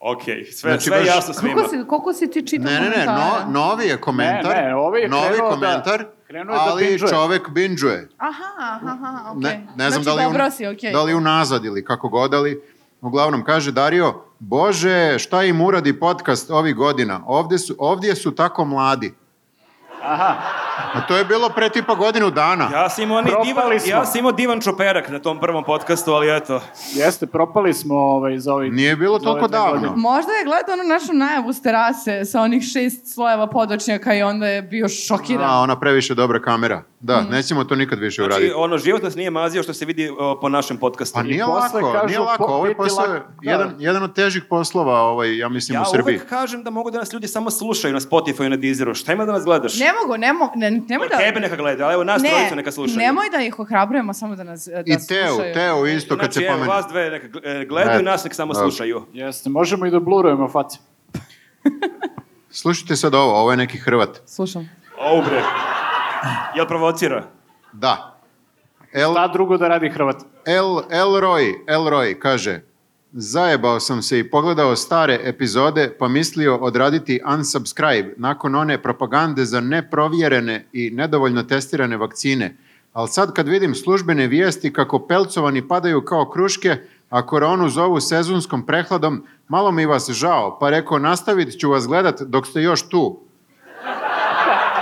Speaker 6: Okej, sve,
Speaker 7: Znači,
Speaker 6: sve
Speaker 7: baš-
Speaker 6: jasno svima.
Speaker 3: Koliko si, koliko si ti čitao
Speaker 7: Ne, ne, ne,
Speaker 3: komentara?
Speaker 7: no, novi je komentar,
Speaker 2: Ne, ne, ovaj je
Speaker 7: novi
Speaker 2: krenuo da-
Speaker 7: komentar,
Speaker 2: krenuo je da
Speaker 7: ali
Speaker 2: binđuje.
Speaker 7: čovek binđuje.
Speaker 3: Aha, aha, aha, okej.
Speaker 7: Ne, ne znam
Speaker 3: znači,
Speaker 7: da, li
Speaker 3: dobro
Speaker 7: un,
Speaker 3: si, okej.
Speaker 7: da li unazad ili kako god, ali uglavnom kaže Dario, Bože, šta im uradi podcast ovih godina? Ovdje su, ovdje su tako mladi. Aha. A to je bilo pre tipa godinu dana.
Speaker 6: Ja sam imao, onaj
Speaker 2: Propali
Speaker 6: divan,
Speaker 2: smo.
Speaker 6: ja sam imao divan čoperak na tom prvom podcastu, ali eto.
Speaker 2: Jeste, propali smo ovaj, za ovaj...
Speaker 7: Nije bilo
Speaker 2: za
Speaker 7: toliko
Speaker 2: ove dve
Speaker 7: davno.
Speaker 2: godine.
Speaker 3: Možda je gledao onu našu najavu s terase sa onih šest slojeva podočnjaka i onda je bio šokiran.
Speaker 7: A, ona previše dobra kamera. Da,
Speaker 2: Mm.
Speaker 7: nećemo to nikad više
Speaker 6: Znači,
Speaker 7: uraditi.
Speaker 6: ono, život nas nije mazio što se vidi o, po našem podcastu.
Speaker 7: Pa nije
Speaker 2: posle
Speaker 7: lako,
Speaker 2: kažu,
Speaker 7: nije
Speaker 2: po-
Speaker 7: lako. Ovo je
Speaker 2: biti
Speaker 7: posao,
Speaker 2: lako, da.
Speaker 7: jedan, jedan od težih poslova, ovaj, ja mislim,
Speaker 6: ja
Speaker 7: u Srbiji.
Speaker 6: uvek kažem da mogu da nas ljudi samo slušaju na Spotify i na Deezeru. Šta ima da nas gledaš?
Speaker 3: Ne mogu, ne mogu, ne, nemoj da...
Speaker 6: Tebe neka gleda, ali evo nas trojicu neka slušaju.
Speaker 3: nemoj da ih ohrabrujemo samo da nas da
Speaker 7: I Teo,
Speaker 3: slušaju.
Speaker 7: Teo isto kad
Speaker 6: znači,
Speaker 7: se
Speaker 6: evo,
Speaker 7: pomene.
Speaker 6: vas dve neka gle- gledaju,
Speaker 7: Ne.
Speaker 6: nas nek samo
Speaker 7: Dobro.
Speaker 6: slušaju.
Speaker 2: Jeste, možemo i da blurujemo face.
Speaker 7: Slušajte sad ovo, ovo je neki Hrvat.
Speaker 3: Slušam.
Speaker 6: Au bre. Jel provocira?
Speaker 7: Da. El,
Speaker 2: Šta drugo da radi Hrvat?
Speaker 7: El, Elroy, Elroy kaže, zajebao sam se i pogledao stare epizode pa mislio odraditi unsubscribe nakon one propagande za neprovjerene i nedovoljno testirane vakcine. Ali sad kad vidim službene vijesti kako pelcovani padaju kao kruške, a koronu zovu sezonskom prehladom, malo mi vas žao, pa rekao nastavit ću vas gledat dok ste još tu.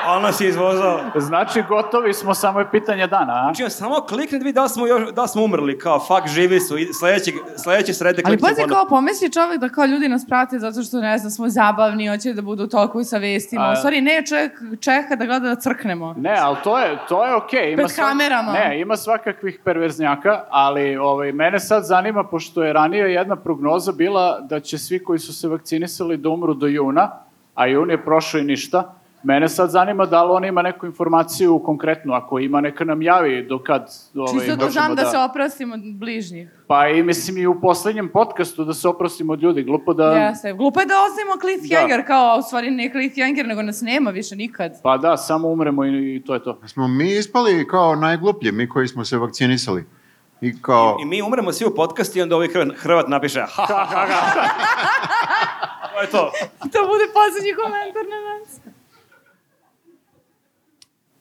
Speaker 6: A on nas je izvozao.
Speaker 2: Znači, gotovi smo, samo je pitanje dana, a?
Speaker 6: Znači, on samo klikne da vidi da li smo, još, da li smo umrli, kao, fuck, živi su, i sledećeg, sledeće srede
Speaker 3: Ali
Speaker 6: klikne
Speaker 3: pazi
Speaker 6: ponovo.
Speaker 3: kao pomisli čovjek da kao ljudi nas prate zato što ne znam smo zabavni, hoće da budu u toku sa vestima.
Speaker 2: A- Ovaj,
Speaker 3: U stvari ne, čovjek čeka da gleda da crknemo.
Speaker 2: Ne, ali to je, to je okej. Ima
Speaker 3: Pred kamerama.
Speaker 2: Ne, ima svakakvih perverznjaka, ali ovaj, mene sad zanima, pošto je ranije jedna prognoza bila da će svi koji su se vakcinisali da umru do juna, a jun je prošao i ništa, mene sad zanima da li on ima neku informaciju konkretnu, ako ima neka nam javi do kad ovaj,
Speaker 3: Čisto da
Speaker 2: možemo
Speaker 3: znam da, se oprostimo od bližnjih.
Speaker 2: Pa i mislim i u poslednjem podcastu da se oprostimo od ljudi, glupo da...
Speaker 3: Jeste. Glupo je da ostavimo cliffhanger kao, a u stvari ne cliffhanger, nego nas nema više nikad.
Speaker 2: Pa da, samo umremo i, i to je to.
Speaker 7: Smo mi ispali kao najgluplji, mi koji smo se vakcinisali. I kao...
Speaker 6: I mi umremo svi u podcast i onda ovaj Hrvat, Hrvat napiše, ha, ha, ha, ha. to je to.
Speaker 3: to Da bude poslednji komentar na nas.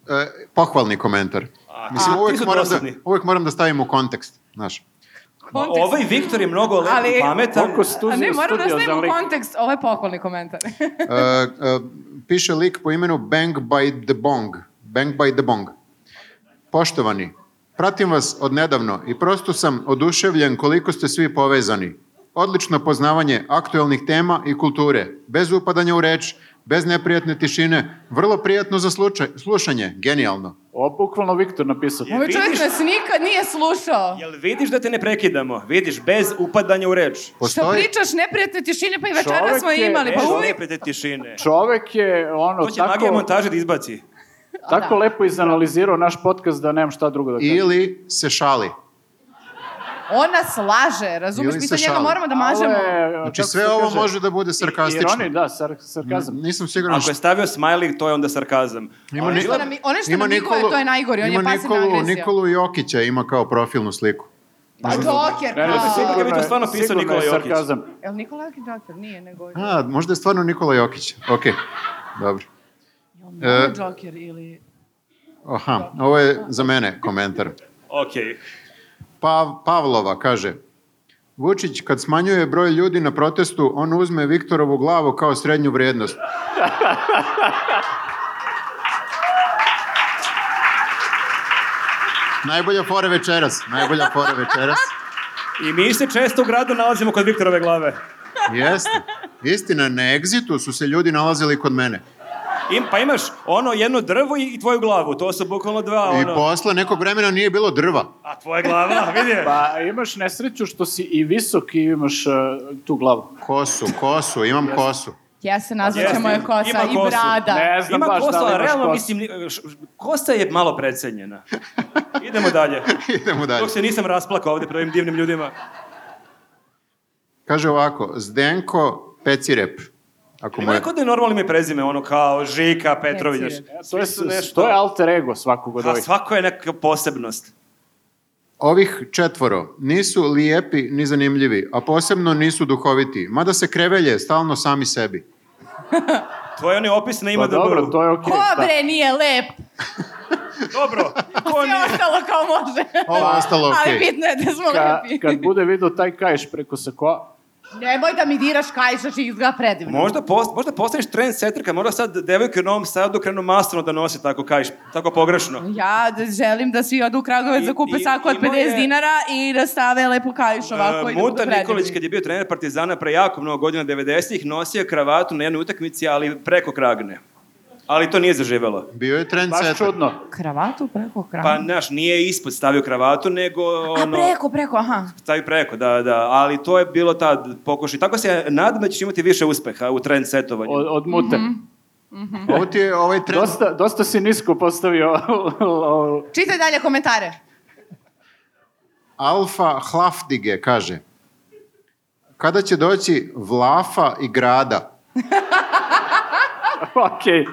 Speaker 7: e, pohvalni komentar.
Speaker 6: A,
Speaker 7: Mislim,
Speaker 6: ti- ti
Speaker 7: uvek
Speaker 6: su
Speaker 7: moram, da,
Speaker 6: dosadni.
Speaker 7: uvek moram da stavim u kontekst, znaš.
Speaker 6: Ma, Ovaj Viktor je mnogo lep
Speaker 3: Ali-
Speaker 6: i pametan.
Speaker 2: Koliko
Speaker 3: A
Speaker 2: studiju,
Speaker 3: ne, moram da
Speaker 2: studija za
Speaker 3: stavim u
Speaker 2: lik.
Speaker 3: kontekst, ovo je pohvalni komentar.
Speaker 7: E, e, piše lik po imenu Bang by the Bong. Bang by the Bong. Poštovani, pratim vas od nedavno i prosto sam oduševljen koliko ste svi povezani. Odlično poznavanje aktuelnih tema i kulture, bez upadanja u reč, bez neprijatne tišine, vrlo prijatno za slučaj, slušanje, genijalno.
Speaker 2: O, bukvalno Viktor napisao.
Speaker 3: Ovaj čovjek
Speaker 6: vidiš?
Speaker 3: nas nikad nije slušao.
Speaker 6: Jel vidiš da te ne prekidamo? Vidiš, bez upadanja u reč.
Speaker 3: Šta
Speaker 7: Postoji,
Speaker 3: pričaš, neprijatne tišine, pa i večera
Speaker 2: Čovjek
Speaker 3: smo
Speaker 2: je-
Speaker 3: imali.
Speaker 6: Ne,
Speaker 3: Pa
Speaker 2: Evo,
Speaker 3: uvijek
Speaker 6: ne, tišine.
Speaker 2: Čovek je ono
Speaker 6: To će magija
Speaker 2: tako,
Speaker 6: montaža da izbaci.
Speaker 2: tako lepo izanalizirao naš podcast da nemam šta drugo da kažem.
Speaker 7: Da. ili se šali.
Speaker 3: on nas laže, razumiješ?
Speaker 7: Ili
Speaker 3: Mi
Speaker 7: se
Speaker 3: sad njega
Speaker 7: šali.
Speaker 3: moramo da
Speaker 2: Malo
Speaker 3: mažemo.
Speaker 6: e,
Speaker 2: je,
Speaker 7: Znači
Speaker 2: kako
Speaker 7: sve
Speaker 2: Pa, se
Speaker 7: ovo
Speaker 2: kaže,
Speaker 7: može da bude sarkastično.
Speaker 2: Ironi, da, sar, sarkazam.
Speaker 7: Nisam siguran
Speaker 6: Ako je stavio smiley, to je onda sarkazam.
Speaker 7: Ima
Speaker 3: Ono
Speaker 7: ni-
Speaker 3: što nam, ono što
Speaker 7: ima
Speaker 3: nam Nikole,
Speaker 7: Nikolu-
Speaker 3: to je najgori, on je
Speaker 7: ima
Speaker 3: pasivna
Speaker 7: Nikolu-
Speaker 3: agresija.
Speaker 7: Nikolu Jokića ima kao profilnu sliku.
Speaker 3: Pa Joker,
Speaker 2: Ne, ne,
Speaker 3: kao.
Speaker 6: E, sigurno- bi to
Speaker 2: je-
Speaker 6: stvarno pisao
Speaker 2: sigurno
Speaker 6: Nikola
Speaker 2: je
Speaker 6: Jokić.
Speaker 2: sarkazam.
Speaker 3: Jel Nikola Jokić Joker? Nije, nego...
Speaker 7: A, možda je stvarno Nikola Jokić. Ok, dobro.
Speaker 3: Jel Nikola
Speaker 7: e.
Speaker 3: Joker ili...
Speaker 7: Aha, ovo je za mene komentar.
Speaker 6: Okej.
Speaker 7: Pa, Pavlova kaže, Vučić kad smanjuje broj ljudi na protestu, on uzme Viktorovu glavu kao srednju vrijednost. najbolja fora večeras, najbolja fora večeras.
Speaker 6: I mi se često u gradu nalazimo kod Viktorove glave.
Speaker 7: Jeste. Istina, na egzitu su se ljudi nalazili kod mene.
Speaker 6: Im, pa imaš ono jedno drvo i, i tvoju glavu, to su bukvalno dva
Speaker 7: I
Speaker 6: ono.
Speaker 7: posle nekog vremena nije bilo drva.
Speaker 6: A tvoja glava, da, vidi.
Speaker 2: Pa imaš nesreću što si i visok i imaš e, tu glavu.
Speaker 7: Kosu, kosu, imam kosu.
Speaker 8: Ja se nazvat
Speaker 6: Jeste,
Speaker 8: će moja kosa
Speaker 6: ima
Speaker 8: i
Speaker 6: kosu.
Speaker 8: brada.
Speaker 2: Ne znam
Speaker 6: Ima
Speaker 2: baš
Speaker 6: kosa,
Speaker 2: da li
Speaker 6: ali
Speaker 2: imaš
Speaker 6: realno
Speaker 2: kosu.
Speaker 6: mislim, ni- š- š- kosa je malo precenjena. Idemo dalje.
Speaker 7: Idemo dalje.
Speaker 6: Dok se nisam rasplakao ovde pred ovim divnim ljudima.
Speaker 7: Kaže ovako, Zdenko Pecirep. Ako mu
Speaker 6: Ima
Speaker 7: je...
Speaker 6: neko da je normalno ime i prezime, ono kao Žika, Petrović.
Speaker 8: Pecije.
Speaker 6: znaš.
Speaker 2: E, To je,
Speaker 6: Svi su da nešto-
Speaker 2: to je alter ego svakog od
Speaker 6: A
Speaker 2: ovih.
Speaker 6: svako je neka posebnost.
Speaker 7: Ovih četvoro nisu lijepi ni zanimljivi, a posebno nisu duhoviti, mada se krevelje stalno sami sebi.
Speaker 6: To je onaj opis na ima da
Speaker 2: Pa
Speaker 6: DBU.
Speaker 2: dobro, to je okej. da.
Speaker 8: Ko
Speaker 2: šta?
Speaker 8: bre nije lep?
Speaker 6: Dobro, to
Speaker 8: Sve
Speaker 6: nije...
Speaker 8: ostalo kao može.
Speaker 7: Ovo je ostalo
Speaker 8: Ali
Speaker 7: okej.
Speaker 8: bitno je da smo
Speaker 2: Ka,
Speaker 8: lepi.
Speaker 2: kad bude video taj kajš preko sakoa,
Speaker 8: Nemoj da mi diraš kajša, či izgleda predivno.
Speaker 6: Možda, post, možda postaneš trend setrka, možda sad devojke u Novom Sadu krenu masno da nose tako, kajš, tako pogrešno.
Speaker 8: Ja da želim da svi odu u Kragovec
Speaker 6: I-
Speaker 8: da kupe
Speaker 6: i-
Speaker 8: sako od
Speaker 6: imao
Speaker 8: 50
Speaker 6: je-
Speaker 8: dinara i da stave lepo kajš ovako.
Speaker 6: E,
Speaker 8: i da budu
Speaker 6: Muta
Speaker 8: predivni.
Speaker 6: Nikolić kad je bio trener Partizana pre jako mnogo godina 90-ih nosio je kravatu na jednoj utakmici, ali preko kragne. Ali to nije zaživelo.
Speaker 7: Bio je trend
Speaker 2: baš
Speaker 7: setter.
Speaker 2: čudno.
Speaker 8: Kravatu preko
Speaker 6: Pa,
Speaker 8: krava.
Speaker 6: znaš, nije ispod stavio kravatu, nego
Speaker 8: A
Speaker 6: ono,
Speaker 8: preko, preko, aha.
Speaker 6: stavi preko, da, da. Ali to je bilo tad pokušaj. Tako se nadam da ćeš imati više uspeha u trend setovanju.
Speaker 2: Od, od mute.
Speaker 7: Mhm. Ovo ti je ovaj trend
Speaker 2: Dosta, dosta si nisko postavio.
Speaker 8: Čitaj dalje komentare.
Speaker 7: Alfa Hlafdige kaže Kada će doći Vlafa i Grada?
Speaker 2: ok.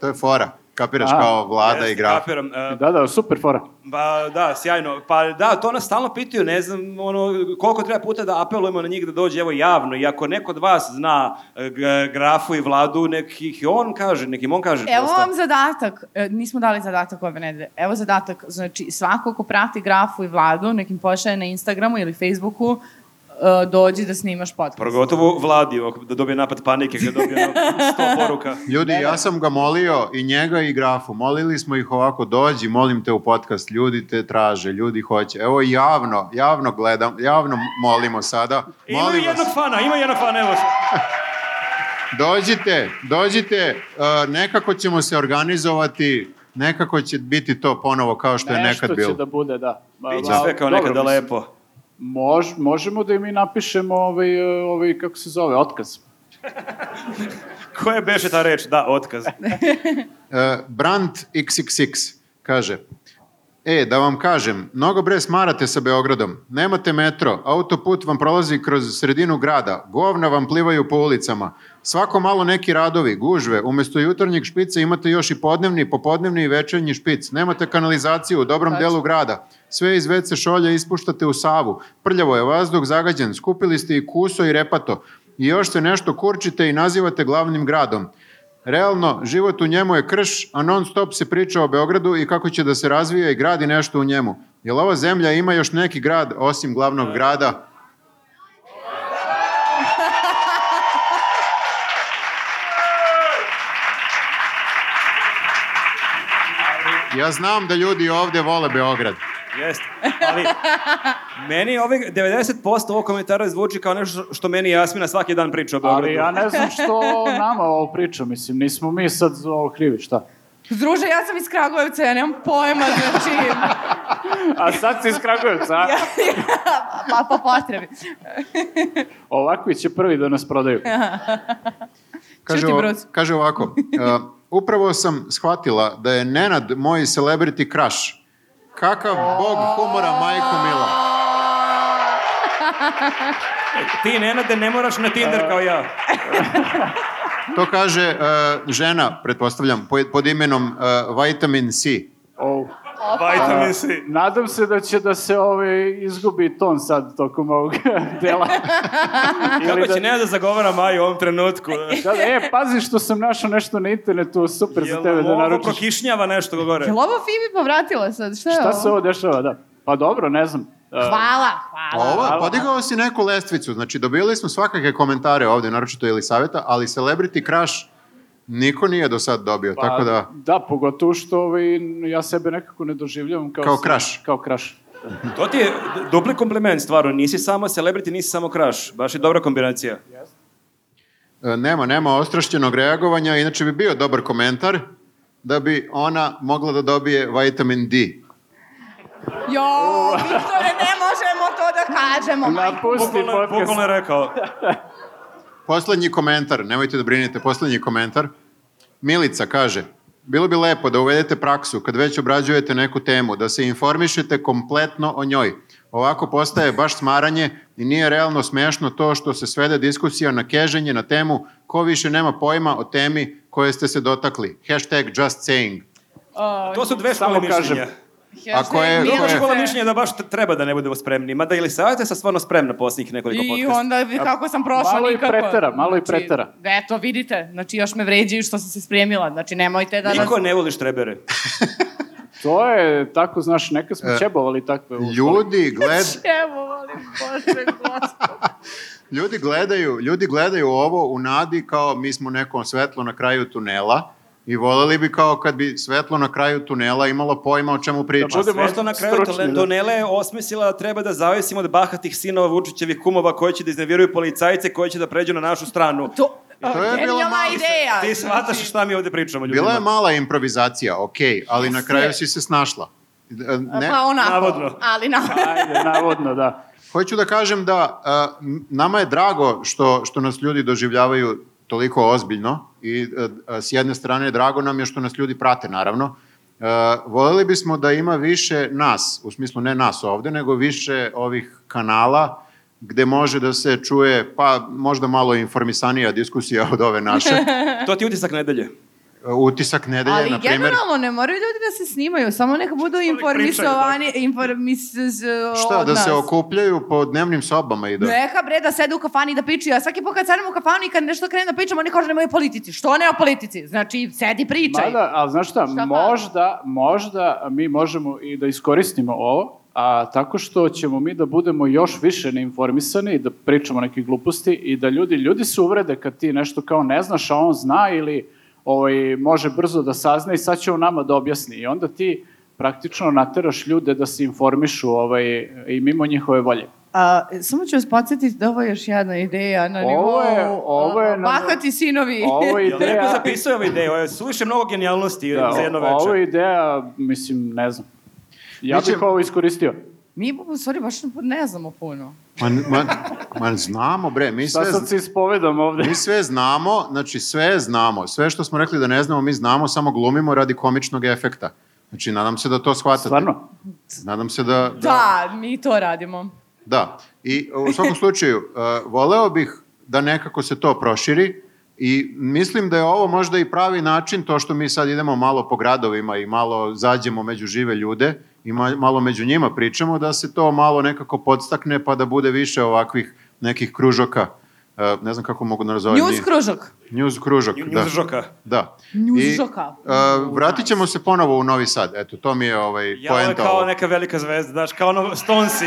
Speaker 7: To je fora. Kapiraš
Speaker 2: A,
Speaker 7: kao vlada
Speaker 6: Jeste,
Speaker 7: i graf.
Speaker 6: kapiram. E,
Speaker 2: Da, da, super fora.
Speaker 6: Ba, da, sjajno. Pa da, to nas stalno pitaju, ne znam ono, koliko treba puta da apelujemo na njih da dođe evo javno. I ako neko od vas zna e, g- grafu i vladu, nek ih i on kaže, nek im on kaže.
Speaker 8: Evo
Speaker 6: prosto.
Speaker 8: E, vam zadatak. E, Nismo dali zadatak ove nedelje. Evo zadatak. Znači, svako ko prati grafu i vladu, nekim pošalje na Instagramu ili Facebooku, e, dođi da snimaš podcast.
Speaker 6: Progotovo Vladi, ako- da dobije napad panike, kad dobije ono 100 poruka.
Speaker 7: Ljudi, ja sam ga molio i njega i grafu. Molili smo ih ovako, dođi, molim te u podcast. Ljudi te traže, ljudi hoće. Evo javno, javno gledam, javno molimo sada.
Speaker 6: Imaju
Speaker 7: Molim
Speaker 6: jednog
Speaker 7: vas,
Speaker 6: fana, imaju jednog fana, evo.
Speaker 7: dođite, dođite, e, nekako ćemo se organizovati, nekako će biti to ponovo kao što je
Speaker 2: Nešto
Speaker 7: nekad bilo.
Speaker 2: će da bude, da. Ma,
Speaker 6: Biće
Speaker 2: ma,
Speaker 6: sve kao
Speaker 2: dobro,
Speaker 6: nekada
Speaker 2: mislim,
Speaker 6: lepo.
Speaker 2: Mož, možemo da i mi napišemo ovaj, e, ovaj, kako se zove, otkaz.
Speaker 6: Koja je beše ta reč? Da, otkaz.
Speaker 7: Uh, Brand XXX kaže E, da vam kažem, mnogo bre smarate sa Beogradom. Nemate metro, autoput vam prolazi kroz sredinu grada, govna vam plivaju po ulicama. Svako malo neki radovi, gužve, umesto jutarnjeg špica imate još i podnevni, popodnevni i večernji špic. Nemate kanalizaciju u dobrom delu grada. Sve iz WC šolja ispuštate u Savu. Prljavo je vazduh zagađen, skupili ste i kuso i repato. I još se nešto kurčite i nazivate glavnim gradom. Realno, život u njemu je krš, a non stop se priča o Beogradu i kako će da se razvija i gradi nešto u njemu. Jel ova zemlja ima još neki grad osim glavnog grada? Ja znam da ljudi ovde vole Beograd.
Speaker 6: Jeste. Ali meni ovih 90% ovog komentara zvuči kao nešto što meni Jasmina svaki dan priča o Beogradu.
Speaker 2: Ali ja ne znam što nama ovo priča, mislim, nismo mi sad za ovo krivi, šta?
Speaker 8: Druže, ja sam iz Kragujevca, ja nemam pojma, znači,
Speaker 2: A sad si iz Kragujevca, a?
Speaker 8: pa po potrebi.
Speaker 2: Ovakvi će prvi da nas prodaju.
Speaker 7: Kaže,
Speaker 8: Čuti,
Speaker 7: o-
Speaker 8: Bruce.
Speaker 7: kaže ovako, uh, upravo sam shvatila da je Nenad moj celebrity crush. Kakav bog humora, majko mila.
Speaker 6: Ti, Nenade, ne moraš na Tinder kao ja.
Speaker 7: To kaže e, žena, pretpostavljam, po- pod imenom e, Vitamin C.
Speaker 2: O,
Speaker 6: Vitamin C.
Speaker 2: nadam se da će da se ovaj, izgubi ton sad tokom ovog dela.
Speaker 6: Kako
Speaker 2: Ili
Speaker 6: će Nenada zagovara Maju u ovom trenutku?
Speaker 2: Da, e, pazi što sam našao nešto na internetu, super za
Speaker 6: Jel
Speaker 2: tebe da
Speaker 6: ovo
Speaker 2: naručiš.
Speaker 6: prokišnjava nešto go gore?
Speaker 8: Jel ovo Fibi povratila sad? Šta je
Speaker 2: Šta
Speaker 8: ovo?
Speaker 2: se ovo dešava, da? Pa dobro, ne znam.
Speaker 10: Hvala, hvala.
Speaker 7: Ovo, podigao si neku lestvicu, znači dobili smo svakakve komentare ovdje, naročito ili savjeta, ali Celebrity Crush niko nije do sad dobio, tako da...
Speaker 2: Da, pogotovo što ovaj, ja sebe nekako ne doživljavam kao...
Speaker 7: Kao
Speaker 2: se-
Speaker 7: crush.
Speaker 2: Kao kraš.
Speaker 6: To ti je d- dupli kompliment, stvarno. Nisi samo celebrity, nisi samo crush. Baš je dobra kombinacija.
Speaker 7: E, Nema, nema ostrašćenog reagovanja, inače bi bio dobar komentar da bi ona mogla da dobije vitamin D.
Speaker 11: Jo, Viktore, ne možemo to da kažemo. majko.
Speaker 2: Napusti
Speaker 6: Bukvalno,
Speaker 2: podcast.
Speaker 6: bukvalno je rekao.
Speaker 7: Poslednji komentar, nemojte da brinete, poslednji komentar. Milica kaže, bilo bi lepo da uvedete praksu kad već obrađujete neku temu, da se informišete kompletno o njoj. Ovako postaje baš smaranje i nije realno smešno to što se svede diskusija na keženje na temu ko više nema pojma o temi koje ste se dotakli. Hashtag just saying.
Speaker 6: To su dve
Speaker 2: Samo
Speaker 6: škole mišljenja.
Speaker 2: kažem. E.
Speaker 7: Ako je,
Speaker 6: Druga
Speaker 7: ako je-
Speaker 6: škola mišljenja da baš t- treba da ne budemo spremni. Mada ili savjeta sa stvarno spremna posljednjih nekoliko
Speaker 3: I
Speaker 6: podcasta.
Speaker 3: onda vi- kako sam prošla
Speaker 2: Malo i
Speaker 3: nikako.
Speaker 2: pretera, malo i
Speaker 3: Znači,
Speaker 2: pretera.
Speaker 3: eto, vidite, znači još me vređaju što sam se spremila. Znači nemojte da... nas-
Speaker 6: Niko ne voli štrebere.
Speaker 2: To je tako, znaš, neka smo ćebovali takve. ovaj, u školi.
Speaker 7: ljudi gled,
Speaker 3: Evo, volim, Bože, gospod.
Speaker 7: Ljudi gledaju, ljudi gledaju ovo u nadi kao mi smo neko svetlo na kraju tunela i voleli bi kao kad bi svetlo na kraju tunela imalo pojma o čemu priča.
Speaker 2: bude-
Speaker 6: Sve što na kraju
Speaker 2: da Stručni, da.
Speaker 6: Donele je osmislila da treba da zavisimo od bahatih sinova Vučićevih kumova koji će da iznerviraju policajce koji će da pređu na našu stranu.
Speaker 3: To,
Speaker 7: To je bilo
Speaker 3: genijalna
Speaker 7: malo-
Speaker 3: ideja.
Speaker 6: Ti shvataš šta mi ovde pričamo ljudima.
Speaker 7: Bila je mala improvizacija, ok, ali na kraju si se snašla. E, Ne,
Speaker 3: Pa onako,
Speaker 6: Navodno.
Speaker 3: ali na...
Speaker 2: Ajde, navodno, da.
Speaker 7: hoću da kažem da e, m- nama je drago što, što nas ljudi doživljavaju toliko ozbiljno i e, e, s jedne strane drago nam je što nas ljudi prate naravno. E, voljeli bismo da ima više nas, u smislu ne nas ovde, nego više ovih kanala gde može da se čuje pa možda malo informisanija diskusija od ove naše. E,
Speaker 6: To ti je utisak nedelje.
Speaker 7: Utisak nedelje,
Speaker 3: Ali
Speaker 7: na primjer.
Speaker 3: generalno ne moraju ljudi da se snimaju, samo neka budu informisovani, informis
Speaker 7: Šta,
Speaker 3: od
Speaker 7: da se
Speaker 3: nas.
Speaker 7: okupljaju po dnevnim sobama i da...
Speaker 3: Neka bre da sedu u kafani i da pričaju, a svaki put kad sedemo u kafani i kad nešto krenu da pričamo, oni kažu nemoj o politici. Što ne o politici? Znači, sedi pričaj.
Speaker 2: Mada, ali znaš šta,
Speaker 3: Šta pa?
Speaker 2: možda, možda mi možemo i da iskoristimo ovo, a tako što ćemo mi da budemo još više neinformisani i da pričamo neke gluposti i da ljudi, ljudi se uvrede kad ti nešto kao ne znaš, a on zna ili ovaj, može brzo da sazna i sad će on nama da objasni. I onda ti praktično nateraš ljude da se informišu ovaj, i mimo njihove volje.
Speaker 3: A, samo ću vas podsjetiti da ovo je još jedna ideja na
Speaker 2: Ovo
Speaker 3: nivou...
Speaker 2: je- ovo je na-
Speaker 3: Bahati sinovi.
Speaker 2: Ovo je
Speaker 6: Jel neko
Speaker 2: ideja...
Speaker 6: zapisao ovu ideju? Ovo je Suviše mnogo genijalnosti
Speaker 2: Da,
Speaker 6: za jedno
Speaker 2: ovo je
Speaker 6: večer.
Speaker 2: ideja, mislim, ne znam. Ja
Speaker 7: Mi
Speaker 2: bih
Speaker 7: ćemo-
Speaker 2: ovo iskoristio.
Speaker 3: Mi, u stvari, baš ne znamo puno.
Speaker 7: Ma, ma, ma znamo bre, mi
Speaker 2: Sad
Speaker 7: sve,
Speaker 2: sad se ispovedam ovde.
Speaker 7: Mi sve znamo, znači sve znamo. Sve što smo rekli da ne znamo, mi znamo, samo glumimo radi komičnog efekta. Znači, nadam se da to shvatate.
Speaker 2: Stvarno?
Speaker 7: Nadam se da...
Speaker 3: Da, mi to radimo.
Speaker 7: Da. I u svakom slučaju, uh, voleo bih da nekako se to proširi i mislim da je ovo možda i pravi način, to što mi sad idemo malo po gradovima i malo zađemo među žive ljude i ma- malo među njima pričamo, da se to malo nekako podstakne pa da bude više ovakvih nekih kružoka. Uh, ne znam kako mogu da nazovem.
Speaker 3: News
Speaker 7: njih.
Speaker 3: kružok.
Speaker 7: News kružak,
Speaker 6: Nju-
Speaker 7: da.
Speaker 6: Njužoka.
Speaker 7: Da.
Speaker 3: Njužoka.
Speaker 7: I, a, E, vratit ćemo se ponovo u Novi Sad. Eto, to mi je ovaj,
Speaker 6: Ja ovo je
Speaker 7: poenta
Speaker 6: kao
Speaker 7: ovo.
Speaker 6: neka velika zvezda, znaš, kao ono Stonesi.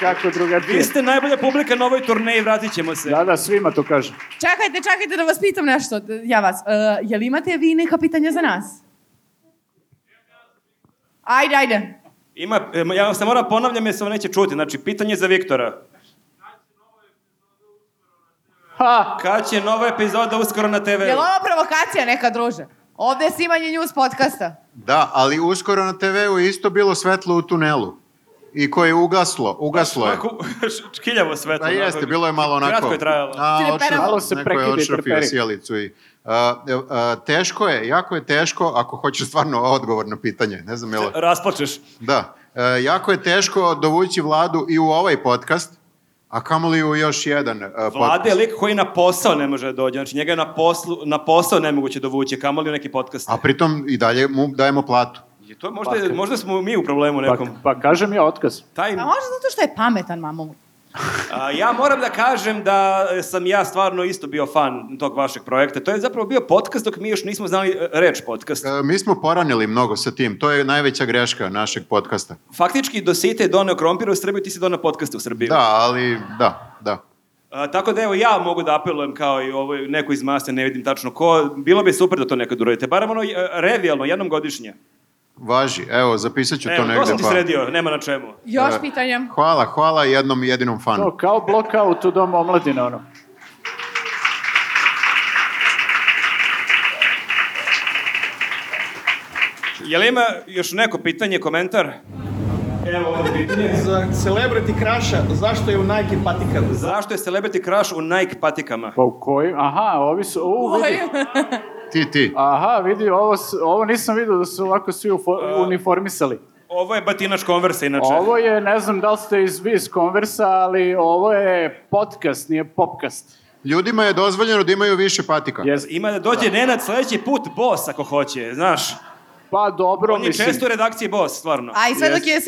Speaker 2: Kako drugačije?
Speaker 6: Vi ste najbolja publika na ovoj turneji, vratit ćemo se.
Speaker 2: Da, da, svima to kažem.
Speaker 3: Čekajte, čekajte da vas pitam nešto. D- Ja vas. E, jel imate vi neka pitanja za nas? Ajde, ajde.
Speaker 6: Ima, em, ja se moram ponavljam jer se ovo neće čuti. Znači, pitanje za Viktora.
Speaker 2: Ha!
Speaker 6: Kad će nova epizoda uskoro na TV?
Speaker 3: Jel ovo provokacija neka, druže? Ovde je snimanje news podcasta.
Speaker 7: Da, ali uskoro na TV-u je isto bilo svetlo u tunelu. I koje je ugaslo, ugaslo je.
Speaker 6: Ovako, Škiljavo svetlo. da,
Speaker 7: Pa jeste,
Speaker 6: onako.
Speaker 7: bilo je malo onako.
Speaker 6: Kratko je trajalo.
Speaker 7: A,
Speaker 3: Ti ne
Speaker 7: odšraf-
Speaker 3: Malo
Speaker 2: se
Speaker 7: neko je
Speaker 2: prekida i
Speaker 7: odšrafio
Speaker 2: preperi.
Speaker 7: sjelicu i... a, e, a, teško je, jako je teško ako hoćeš stvarno odgovor na pitanje. Ne znam, jel...
Speaker 6: Rasplačeš.
Speaker 7: Da, E, jako je teško dovući vladu i u ovaj podcast, a kamoli u još jedan e,
Speaker 6: Vlade
Speaker 7: podcast.
Speaker 6: je lik koji na posao ne može da dođe. Znači, njega je na, poslu, na posao nemoguće dovući, kamoli u neki podcast.
Speaker 7: A pritom i dalje mu dajemo platu.
Speaker 6: I to je možda, možda smo mi u problemu
Speaker 2: Pa,
Speaker 6: nekom.
Speaker 2: pa kažem ja otkaz.
Speaker 6: Taj,
Speaker 3: Pa možda zato što je pametan, mamo.
Speaker 6: A, ja moram da kažem da sam ja stvarno isto bio fan tog vašeg projekta. To je zapravo bio podcast dok mi još nismo znali e, reč podcast.
Speaker 7: E, Mi smo poranili mnogo sa tim, to je najveća greška našeg podcasta.
Speaker 6: Faktički, Dosite je doneo krompira u Srbiju, ti si doneo podcaste u Srbiju.
Speaker 7: Da, ali da, da.
Speaker 6: A, tako da evo ja mogu da apelujem kao i ovo neko iz mase, ne vidim tačno ko, bilo bi super da to nekad uradite. Barem ono e, revijalno, jednom godišnje.
Speaker 7: Važi, evo, zapisat ću to
Speaker 6: Evo,
Speaker 7: negde.
Speaker 6: to sam ti
Speaker 7: pa-
Speaker 6: sredio, nema na čemu.
Speaker 3: Još
Speaker 7: E,
Speaker 3: pitanja.
Speaker 7: Hvala, hvala jednom jedinom fanu.
Speaker 2: To, kao blokaut u domu omladine, ono.
Speaker 6: Je li ima još neko pitanje, komentar? Evo ovde pitanje.
Speaker 12: Za celebrity kraša, zašto je u Nike patikama?
Speaker 6: Zašto je Celebrity Crush u Nike patikama?
Speaker 2: Pa u kojim? Aha, ovi su... U, vidi.
Speaker 7: Ti, ti.
Speaker 2: Aha, vidi, ovo, s- ovo nisam vidio da su ovako svi ufo- uniformisali.
Speaker 6: Ovo je batinač konversa, inače.
Speaker 2: Ovo je, ne znam da li ste iz vi iz Konversa, ali ovo je podcast, nije popcast.
Speaker 7: Ljudima je dozvoljeno da imaju više patika.
Speaker 2: Jez,
Speaker 6: Ima da dođe Nenad sledeći put boss, ako hoće, znaš.
Speaker 2: pa dobro,
Speaker 6: On je
Speaker 2: mislim.
Speaker 6: često u redakciji boss, stvarno.
Speaker 3: A i sad dok je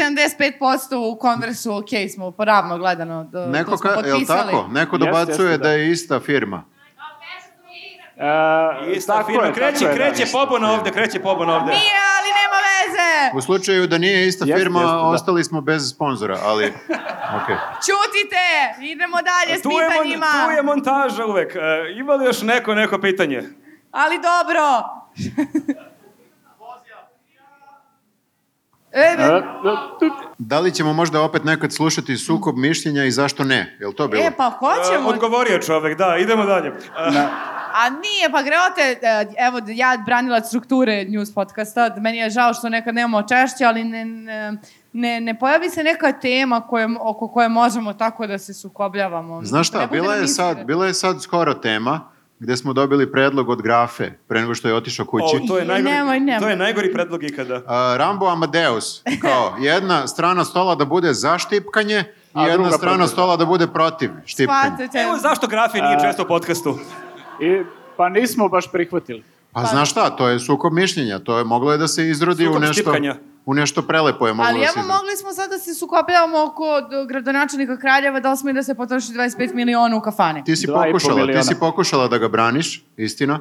Speaker 3: 75% u konversu, ok, smo poravno gledano, do,
Speaker 7: Neko
Speaker 3: to smo
Speaker 7: ka, je li
Speaker 3: potpisali.
Speaker 7: tako? Neko
Speaker 2: Jeste,
Speaker 7: dobacuje
Speaker 2: jeste, da.
Speaker 7: da je ista firma.
Speaker 2: E,
Speaker 6: Ista
Speaker 2: tako
Speaker 6: firma.
Speaker 2: je,
Speaker 6: kreće,
Speaker 2: tako je,
Speaker 6: kreće
Speaker 2: da.
Speaker 6: pobon ovde, kreće pobon ovde.
Speaker 3: Nije, ali nema veze!
Speaker 7: U slučaju da nije ista
Speaker 2: Jeste,
Speaker 7: firma,
Speaker 2: jeste, da.
Speaker 7: ostali smo bez sponzora, ali... Okay.
Speaker 3: Čutite! Idemo dalje s
Speaker 6: Tu je, mon,
Speaker 3: pitanjima!
Speaker 6: tu je montaža uvek. E, ima li još neko, neko pitanje?
Speaker 3: Ali dobro! e,
Speaker 2: E, da, tu-
Speaker 7: Da li ćemo možda opet nekad slušati sukob mišljenja i zašto ne? Je li to bilo?
Speaker 3: e, pa
Speaker 6: E,
Speaker 3: hoćemo,
Speaker 6: odgovorio čovek, da, idemo dalje. E,
Speaker 3: a nije, pa greote, e, evo, ja branila strukture news podcasta, meni je žao što nekad nemamo češće, ali ne, ne, ne, ne pojavi se neka tema koje, oko koje možemo tako da se sukobljavamo.
Speaker 7: Znaš šta,
Speaker 3: Ne bude
Speaker 7: bila
Speaker 3: nam
Speaker 7: je,
Speaker 3: iskre.
Speaker 7: sad, bila je sad skoro tema gde smo dobili predlog od grafe pre nego što je otišao kući.
Speaker 6: o, to je
Speaker 3: I
Speaker 6: najgori,
Speaker 3: nemoj, nemoj.
Speaker 6: To je najgori predlog ikada.
Speaker 7: A, Rambo Amadeus, kao jedna strana stola da bude za štipkanje i
Speaker 2: A
Speaker 7: jedna
Speaker 2: druga
Speaker 7: strana
Speaker 2: protiv.
Speaker 7: stola da bude protiv štipkanja.
Speaker 3: Shvatite.
Speaker 6: Evo zašto Grafi nije često u podcastu.
Speaker 2: i, pa nismo baš prihvatili.
Speaker 7: Pa znaš šta, to je sukob mišljenja, to je moglo je da se izrodi
Speaker 6: Sukob
Speaker 7: u nešto,
Speaker 6: štipkanja.
Speaker 7: u nešto prelepo je moglo
Speaker 3: Ali
Speaker 7: da se
Speaker 3: evo,
Speaker 7: izrodi.
Speaker 3: mogli smo sad da se sukopljavamo oko d- gradonačelnika Kraljeva, da li smo i da se potroši 25 miliona u kafane.
Speaker 7: Ti si
Speaker 2: Dva i po
Speaker 7: pokušala, ti
Speaker 2: miliona.
Speaker 7: si pokušala da ga braniš, istina.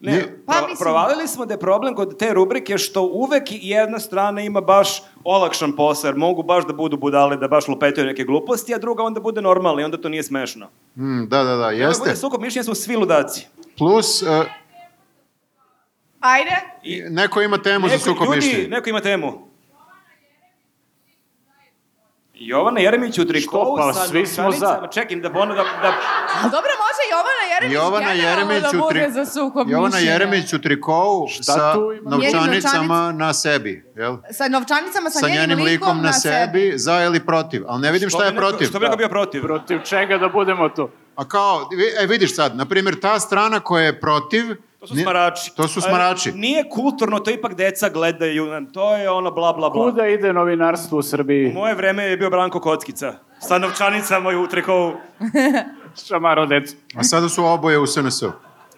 Speaker 6: Ne,
Speaker 7: Ni-
Speaker 6: pa,
Speaker 3: Pa, mislim-
Speaker 6: provalili smo da je problem kod te rubrike što uvek jedna strana ima baš olakšan posao, jer mogu baš da budu budale, da baš lupetaju neke gluposti, a druga onda bude normalna i onda to nije smešno.
Speaker 7: Mm, da, da, da,
Speaker 6: Jeste. Ovo
Speaker 7: jeste.
Speaker 6: bude sukob mišljenja, smo svi ludaci.
Speaker 7: Plus, e,
Speaker 3: Ajde.
Speaker 7: neko ima temu za sukob mišljenja.
Speaker 6: neko ima temu. Jovana Jeremić u trikovu
Speaker 2: Što, pa
Speaker 6: sa
Speaker 2: svi smo za.
Speaker 6: novčanicama. Čekim da ono da, da...
Speaker 3: A dobro, može Jovana Jeremić
Speaker 7: Jovana
Speaker 3: generalno
Speaker 7: Jeremić,
Speaker 3: da
Speaker 7: u
Speaker 3: bude
Speaker 7: tri...
Speaker 3: za sukob
Speaker 7: Jovana
Speaker 3: mišljenja.
Speaker 7: Jeremić u trikovu sa
Speaker 2: tu ima?
Speaker 7: novčanicama
Speaker 3: Njenim
Speaker 7: na sebi, jel?
Speaker 3: Sa novčanicama, sa,
Speaker 7: Sa njenim likom na sebi, za ili protiv. Ali ne vidim šta je
Speaker 6: Što bi neko-
Speaker 7: protiv.
Speaker 6: Što bi
Speaker 2: Da.
Speaker 6: neko bio protiv?
Speaker 2: Protiv čega da budemo tu?
Speaker 7: A kao, vi- e, vidiš sad, na primjer, ta strana koja je protiv...
Speaker 6: To su
Speaker 7: ni-
Speaker 6: smarači.
Speaker 7: To su smarači.
Speaker 6: E, Nije kulturno, to ipak deca gledaju, to je ono bla bla bla.
Speaker 2: Kuda ide novinarstvo u
Speaker 6: U
Speaker 2: Srbiji?
Speaker 6: moje vreme je bio Branko Kockica. Sa novčanicama i u trikovu.
Speaker 2: Šamaro, decu.
Speaker 7: A sada su oboje u SNS-u.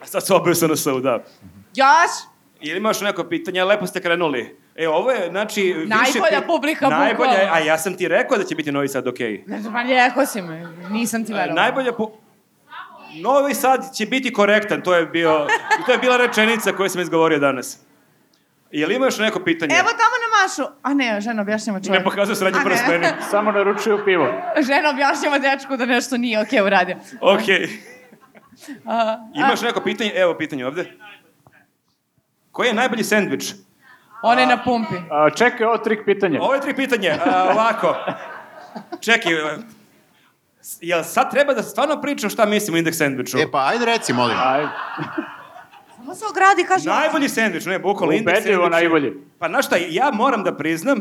Speaker 6: Sad su obe u SNS-u, da.
Speaker 3: Još?
Speaker 6: Ili imaš neko pitanje? Lepo ste krenuli. E, ovo je, znači... više
Speaker 3: Najbolja publika,
Speaker 6: Najbolja,
Speaker 3: bukvalno.
Speaker 6: a ja sam ti rekao da će biti Novi Sad okej.
Speaker 3: Znači, pa ljeko si me. Nisam ti
Speaker 6: Okay.
Speaker 3: verovala.
Speaker 6: Najbolja pu... Novi Sad će biti korektan, to je, bio, to je bila rečenica koju sam izgovorio danas. Je li ima još neko pitanje?
Speaker 3: Evo tamo na Mašu. A ne, žena objašnjava čovjeku.
Speaker 6: Ne pokazuje srednji
Speaker 3: A ne.
Speaker 6: prst meni.
Speaker 2: Samo naručuju pivo.
Speaker 3: Žena objašnjava dečku da nešto nije okej uradio.
Speaker 6: Okej.
Speaker 3: A,
Speaker 6: Imaš neko pitanje? Evo pitanje ovde. Koji je najbolji sendvič?
Speaker 3: ona je na pumpi.
Speaker 2: A, čekaj, ovo trik pitanje.
Speaker 6: Ovo je tri pitanje. A, ovako. Čekaj. e, s- Jel sad treba da stvarno pričam šta mislim o indeks sandviču?
Speaker 7: E pa, ajde reci, molim.
Speaker 2: Aj,
Speaker 3: Samo se ogradi, kaže.
Speaker 6: Najbolji sendvič, ne, bukvalno indeks
Speaker 2: Ubedljivo
Speaker 6: sendvič. je-
Speaker 2: najbolji.
Speaker 6: Pa znaš šta, ja moram da priznam,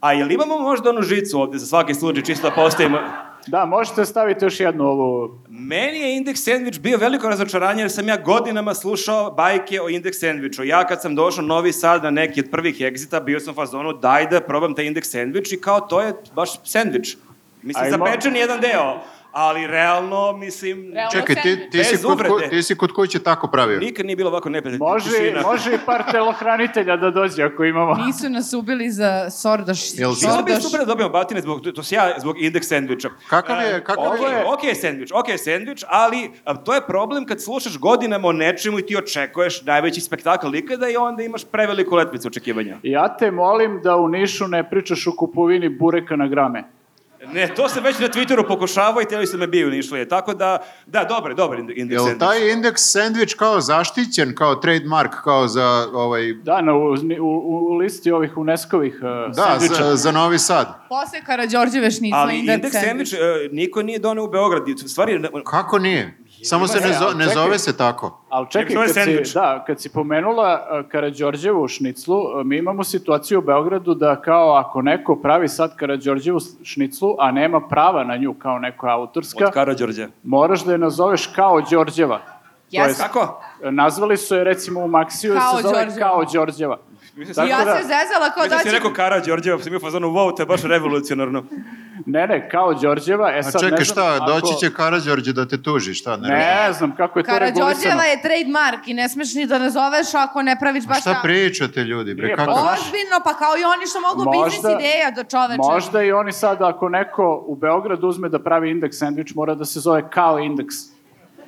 Speaker 6: a jel imamo možda onu žicu ovde za svaki slučaj, čisto da postavimo...
Speaker 2: da, možete staviti još jednu ovu...
Speaker 6: Meni je indeks sandvič bio veliko razočaranje jer sam ja godinama slušao bajke o indeks sandviču. Ja kad sam došao u Novi Sad na neki od prvih egzita, bio sam u fazonu daj da probam taj indeks sandvič i kao to je baš sandvič. Mislim,
Speaker 2: Ajmo.
Speaker 6: zapečen jedan deo,
Speaker 1: ali realno, mislim...
Speaker 6: Realno
Speaker 7: Čekaj, ti, ti, si
Speaker 1: Bez
Speaker 7: kod, ku-
Speaker 1: uvrede.
Speaker 7: ti si kod kuće tako pravio.
Speaker 1: Nikad nije bilo ovako neprijatno.
Speaker 2: Može,
Speaker 1: tišina.
Speaker 2: može i par telohranitelja da dođe ako imamo.
Speaker 3: Nisu nas ubili za sordaš.
Speaker 7: Jel
Speaker 1: Što bi
Speaker 3: sordaš.
Speaker 1: super da dobijemo batine zbog, to se ja zbog indeks sandviča.
Speaker 7: Kakav je, kakav
Speaker 1: Ok,
Speaker 7: je,
Speaker 1: ok je sandvič, ok je sandvič, ali a, to je problem kad slušaš godinama o nečemu i ti očekuješ najveći spektakl ikada i onda imaš preveliku letvicu očekivanja.
Speaker 2: Ja te molim da u Nišu ne pričaš o kupovini bureka na grame.
Speaker 1: Ne, to se već na Twitteru pokušavao i teli su me biju nišlije. Tako da, da, dobar, dobar ind- indeks
Speaker 7: Jel
Speaker 1: sandvič.
Speaker 7: taj indeks sandvič kao zaštićen, kao trademark, kao za ovaj...
Speaker 2: Da, na, u, u, u listi ovih UNESCO-vih uh,
Speaker 7: Da,
Speaker 2: sendviča.
Speaker 7: za, za Novi Sad.
Speaker 3: Posle Karadžorđeve šnicle
Speaker 1: Ali
Speaker 3: indeks
Speaker 1: indeks
Speaker 3: sandvič.
Speaker 1: sandvič e, niko nije doneo u Beograd. U stvari, ne-
Speaker 7: Kako nije? Samo se ne, zo- ne zove se tako.
Speaker 2: Ali čekaj,
Speaker 1: Nego to je
Speaker 2: kad
Speaker 1: sendvič.
Speaker 2: si, da, kad si pomenula uh, Karađorđevu šniclu, uh, mi imamo situaciju u Beogradu da kao ako neko pravi sad Karađorđevu s- šniclu, a nema prava na nju kao neka autorska,
Speaker 1: od Karadžorđe.
Speaker 2: moraš da je nazoveš kao Đorđeva. To
Speaker 3: Ja
Speaker 2: jest,
Speaker 1: Kako?
Speaker 2: nazvali su je recimo u Maksiju jer
Speaker 3: Kao
Speaker 2: se zove
Speaker 3: Đorđeva.
Speaker 2: kao Đorđeva.
Speaker 1: Tako
Speaker 2: da-
Speaker 3: ja se zezala kao
Speaker 1: Mislim
Speaker 3: da
Speaker 1: da si
Speaker 3: će...
Speaker 1: rekao Karadžorđe, pa sam bio u fazonu, wow, to je baš revolucionarno.
Speaker 2: Ne, ne, kao Đorđeva. E,
Speaker 7: A
Speaker 2: sad, ne znam
Speaker 7: čekaj šta,
Speaker 2: ako-
Speaker 7: doći će Karađorđe da te tuži, šta? Ne, razumem.
Speaker 2: Ne znam kako je to regulisano.
Speaker 3: Karadžorđeva je trademark i ne smeš ni da nazoveš ako ne praviš baš
Speaker 7: Šta
Speaker 3: tako.
Speaker 7: pričate ljudi, bre,
Speaker 2: Pa Nije,
Speaker 7: kako?
Speaker 2: pa-
Speaker 3: Ozbiljno, pa kao i oni što mogu
Speaker 2: Možda-
Speaker 3: biznis ideja do čoveče.
Speaker 2: Možda i oni sad, ako neko u Beogradu uzme da pravi indeks sandvič, mora da se zove kao indeks. pa-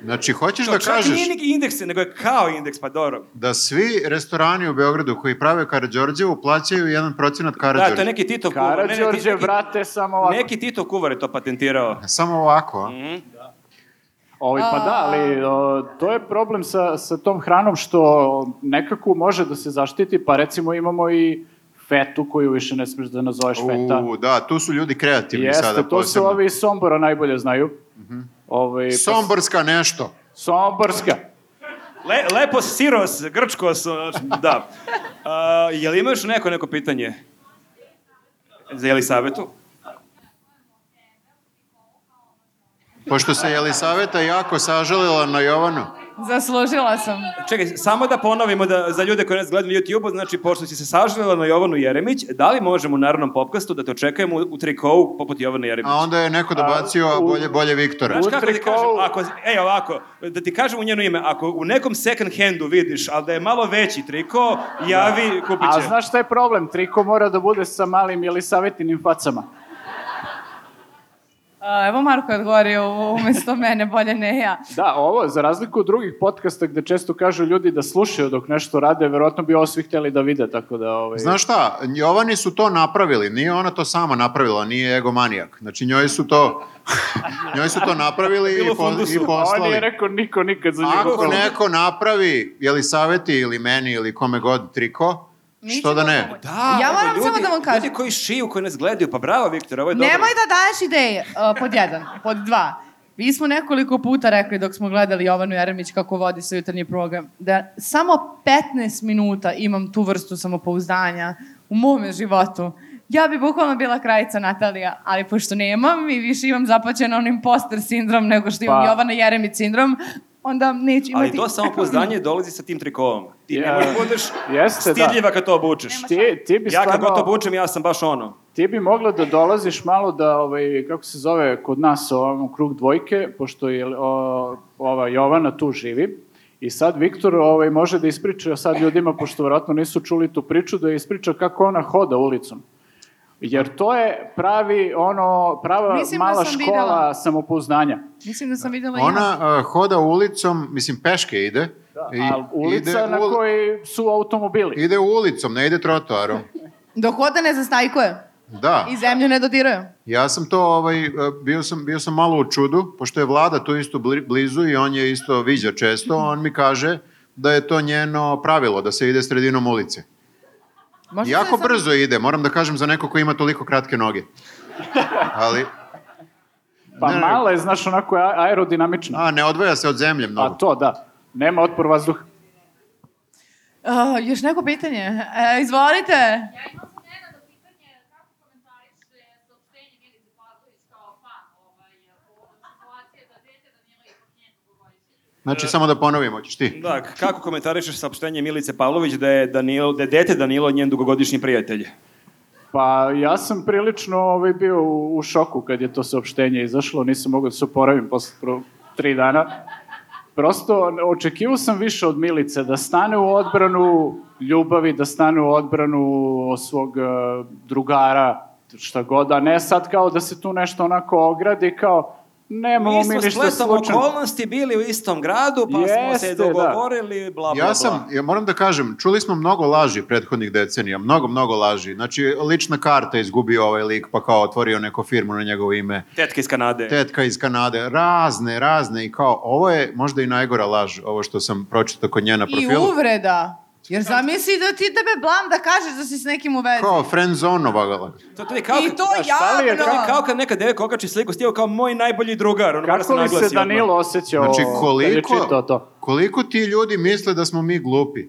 Speaker 7: Znači, hoćeš
Speaker 1: To
Speaker 7: da
Speaker 1: čak
Speaker 7: kažeš
Speaker 1: nije neki indeks, nego je kao indeks, pa dobro.
Speaker 7: da svi restorani u Beogradu koji prave Karađorđevu plaćaju jedan procenat
Speaker 1: Da, to
Speaker 7: Karađorđe. Da,
Speaker 1: je neki Titov kuvar. ne, ne, ti-
Speaker 2: Karadžorđe,
Speaker 1: neki-
Speaker 2: vrate, samo ovako.
Speaker 1: Neki Titov kuvar je to patentirao.
Speaker 7: Samo ovako,
Speaker 2: Mm,
Speaker 7: a?
Speaker 2: Ovi, pa da, ali o, to je problem sa, sa tom hranom što nekako može da se zaštiti, pa recimo imamo i fetu koju više ne smeš da nazoveš feta.
Speaker 7: U, da, tu su ljudi kreativni
Speaker 2: Jeste,
Speaker 7: sada
Speaker 2: to su
Speaker 7: posebno.
Speaker 2: ovi iz Sombora najbolje znaju.
Speaker 1: Mhm.
Speaker 2: Ovi, pa-
Speaker 7: Somborska nešto.
Speaker 2: Somborska.
Speaker 1: Le, lepos, siros, grčkos, ono, da. A, je li ima još neko neko pitanje? Za Jelisavetu?
Speaker 7: Pošto se Jelisaveta jako sažalila na Jovanu.
Speaker 3: Zaslužila sam.
Speaker 1: Čekaj, samo da ponovimo da, za ljude koji nas gledaju na YouTube-u, znači, pošto si se sažalila na Jovanu Jeremić, da li možemo u narodnom popkastu da te očekujemo u, u trikovu poput Jovana Jeremić?
Speaker 7: A onda je neko dobacio, a
Speaker 2: u-
Speaker 7: bolje, bolje Viktora.
Speaker 1: Znaš kako da ti
Speaker 2: Utrikao-
Speaker 1: kažem, ako, ej ovako, da ti kažem u njeno ime, ako u nekom second handu vidiš, ali da je malo veći triko, javi, kupit će.
Speaker 2: Da. A znaš šta je problem? Triko mora da bude sa malim ili savetinim facama.
Speaker 3: A, Evo Marko je odgovorio umesto mene, bolje ne ja.
Speaker 2: Da, ovo, za razliku od drugih podcasta gde često kažu ljudi da slušaju dok nešto rade, verovatno bi ovo svi hteli da vide, tako da... Ovaj...
Speaker 7: Znaš šta, Jovani su to napravili, nije ona to sama napravila, nije egomanijak. Znači njoj su to, njoj su to napravili
Speaker 1: Bilo
Speaker 7: i, po,
Speaker 1: fundusu.
Speaker 7: i
Speaker 2: On
Speaker 7: poslali.
Speaker 2: nije rekao da niko nikad za njegov
Speaker 7: Ako
Speaker 2: problem.
Speaker 7: neko napravi, je li saveti ili meni ili kome god triko, što da ne?
Speaker 1: Da,
Speaker 3: Ja
Speaker 1: evo,
Speaker 3: moram
Speaker 1: ljudi,
Speaker 3: samo da vam kažem.
Speaker 1: Ljudi koji šiju, koji nas gledaju, pa bravo Viktor, ovo je dobro.
Speaker 3: Nemoj da daješ ideje, uh, pod jedan. Pod dva, mi smo nekoliko puta rekli dok smo gledali Jovanu Jeremić kako vodi svoj jutarnji program, da samo 15 minuta imam tu vrstu samopouzdanja u mome životu. Ja bi bukvalno bila krajica Natalija, ali pošto nemam i više imam zapaćen on imposter sindrom nego što imam
Speaker 2: Pa.
Speaker 3: Jovana Jeremić sindrom, onda neću da imati...
Speaker 1: Ali to samopouzdanje dolazi sa tim trikovom. Ti ne
Speaker 2: Ja.
Speaker 1: možeš da budeš
Speaker 2: Jeste, da.
Speaker 1: stidljiva kad to obučeš.
Speaker 2: Ti, ti bi
Speaker 1: Ja kad
Speaker 2: stvarno,
Speaker 1: god to obučem, ja sam baš ono.
Speaker 2: ti bi mogla da dolaziš malo da, ovaj, kako se zove, kod nas ovom u krug dvojke, pošto je o, ova Jovana tu živi, I sad Viktor ovaj, može da ispriča sad ljudima, pošto vjerojatno nisu čuli tu priču, da ispriča kako ona hoda ulicom. Jer to je pravi, ono, prava
Speaker 3: Mislim da
Speaker 2: mala
Speaker 3: sam
Speaker 2: škola
Speaker 3: videla.
Speaker 2: samopouznanja.
Speaker 3: Mislim da sam videla i ja.
Speaker 7: Ona a, hoda ulicom, mislim peške ide. i
Speaker 2: A Da, ulica
Speaker 7: ide
Speaker 2: na
Speaker 7: ul-
Speaker 2: kojoj su automobili.
Speaker 7: Ide ulicom, ne ide trotoarom.
Speaker 3: Dok hoda ne zastajkuje
Speaker 7: Da.
Speaker 3: i zemlju ne dodiraju.
Speaker 7: Ja sam to, ovaj, e, bio, sam, bio sam malo u čudu, pošto je vlada tu isto bli- blizu i on je isto viđa često, on mi kaže da je to njeno pravilo, da se ide sredinom ulice.
Speaker 3: Možda
Speaker 7: jako
Speaker 3: se sad-
Speaker 7: brzo ide, moram da kažem za neko ko ima toliko kratke noge. Ali,
Speaker 2: Pa
Speaker 7: Ne, ne.
Speaker 2: mala je, znaš, onako je a- aerodinamična.
Speaker 7: a ne odvaja se od zemlje
Speaker 2: A
Speaker 7: mnogo.
Speaker 2: to, da. Nema otpor vazduha.
Speaker 3: A, još neko pitanje? E, izvolite.
Speaker 4: Ja imam se Nenada pitanje kako komentariše saopštenje Milice Pavlović kao fan ovaj, povodom situacije da dete Danila ipak nije dugogodišnje.
Speaker 7: Znači, samo da ponovim, hoćeš ti.
Speaker 1: Da, kako komentarišeš saopštenje Milice Pavlović da je, Danilo, da je dete Danilo njen dugogodišnji prijatelj?
Speaker 2: Pa ja sam prilično ovaj, bio u, u šoku kad je to saopštenje izašlo, nisam mogao da se oporavim posle pro, tri dana. Prosto očekivao sam više od Milice, da stane u odbranu ljubavi, da stane u odbranu svog e, drugara, šta god, a ne sad kao da se tu nešto onako ogradi, kao nemamo
Speaker 6: Mi
Speaker 2: mi,
Speaker 6: smo
Speaker 2: ništa
Speaker 6: spletom
Speaker 2: slučajno.
Speaker 6: okolnosti bili u istom gradu, pa smo se
Speaker 2: Jeste, da.
Speaker 6: dogovorili, bla, bla,
Speaker 7: Ja sam, ja moram da kažem, čuli smo mnogo laži prethodnih decenija, mnogo, mnogo laži. Znači, lična karta je izgubio ovaj lik, pa kao otvorio neku firmu na njegovo ime.
Speaker 6: bla. Tetke iz Kanade.
Speaker 7: Tetka iz Kanade, razne, razne i kao, ovo je možda i najgora laž, ovo što sam pročitao kod nje na
Speaker 3: I
Speaker 7: profilu.
Speaker 3: uvreda. Jer zamisli da ti tebe blam da kažeš da si s nekim u vezi.
Speaker 7: Kao friendzonovala.
Speaker 6: To, to je kao,
Speaker 3: I to
Speaker 6: znaš,
Speaker 2: da li je
Speaker 3: javno.
Speaker 6: To je kao kad neka devojka okači sliku s tijelo kao moj najbolji drugar. Ono mora
Speaker 2: Kako li
Speaker 6: da naglasi
Speaker 2: se
Speaker 6: odmah.
Speaker 2: Danilo osjećao
Speaker 7: Znači,
Speaker 2: kad je čitao
Speaker 7: koliko,
Speaker 2: to?
Speaker 7: koliko ti ljudi misle da smo mi glupi?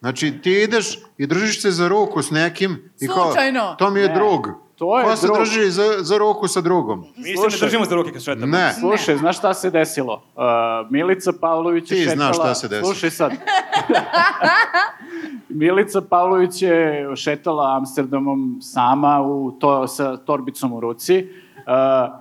Speaker 7: Znači, ti ideš i držiš se za ruku s nekim i kao,
Speaker 3: Slučajno.
Speaker 7: to mi je
Speaker 2: Ne,
Speaker 7: drug.
Speaker 2: to je
Speaker 7: Ko se
Speaker 2: drug.
Speaker 7: drži za, za ruku sa drugom?
Speaker 6: Mi se ne
Speaker 2: Slušaj.
Speaker 6: držimo za ruke kad
Speaker 2: Da
Speaker 6: šetamo.
Speaker 7: Ne.
Speaker 2: Slušaj, znaš šta se desilo? Uh, Milica Pavlović je
Speaker 7: Ti
Speaker 2: šetala...
Speaker 7: znaš šta se desilo.
Speaker 2: Slušaj sad. Milica Pavlović je šetala Amsterdamom sama u to, sa torbicom u ruci. Uh,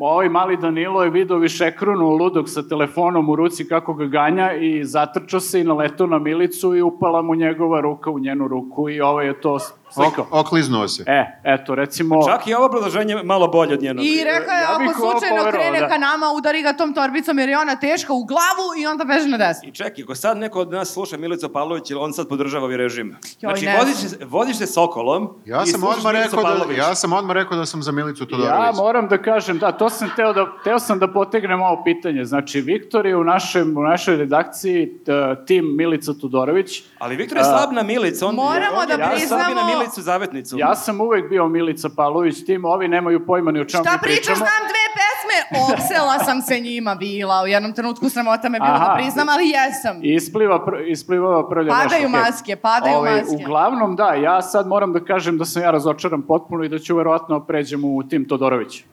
Speaker 2: ovaj mali Danilo je video višekrunu ludog sa telefonom u ruci kako ga ganja i zatrčao se i naletao na Milicu i upala mu njegova ruka u njenu ruku i ovaj je to slikao.
Speaker 7: Ok, okliznuo se.
Speaker 2: E, eto, recimo...
Speaker 6: Čak i ovo obrazloženje je malo bolje od njenog.
Speaker 3: I rekao je,
Speaker 2: Ja bih
Speaker 3: ako
Speaker 2: ovo
Speaker 3: slučajno
Speaker 2: poverovao,
Speaker 3: krene
Speaker 2: da.
Speaker 3: ka nama, udari ga tom torbicom jer je ona teška u glavu i onda beže na desno.
Speaker 6: I čekaj, ako sad neko od nas sluša Milica Pavlović, on sad podržava ovaj režim. znači,
Speaker 3: ne.
Speaker 6: voziš, se- voziš se sokolom
Speaker 7: Ja
Speaker 6: i
Speaker 7: sam,
Speaker 6: slušaš
Speaker 7: odmah
Speaker 6: Milicu
Speaker 7: rekao da,
Speaker 6: Pavlović.
Speaker 7: ja sam odmah rekao da sam za Milicu
Speaker 2: Ja
Speaker 7: Todorović.
Speaker 2: moram da kažem, da, to sam teo da, teo sam da potegnem ovo pitanje. Znači, Viktor je u, našem, u našoj redakciji t- tim Milica Tudorović.
Speaker 6: Ali Viktor je slabna Milica. On,
Speaker 3: Moramo
Speaker 6: on,
Speaker 3: da
Speaker 6: ja sam
Speaker 3: priznamo-
Speaker 6: na Milicu zavetnicu.
Speaker 2: Ja sam uvek bio Milica Pavlović tim, ovi nemaju pojma ni o čemu
Speaker 3: Šta
Speaker 2: mi
Speaker 3: pričaš, da?
Speaker 2: pričamo.
Speaker 3: znam dve pesme, opsela sam se njima bila, u jednom trenutku sramota me bilo da
Speaker 2: Aha.
Speaker 3: priznam, ali jesam.
Speaker 2: I ispliva, pr, ispliva prlja
Speaker 3: Padaju maske, padaju maske.
Speaker 2: Ovaj, Uglavnom, da, ja sad moram da kažem da sam ja razočaran potpuno i da ću verovatno pređem u tim Todorović.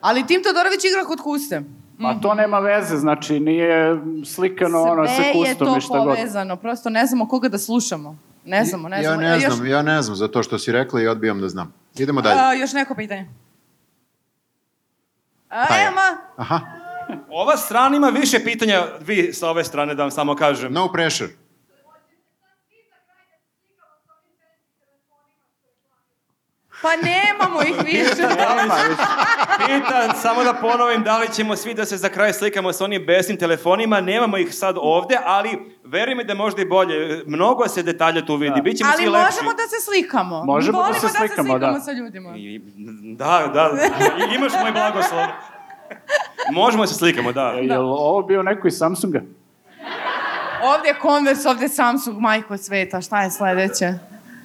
Speaker 3: Ali Tim Todorović igra kod kuste.
Speaker 2: Ma to nema veze, znači nije slikano ono sa
Speaker 3: Mhm. Sve je
Speaker 2: kustom
Speaker 3: to
Speaker 2: i šta god.
Speaker 3: povezano, prosto ne znamo koga da slušamo. Ne znamo, ne
Speaker 7: ja
Speaker 3: znamo. E,
Speaker 7: ne
Speaker 3: Još-
Speaker 7: znam, ja ne znam za to što si rekla i odbijam da znam. Idemo dalje.
Speaker 3: A, još neko pitanje. A,
Speaker 7: Pa je.
Speaker 3: Ema,
Speaker 7: Aha,
Speaker 6: Ova strana ima više pitanja, vi sa ove strane da vam samo kažem.
Speaker 7: no pressure.
Speaker 3: pa nemamo ih više.
Speaker 2: Nema, više.
Speaker 6: Pitan, samo da ponovim da li ćemo svi da se za kraj slikamo sa onim besnim telefonima, nemamo ih sad ovde, ali veruj mi da je možda i bolje, mnogo se detalja tu vidi,
Speaker 2: Da.
Speaker 6: bit ćemo
Speaker 3: Ali
Speaker 6: svi
Speaker 3: možemo
Speaker 6: lepši.
Speaker 3: da se slikamo.
Speaker 2: Možemo da
Speaker 3: Volimo
Speaker 2: se slikamo,
Speaker 3: da. se slikamo
Speaker 2: da.
Speaker 3: sa ljudima.
Speaker 6: I- Da, da, i- imaš moj blagoslov. Možemo da se slikamo, da.
Speaker 2: Je li ovo bio neko iz Samsunga?
Speaker 3: Ovdje je Converse, ovdje je Samsung, majko sveta, šta je sledeće?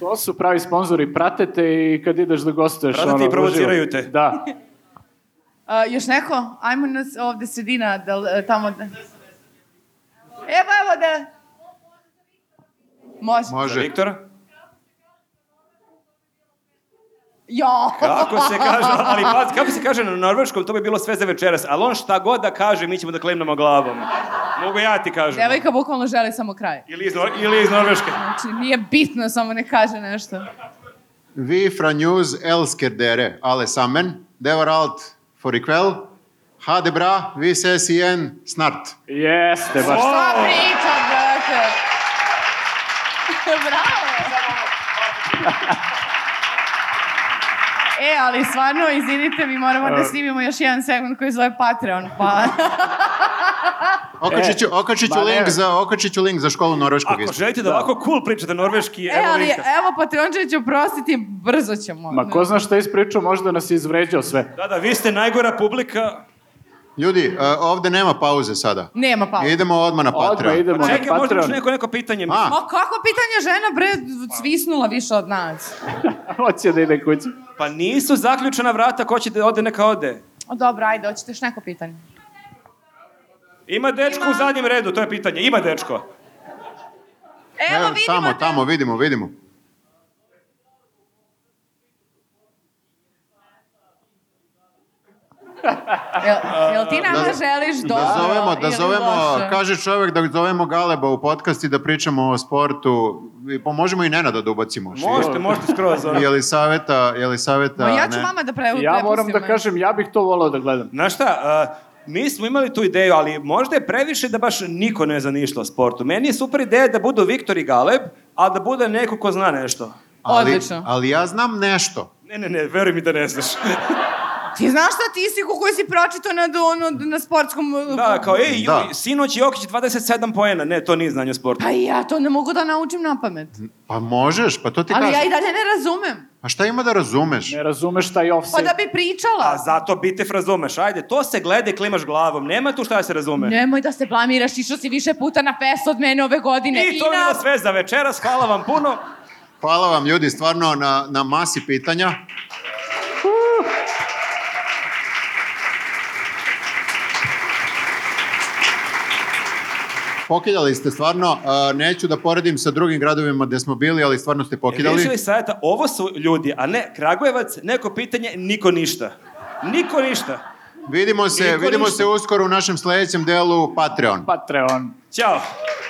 Speaker 2: To su pravi sponzori, prate te i kad ideš da gostuješ.
Speaker 6: Prate te
Speaker 2: ono,
Speaker 6: i provociraju
Speaker 2: uživo.
Speaker 6: te.
Speaker 2: Da.
Speaker 3: A, još neko? Ajmo nas ovdje sredina, da, l- tamo... Da... Evo, evo da... Može.
Speaker 7: Može.
Speaker 6: Viktor?
Speaker 3: Jo!
Speaker 6: Kako se kaže, ali pazi, kako se kaže na norveškom, to bi bilo sve za večeras, ali on šta god da kaže, mi ćemo da klimnemo glavom. Mogu ja ti kažem.
Speaker 3: Devojka bukvalno želi samo kraj.
Speaker 6: Ili iz, Nor ili iz Norveške.
Speaker 3: Znači, nije bitno, samo ne kaže nešto.
Speaker 7: Vi fra news elsker dere, alle sammen. Det var alt for i kveld. Ha det bra, vi ses igjen snart.
Speaker 2: Jeste, baš.
Speaker 3: Šta priča, brate? Bravo! E, ali stvarno, izvinite, mi moramo
Speaker 7: E.
Speaker 3: da snimimo još jedan segment koji se zove Patreon, pa...
Speaker 7: Okačit ću,
Speaker 2: E,
Speaker 7: okačit ću
Speaker 2: ma ne.
Speaker 7: link za, okačit ću link za školu norveškog
Speaker 6: Ako
Speaker 7: isto.
Speaker 6: želite da, ovako cool pričate norveški,
Speaker 3: E,
Speaker 6: evo
Speaker 3: ali
Speaker 6: linka.
Speaker 3: evo, Patreončević, oprostiti, brzo ćemo.
Speaker 2: Ma ko zna šta je ispričao, možda nas je izvređao sve.
Speaker 6: Da, da, vi ste najgora publika.
Speaker 7: Ljudi, a, ovde nema pauze sada.
Speaker 3: Nema pa.
Speaker 7: Idemo odmah na
Speaker 2: Odmah
Speaker 7: Patreon.
Speaker 2: idemo
Speaker 6: Pa Čekaj,
Speaker 2: na
Speaker 6: možda imaš
Speaker 2: Patreon.
Speaker 6: neko, neko pitanje.
Speaker 7: A,
Speaker 3: Ma kako pitanje žena, bre, svisnula više od nas.
Speaker 2: Hoće da ide kući.
Speaker 6: Pa nisu zaključena vrata, ko će da ode, neka ode.
Speaker 3: O, dobro, ajde, hoćete još neko pitanje?
Speaker 6: Ima dečko u zadnjem redu, to je pitanje. Ima dečko.
Speaker 3: Evo, vidimo
Speaker 7: tamo,
Speaker 3: te.
Speaker 7: tamo, vidimo, vidimo.
Speaker 3: Jel, jel ti nama
Speaker 7: Da-
Speaker 3: želiš dobro
Speaker 7: Da zovemo, da
Speaker 3: ili
Speaker 7: zovemo,
Speaker 3: loše?
Speaker 7: kaže čovjek da zovemo Galeba u podcast i da pričamo o sportu. I pa možemo i Nenada da ubacimo.
Speaker 6: Možete, možete skroz. ono.
Speaker 7: Je li saveta, je li saveta,
Speaker 8: Ma ja ću
Speaker 7: ne.
Speaker 8: vama da pre,
Speaker 2: Ja moram da
Speaker 8: prepustim.
Speaker 2: kažem, ja bih to volao da gledam.
Speaker 6: Znaš šta, a, mi smo imali tu ideju, ali možda je previše da baš niko ne zna ništa o sportu. Meni je super ideja da budu Viktor i Galeb, ali da bude neko ko zna nešto.
Speaker 7: Ali,
Speaker 8: Odlično.
Speaker 7: ali ja znam nešto.
Speaker 6: Ne, ne, ne, veruj mi da ne znaš.
Speaker 8: Ti znaš statistiku koju si pročitao na, ono, na sportskom... uh,
Speaker 6: Da, kao, ej, ju,
Speaker 7: Da.
Speaker 6: sinoć Jokić 27 poena. Ne, to nije znanje o sportu.
Speaker 8: Pa i ja to ne mogu da naučim na pamet.
Speaker 7: Pa možeš, pa to ti
Speaker 8: Ali
Speaker 7: kažem.
Speaker 8: ja i dalje ne razumem.
Speaker 7: Pa šta ima da razumeš?
Speaker 2: Ne razumeš šta je
Speaker 8: Pa
Speaker 2: offset.
Speaker 8: da bi
Speaker 6: A
Speaker 8: pričala.
Speaker 6: zato bitef razumeš, ajde, to se glede, klimaš glavom, nema tu šta da se razume.
Speaker 8: Nemoj da se blamiraš, išao si više puta na fest od mene ove godine.
Speaker 6: I to je
Speaker 8: na-
Speaker 6: bilo sve za večeras, hvala vam puno.
Speaker 7: Hvala vam ljudi stvarno na, na masi pitanja. Pokidali ste stvarno, a, neću da poredim sa drugim gradovima gde smo bili, ali stvarno ste pokidali.
Speaker 6: Vidiš li savjeta, ovo su ljudi, a ne Kragujevac, neko pitanje, niko ništa. Niko ništa.
Speaker 7: Vidimo se,
Speaker 6: Niko
Speaker 7: vidimo
Speaker 6: ništa.
Speaker 7: se uskoro u našem sledećem delu Patreon.
Speaker 2: Patreon.
Speaker 6: Ćao.